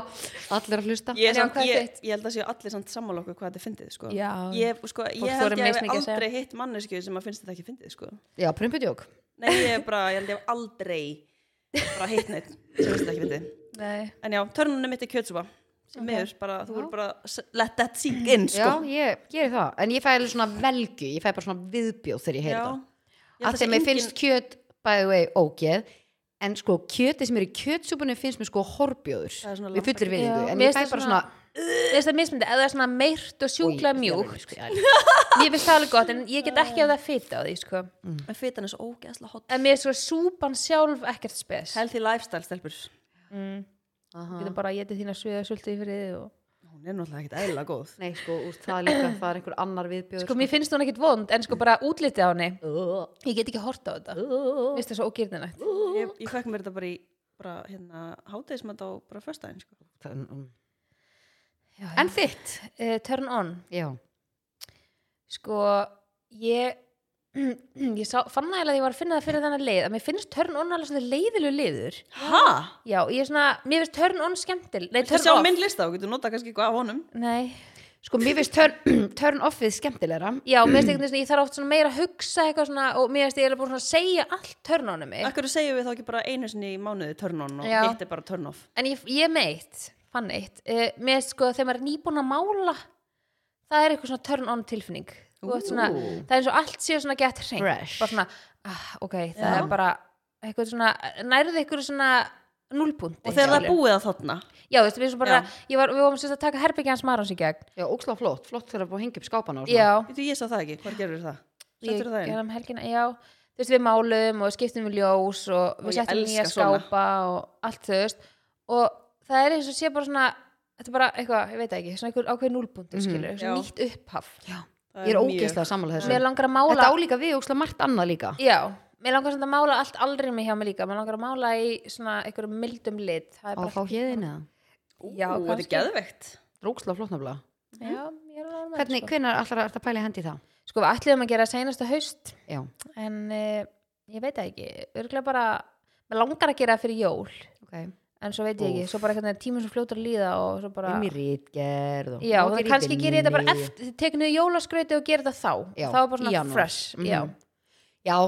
Speaker 2: allir að hlusta.
Speaker 1: Ég, er
Speaker 3: En já,
Speaker 1: samt,
Speaker 3: hvað er
Speaker 1: ég,
Speaker 3: þitt?
Speaker 1: ég held að séu allir samt sammála okkur hvað þetta er fyndið sko.
Speaker 3: Já.
Speaker 1: ég, sko, ég
Speaker 3: Fólk
Speaker 1: held
Speaker 3: þorir
Speaker 1: ég hef
Speaker 3: mismikið að segja.
Speaker 1: aldrei hitt mannesku sem að finnst þetta ekki fyndið sko.
Speaker 2: Já, prumpudjók.
Speaker 1: Nei, ég, hef bara, ég held ég hef aldrei bara hitt neitt sem finnst þetta ekki fyndið
Speaker 3: Nei.
Speaker 1: En já, törnunum mitt er kjötsúpa sem okay. bara, þú
Speaker 2: Já.
Speaker 1: voru bara s- let that sink in sko.
Speaker 2: Já, ég gerir það. En ég fæ alveg svona velgu, ég fæ bara svona viðbjóð þegar ég heyri það.
Speaker 1: Ég held
Speaker 2: Af
Speaker 1: það
Speaker 2: því
Speaker 1: sé
Speaker 2: að mér
Speaker 1: engin-
Speaker 2: finnst kjöt, by the way, ógeð, en sko kjöti sem er í kjötsúpunni finnst mér sko horbjóður.
Speaker 1: Það er svona
Speaker 2: Við fullir
Speaker 3: Já,
Speaker 2: viðingu. En
Speaker 3: mér
Speaker 2: ég fæ
Speaker 3: finnst
Speaker 2: bara
Speaker 3: það
Speaker 2: svona...
Speaker 3: Mér finnst það mismyndi, eða það er svona meirt og sjúkla
Speaker 2: Új,
Speaker 3: mjúk
Speaker 2: ég er alveg, sko, ég er alveg.
Speaker 3: ég finnst það alveg gott, en ég get ekki að það fita á því sko.
Speaker 1: En fitan er svo ógeðslega hot
Speaker 3: en mér er svo súpan sjálf ekkert spes
Speaker 1: Healthy lifestyle stelpur
Speaker 3: mm.
Speaker 2: Aha.
Speaker 3: getum bara að geta þína sviða sultið í friði og...
Speaker 1: Hún er náttúrulega ekkert eðla góð
Speaker 2: Nei, sko, úr það er líka, það er einhver annar viðbjóður.
Speaker 3: sko mér finnst hún ekkert vond en sko bara útlitið á henni
Speaker 2: Ugh,
Speaker 3: ég get ekki horta á þetta
Speaker 2: ugh.
Speaker 3: Mér finnst það svo ógirnilegt
Speaker 1: Ég, ég fekk mér þetta bara í bara, hérna, hátegismat á bara föstudaginn sko.
Speaker 2: mm, En þitt?
Speaker 3: uh, turn on
Speaker 2: Já.
Speaker 3: sko ég ég sá, fann það eiginlega að ég var að finna það fyrir þannig leið að mér finnst turn on alveg svona leiðilegu leiður
Speaker 1: Hæ?
Speaker 3: já, ég er svona, mér finnst turn on skemmtil nei,
Speaker 1: Þú
Speaker 3: turn
Speaker 1: sjá
Speaker 3: off
Speaker 1: minn lista og getur notað kannski eitthvað af honum
Speaker 3: nei.
Speaker 2: Sko, mér finnst turn, turn offið skemmtilegra.
Speaker 3: já, mér finnst einhvern veginn ég þarf oft svona meira að hugsa eitthvað svona og mér finnst ég er búin svona að segja allt turn onum mig
Speaker 1: Akkur segjum við þá ekki bara einu sinni í mánuði turn on og
Speaker 3: Eh. Já.
Speaker 1: hitt er bara turn off
Speaker 3: en ég, ég meitt, fann eitt uh, mér finnst sko þegar maður er nýbúin að mála það er eitthvað svona turn on tilfinning Þú ert svona,
Speaker 2: Ú.
Speaker 3: það er eins og allt sé svona gett hreint
Speaker 2: Fresh.
Speaker 3: bara svona, ah, ok, það
Speaker 1: Já.
Speaker 3: er bara eitthvað svona, nærðið eitthvað svona núlpunti
Speaker 1: Og þegar það er búið að þarna
Speaker 3: já, þú veist, við, erum bara,
Speaker 1: Já.
Speaker 3: ég var, við vorum sérst að taka herbyggja hans Marons í gegn
Speaker 2: Já, ókslega flott, flott þegar að búið að hengja upp skápana og
Speaker 3: já,
Speaker 1: Þú ég sá það ekki, hvað gerur það?
Speaker 3: ég
Speaker 1: Settur það
Speaker 3: gerði
Speaker 1: inn?
Speaker 3: um helgina já, þú veist, við málum og skiptum við ljós og
Speaker 1: Og
Speaker 3: við
Speaker 1: ég
Speaker 3: settum nýja
Speaker 1: elska svona.
Speaker 3: skápa og allt þau veist og það er eins og sé bara svona þetta er bara eitthvað, ég veit það ekki, svona einhver ákveð núlpunti mm
Speaker 2: Mhm.
Speaker 3: skilur, svona
Speaker 1: Já.
Speaker 3: nýtt upphaf
Speaker 1: Það
Speaker 2: Ég er
Speaker 1: mjög-
Speaker 2: ógeðslega sammála þessu.
Speaker 3: mér langar að
Speaker 2: Þetta
Speaker 3: mála
Speaker 2: álíka við ókslega margt annað líka.
Speaker 3: Já, mér langar samt að mála allt alrými hjá mér líka Mér langar að mála í svona einhverjum mildum lit Það er
Speaker 2: Á
Speaker 3: bara
Speaker 2: fá hérðin eða?
Speaker 1: Ú,
Speaker 3: Já,
Speaker 1: þetta er
Speaker 3: kannski.
Speaker 1: geðveikt
Speaker 2: Rókslega flott nefnilega.
Speaker 3: Já, ég er alveg með
Speaker 2: Hvernig,
Speaker 3: sko.
Speaker 2: hvenær ætlar að pæla í hendi það?
Speaker 3: sko, við ætliðum að gera seinasta haust
Speaker 2: Já.
Speaker 3: En uh, ég veit það ekki Örgulega bara, mér langar að gera það fyrir jól
Speaker 2: Ok. Bara,
Speaker 3: En svo veit ég ekki,
Speaker 2: Úff.
Speaker 3: svo bara hvernig tímur sem fljótur að líða Og svo bara
Speaker 2: um í rítgerð og...
Speaker 3: Já,
Speaker 2: og
Speaker 3: þannig
Speaker 2: í
Speaker 3: kannski gerir ég þetta bara
Speaker 2: vinnunni.
Speaker 3: eftir Tekinu jólaskrauti og gerir þetta þá
Speaker 2: Já,
Speaker 3: Þá er bara
Speaker 2: í
Speaker 3: svona
Speaker 2: janúar.
Speaker 3: fresh
Speaker 2: Mhm.
Speaker 3: já.
Speaker 2: Já,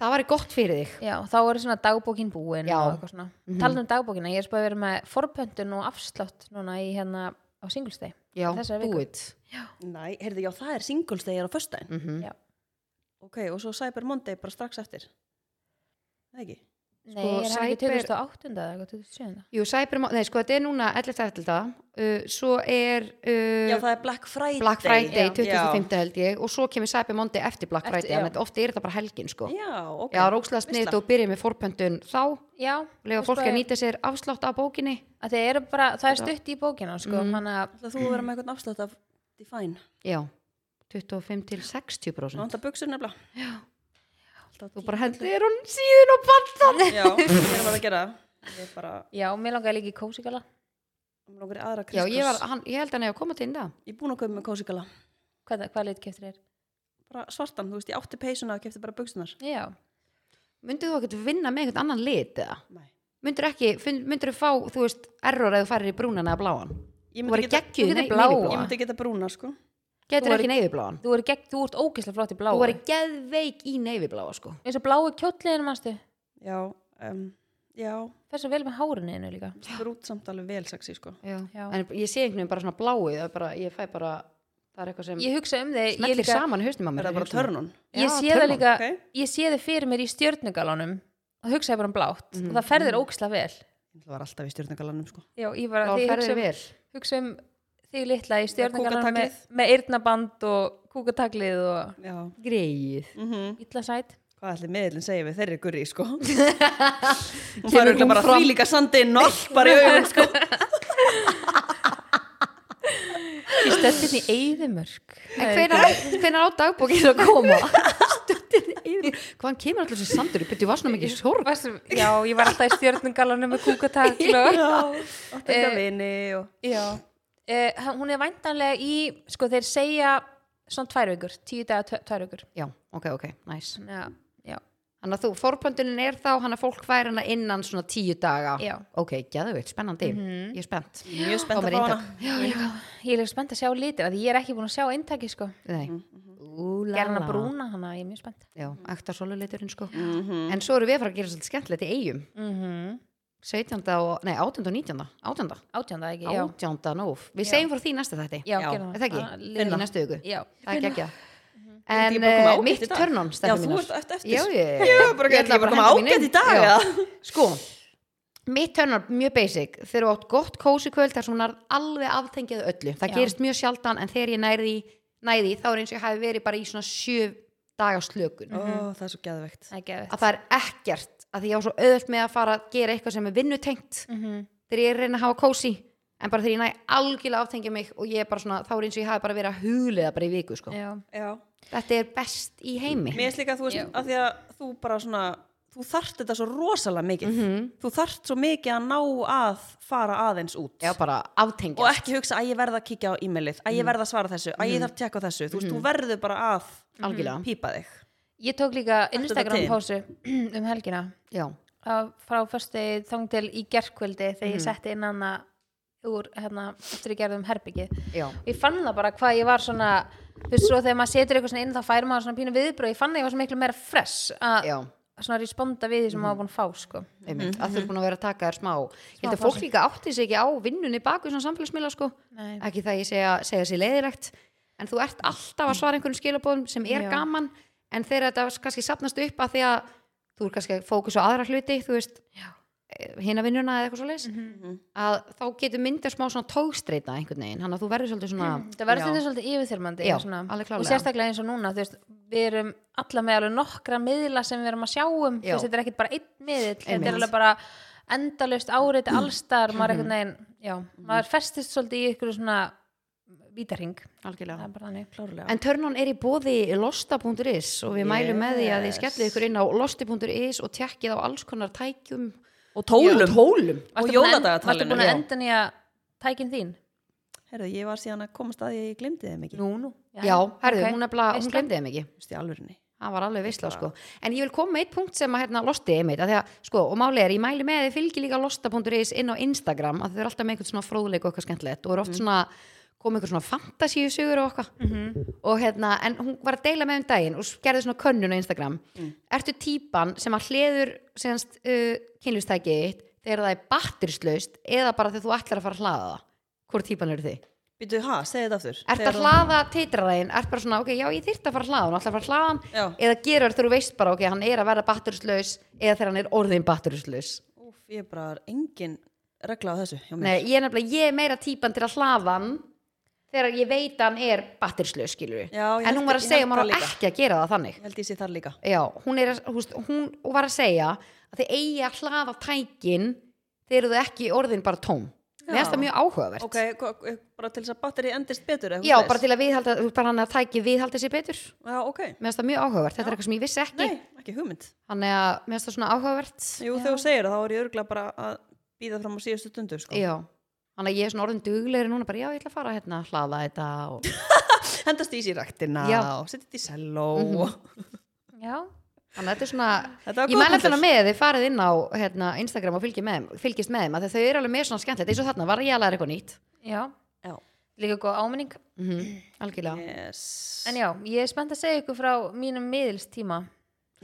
Speaker 2: það væri gott fyrir þig.
Speaker 3: já, þá er svona dagbókin búin
Speaker 2: Já.
Speaker 3: og eitthvað svona.
Speaker 2: Mhm.
Speaker 3: Talandi um dagbókina, ég er spáð að vera með forpöntun og afslátt núna í hérna á singlsteg
Speaker 2: Já,
Speaker 3: Þessari
Speaker 2: do
Speaker 3: viku.
Speaker 2: it.
Speaker 1: Nei, heyrðu, já, það er singles þegar á föstudaginn
Speaker 2: Mhm.
Speaker 3: Já.
Speaker 1: Ok, og svo Cyber Monday bara strax eftir Það ekki?
Speaker 3: Nei,
Speaker 2: Sko,
Speaker 3: er hann ekki
Speaker 2: Cyber-
Speaker 3: 2008 eða eitthvað 2007
Speaker 2: Jú, Cyber... Mo- Nei, sko, þetta er núna 11. eftir það. Svo er... uh,
Speaker 1: Já, það er Black Friday
Speaker 2: Black Friday,
Speaker 3: Já.
Speaker 2: 25. held ég og svo kemur Cyber Monday eftir Black
Speaker 3: Eftir,
Speaker 2: Friday
Speaker 3: já.
Speaker 2: þannig að ofta er þetta bara helgin sko
Speaker 1: Já, já ok
Speaker 2: Já, rókslega sniðt
Speaker 1: Veisla.
Speaker 2: og byrja með forpöndun þá
Speaker 3: Já,
Speaker 2: lega
Speaker 3: Þú
Speaker 2: fólk að
Speaker 3: spáir-
Speaker 2: nýta sér afslátt af bókinni
Speaker 3: að það er bara, það er stutt í bókina sko,
Speaker 2: Mhm.
Speaker 3: mm. að,
Speaker 1: Ætlar Þú að vera með eitthvað afslátt af Define
Speaker 2: Já, 25 til 60%
Speaker 1: Ná, þetta buksur nefnilega Já
Speaker 2: Þú bara hendur hún síðan og bandan
Speaker 1: Já, ég er bara að gera það Ég er bara,
Speaker 3: Já, mér langaði líka í kósigala
Speaker 1: um langar í aðra
Speaker 2: Já,
Speaker 1: kriskus
Speaker 2: ég, var,
Speaker 3: sko.
Speaker 2: hann, ég held hann eigi að koma til það
Speaker 1: Ég er búin að köpa með kósikala
Speaker 3: Hvað, hvað litkeftur er?
Speaker 1: bara svartan, þú veist, ég átti peysuna og kefti bara buksunar
Speaker 3: Já,
Speaker 2: Myndir þú ekkert vinna með einhvern annan lit eða?
Speaker 1: Nei.
Speaker 2: Myndir ekki, myndir þú fá, þú veist, error eða þú farir í brúnan eða bláan?
Speaker 1: Ég
Speaker 2: Þú
Speaker 1: myndi,
Speaker 2: verður
Speaker 1: geta,
Speaker 2: geggjuð
Speaker 3: þú
Speaker 2: í nei-
Speaker 3: getur bláa.
Speaker 1: ég
Speaker 2: neyðubláan
Speaker 1: myndi geta brúna, sko
Speaker 2: Getur
Speaker 3: Þú
Speaker 2: ekki neyðubláan
Speaker 3: þú, er gegg, þú ert ógeðslega flott í bláu
Speaker 2: Þú er geðveik í neyðubláa sko
Speaker 3: eins og bláu kjótliðinu mannstu
Speaker 1: Já, um, já
Speaker 3: Þessu vel með háruninu líka
Speaker 1: brút samt alveg vel sexy, sko
Speaker 2: Já.
Speaker 3: Já.
Speaker 2: en ég sé einhvern veginn bara svona bláu það er bara, ég fæ bara það er eitthvað sem
Speaker 3: ég hugsa um þig ég,
Speaker 2: smellir
Speaker 3: líka,
Speaker 2: saman í haustum á mér
Speaker 1: Er það bara törnun?
Speaker 3: ég
Speaker 2: Já,
Speaker 3: sé
Speaker 2: turn
Speaker 3: það
Speaker 2: on,
Speaker 3: líka
Speaker 1: ok.
Speaker 3: ég sé þið fyrir mér í stjörnugalunum og hugsaði bara um blátt og það ferðir ógislega vel
Speaker 1: Það var alltaf í stjórnagalanum sko.
Speaker 3: Já, ég bara,
Speaker 2: þá
Speaker 3: þegar ég
Speaker 2: ferðir
Speaker 3: hugsa um,
Speaker 2: vel
Speaker 3: hugsa um þig litla í stjörnugalunum með,
Speaker 1: kúkataglið.
Speaker 3: með eyrnaband og kúkataglið og
Speaker 1: Já.
Speaker 2: greið
Speaker 3: illa sæt
Speaker 1: Mhm. Hvað ætli miðlinn segja við þeirri gurri sko? Hún
Speaker 2: Kemur
Speaker 1: fær örugglega
Speaker 2: hún
Speaker 1: bara
Speaker 2: fram?
Speaker 1: því líka sandi norð bara í augun sko.
Speaker 3: ég stöttir því eyðimörk
Speaker 2: en hvernig á dagbókið að koma stöttin yfir hvaðan kemur alltaf þessi sandur ég byrju var svona mikið sorg
Speaker 3: Varstu, já, ég var alltaf í stjörnugalunum með kúkatagl og
Speaker 2: Eh,
Speaker 1: Átt enga vini og...
Speaker 3: Já, eh, hann- hún er væntanlega í, sko þeir segja svona tvær vikur, tíu daga tve- tvær vikur.
Speaker 2: já, ok, ok, nice
Speaker 3: Já, já,
Speaker 2: þannig að þú, forpöndunin er þá hann að fólk fær hana innan svona tíu daga
Speaker 3: Já. Mhm.
Speaker 2: ok, geðveikt, spennandi, ég er spennt
Speaker 1: Mjög spennt
Speaker 2: Þá
Speaker 1: að fá
Speaker 2: með
Speaker 1: hana.
Speaker 2: eintak.
Speaker 3: já, já. Ég er líka spennt að sjá litin, af því ég er ekki búin að sjá eintaki, sko.
Speaker 2: Nei. Ú, la,
Speaker 3: Gerna
Speaker 2: la.
Speaker 3: brúna, hana, ég er mjög spennt.
Speaker 2: já, ekta soluliturinn sko
Speaker 1: Mhm.
Speaker 2: en svo erum við að fara að gera svolítið skemmtilegt í eigum
Speaker 3: Mm
Speaker 2: Mhm.
Speaker 3: -hmm.
Speaker 2: 17. og, nei, 18. og 19. 18.
Speaker 3: Átjánda, ekki? Já,
Speaker 2: 18. nóf við segjum frá því í næsta þetta
Speaker 3: já,
Speaker 1: Já.
Speaker 3: gerna
Speaker 2: er það ekki, í næsta hugu
Speaker 3: Já,
Speaker 2: það er geggjað
Speaker 1: Mhm. Ég er
Speaker 2: en
Speaker 1: bara að koma
Speaker 2: eh,
Speaker 1: ágætt
Speaker 2: mitt
Speaker 1: í dag.
Speaker 2: törnum
Speaker 1: Já, þú ert eftir- eftir.
Speaker 2: já, ég,
Speaker 1: Ég var bara, ég ætla bara að koma
Speaker 2: henda mínu
Speaker 1: ágætt í dag
Speaker 2: inn. Já.
Speaker 1: eða?
Speaker 2: sko, mitt törnum mjög basic þegar þú átt gott kósi kvöld þar sem hún er alveg aftengið öllu það
Speaker 3: Já.
Speaker 2: gerist mjög sjaldan en þegar ég næði næði þá er eins og ég hafi verið bara í svona sjö daga slökun
Speaker 1: Ó, það er svo geðvegt.
Speaker 3: það er gefið.
Speaker 2: að það er ekkert að því ég á svo auðvöld með að fara að gera eitthvað sem er vinnutengt
Speaker 3: Mhm.
Speaker 2: þegar ég er að reyna að hafa kósi en bara þegar ég næ algjörlega aftengja mig og ég er bara svona, þá er eins og ég hafi bara verið að huglega bara í viku sko.
Speaker 3: Já,
Speaker 1: Já.
Speaker 2: þetta er best í heimi
Speaker 1: Mér finnst líka að þú veist,
Speaker 3: Já.
Speaker 1: að því að þú bara svona, þú þarft þetta svo rosalega mikið.
Speaker 3: Mhm.
Speaker 2: Mhm.
Speaker 1: Þú þarft svo mikið að ná að fara aðeins út.
Speaker 2: já bara
Speaker 1: Og
Speaker 2: aftengja
Speaker 1: ekki hugsa að ég verða að kíkja á e-mailið, að
Speaker 3: Mhm.
Speaker 1: ég verða að svara þessu, að ég þarf að tjekka á þessu. Þú veist, þú verður bara að Mhm.
Speaker 2: algjörlega,
Speaker 1: pípa þig.
Speaker 3: ég tók líka
Speaker 1: þetta
Speaker 3: Instagram
Speaker 1: til.
Speaker 3: pásu um helgina
Speaker 2: já,
Speaker 3: Af- frá föstu þang til í gerkvöldi þegar
Speaker 2: Mhm.
Speaker 3: ég setti inn hana úr, hérna, eftir ég gerði um herbyggið.
Speaker 2: já
Speaker 3: og ég fann það bara hvað ég var svona þú veist svo þegar maður setur eitthvað svona inn þá fær maður svona pínu viðbröð, ég fann að ég var svona miklu meira fresh að
Speaker 2: Já, Mhm.
Speaker 3: svona responda við því sem maður var búin að fá sko.
Speaker 2: einmitt, að þú er búin að vera að taka þér smá Ég held að fólk líka átti sig ekki á vinnunni baku svona samfélagsmiðla sko
Speaker 3: Nei.
Speaker 2: ekki það ég segja, segja sér leiðilegt en þú ert alltaf að svara einhverjum skilabóðum sem er
Speaker 3: Já.
Speaker 2: gaman en þegar þetta kannski sapnast upp að því að þú er kannski að fókus á aðra hluti þú veist, e, hina vinnuna eða eitthvað svo leis að þá getur myndið smá svona tókstreita einhvern veginn, hann að þú verður svolítið svona
Speaker 3: Mm, það verður
Speaker 1: Já.
Speaker 3: þetta svolítið yfirþyrmandi
Speaker 2: Já,
Speaker 3: svona.
Speaker 2: alveg klárlega.
Speaker 3: og sérstaklega eins og núna þú veist, við erum alla með alveg nokkra miðla sem við erum að sjáum þú
Speaker 2: Já.
Speaker 3: veist, þetta er ekkit bara einn miðl þetta
Speaker 2: Einmitt.
Speaker 3: er alveg bara endalust árið allstar, maður einhvern veginn já,
Speaker 2: Mm.
Speaker 3: maður festist svolítið í ykkur svona vítarhing, það
Speaker 2: algjörlega
Speaker 3: er bara þannig klárlega
Speaker 2: En törnun er í bóði losta.is og við mælum með því að þið skellið ykkur inn á losti.is og tjekkið á alls konar tækjum
Speaker 1: Og tólum.
Speaker 2: Já, tólum.
Speaker 1: Og
Speaker 3: Varstu búin að en- Varstu
Speaker 1: jóladagatalinu.
Speaker 3: búin að enda nýja tækin þín?
Speaker 1: Herðu, ég var síðan að komast að því að ég glemdi þeim ekki.
Speaker 3: Nú, nú
Speaker 2: Já, herðu,
Speaker 3: ok.
Speaker 2: hún er bara, hún
Speaker 3: Veislan.
Speaker 2: glemdi þeim ekki
Speaker 1: Þú veist, í alvörinni.
Speaker 2: Það var alveg veistla, sko. En ég vil koma með eitt punkt sem að hérna losti einmitt, að því að, sko, og máli er, ég mæli með að þið fylgi líka losta.is inn á Instagram, að þau eru alltaf með einhvern svona fróðleik og eitthvað skemmtilegt og eru oft svona, kom einhvern svona fantasíu sögur og eitthvað. Og hérna, en hún var að deila með um daginn og gerði svona könnun á Instagram. Ertu típan sem að hleður, semst, uh, kynlustækið þitt þegar það er batterslaust eða bara þegar þú ætlar að fara að hlaða það? Hvor típan eru þið?
Speaker 1: Býtu, ha, segði þetta aftur.
Speaker 2: Ert að
Speaker 1: Þegar-
Speaker 2: hlaða teitraðin, ert bara svona, ok, já, ég þyrfti að fara að hlaða, hann ætla að fara að hlaða hann,
Speaker 1: Já.
Speaker 2: eða gerur þegar þú veist bara, ok, hann er að verða batterislaus eða þegar hann er orðin batterislaus.
Speaker 1: Úf, ég er bara engin regla á þessu. hjá mér.
Speaker 2: Nei, ég er nefnilega, ég er meira típan til að hlaða hann þegar ég veit að hann er batterislaus, skilur við.
Speaker 1: Já, ég
Speaker 2: en
Speaker 1: held-
Speaker 2: hún var að
Speaker 1: ég
Speaker 2: segja,
Speaker 1: held
Speaker 2: að
Speaker 1: það
Speaker 2: maður á
Speaker 1: líka.
Speaker 2: ekki að gera það þannig.
Speaker 1: Ég held ég sé þar líka.
Speaker 2: Já, hún er, að- húst, hún hún var að segja að þið eigi að hlaða tækin þegar þau ekki orðin bara tóm. Mér finnst það mjög áhugavert.
Speaker 1: Ok, hva- bara til þess að batteri endist betur? eða eitthvað
Speaker 2: Já,
Speaker 1: svoleiðis?
Speaker 2: bara til að viðhalda, þú veist, bara hann að tæki viðhaldi sér betur.
Speaker 1: Já, ok.
Speaker 2: Mér finnst það mjög áhugavert, þetta er eitthvað sem ég vissi ekki.
Speaker 1: Nei, ekki hugmynd.
Speaker 2: Þannig að mér finnst það svona áhugavert
Speaker 1: Jú, þegar þú segir það, þá er ég örgulega bara að býða fram á síðustu stundu, sko.
Speaker 2: Já Þannig að ég er svona orðin duglegri núna bara já ég ætla að fara hérna að hlaða þetta og...
Speaker 1: Hendast í sér ræktina
Speaker 2: Já. Mhm.
Speaker 1: og setja þetta í selló.
Speaker 3: Já,
Speaker 2: Þannig að þetta er svona
Speaker 1: Þetta var
Speaker 2: Ég mæla
Speaker 1: góð
Speaker 2: alltaf
Speaker 1: punktur.
Speaker 2: með þið farið inn á hérna, Instagram og fylgið með, þeim- fylgist með þeim af því að þau eru alveg með svona skemmtilegt eins og þarna var ég að læra eitthvað nýtt
Speaker 3: já,
Speaker 1: Já.
Speaker 3: líka góð áminning
Speaker 1: Mhm.
Speaker 2: mm Algjörlega
Speaker 1: Yes.
Speaker 3: En já, ég er spennt að segja ykkur frá mínum miðilstíma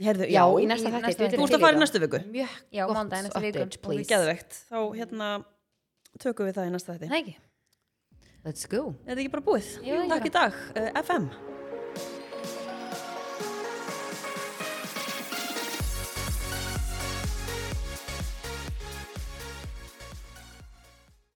Speaker 1: Herðu,
Speaker 2: Já,
Speaker 1: já,
Speaker 2: í næsta
Speaker 3: í
Speaker 2: þætti
Speaker 3: næsta
Speaker 2: við
Speaker 3: þætti.
Speaker 1: þú
Speaker 2: erum
Speaker 1: ert
Speaker 2: til
Speaker 1: að fara í
Speaker 2: það.
Speaker 1: næstu viku.
Speaker 2: Mjög
Speaker 3: Já,
Speaker 2: gott
Speaker 3: mándag í næstu viku.
Speaker 2: update,
Speaker 1: Það er
Speaker 2: please
Speaker 1: geðveikt. Þá, hérna, tökum við það í næsta þætti.
Speaker 3: Nei ekki
Speaker 5: Let's go
Speaker 1: Er þetta ekki bara búið?
Speaker 2: Jú, ég
Speaker 1: Takk í dag, uh, FM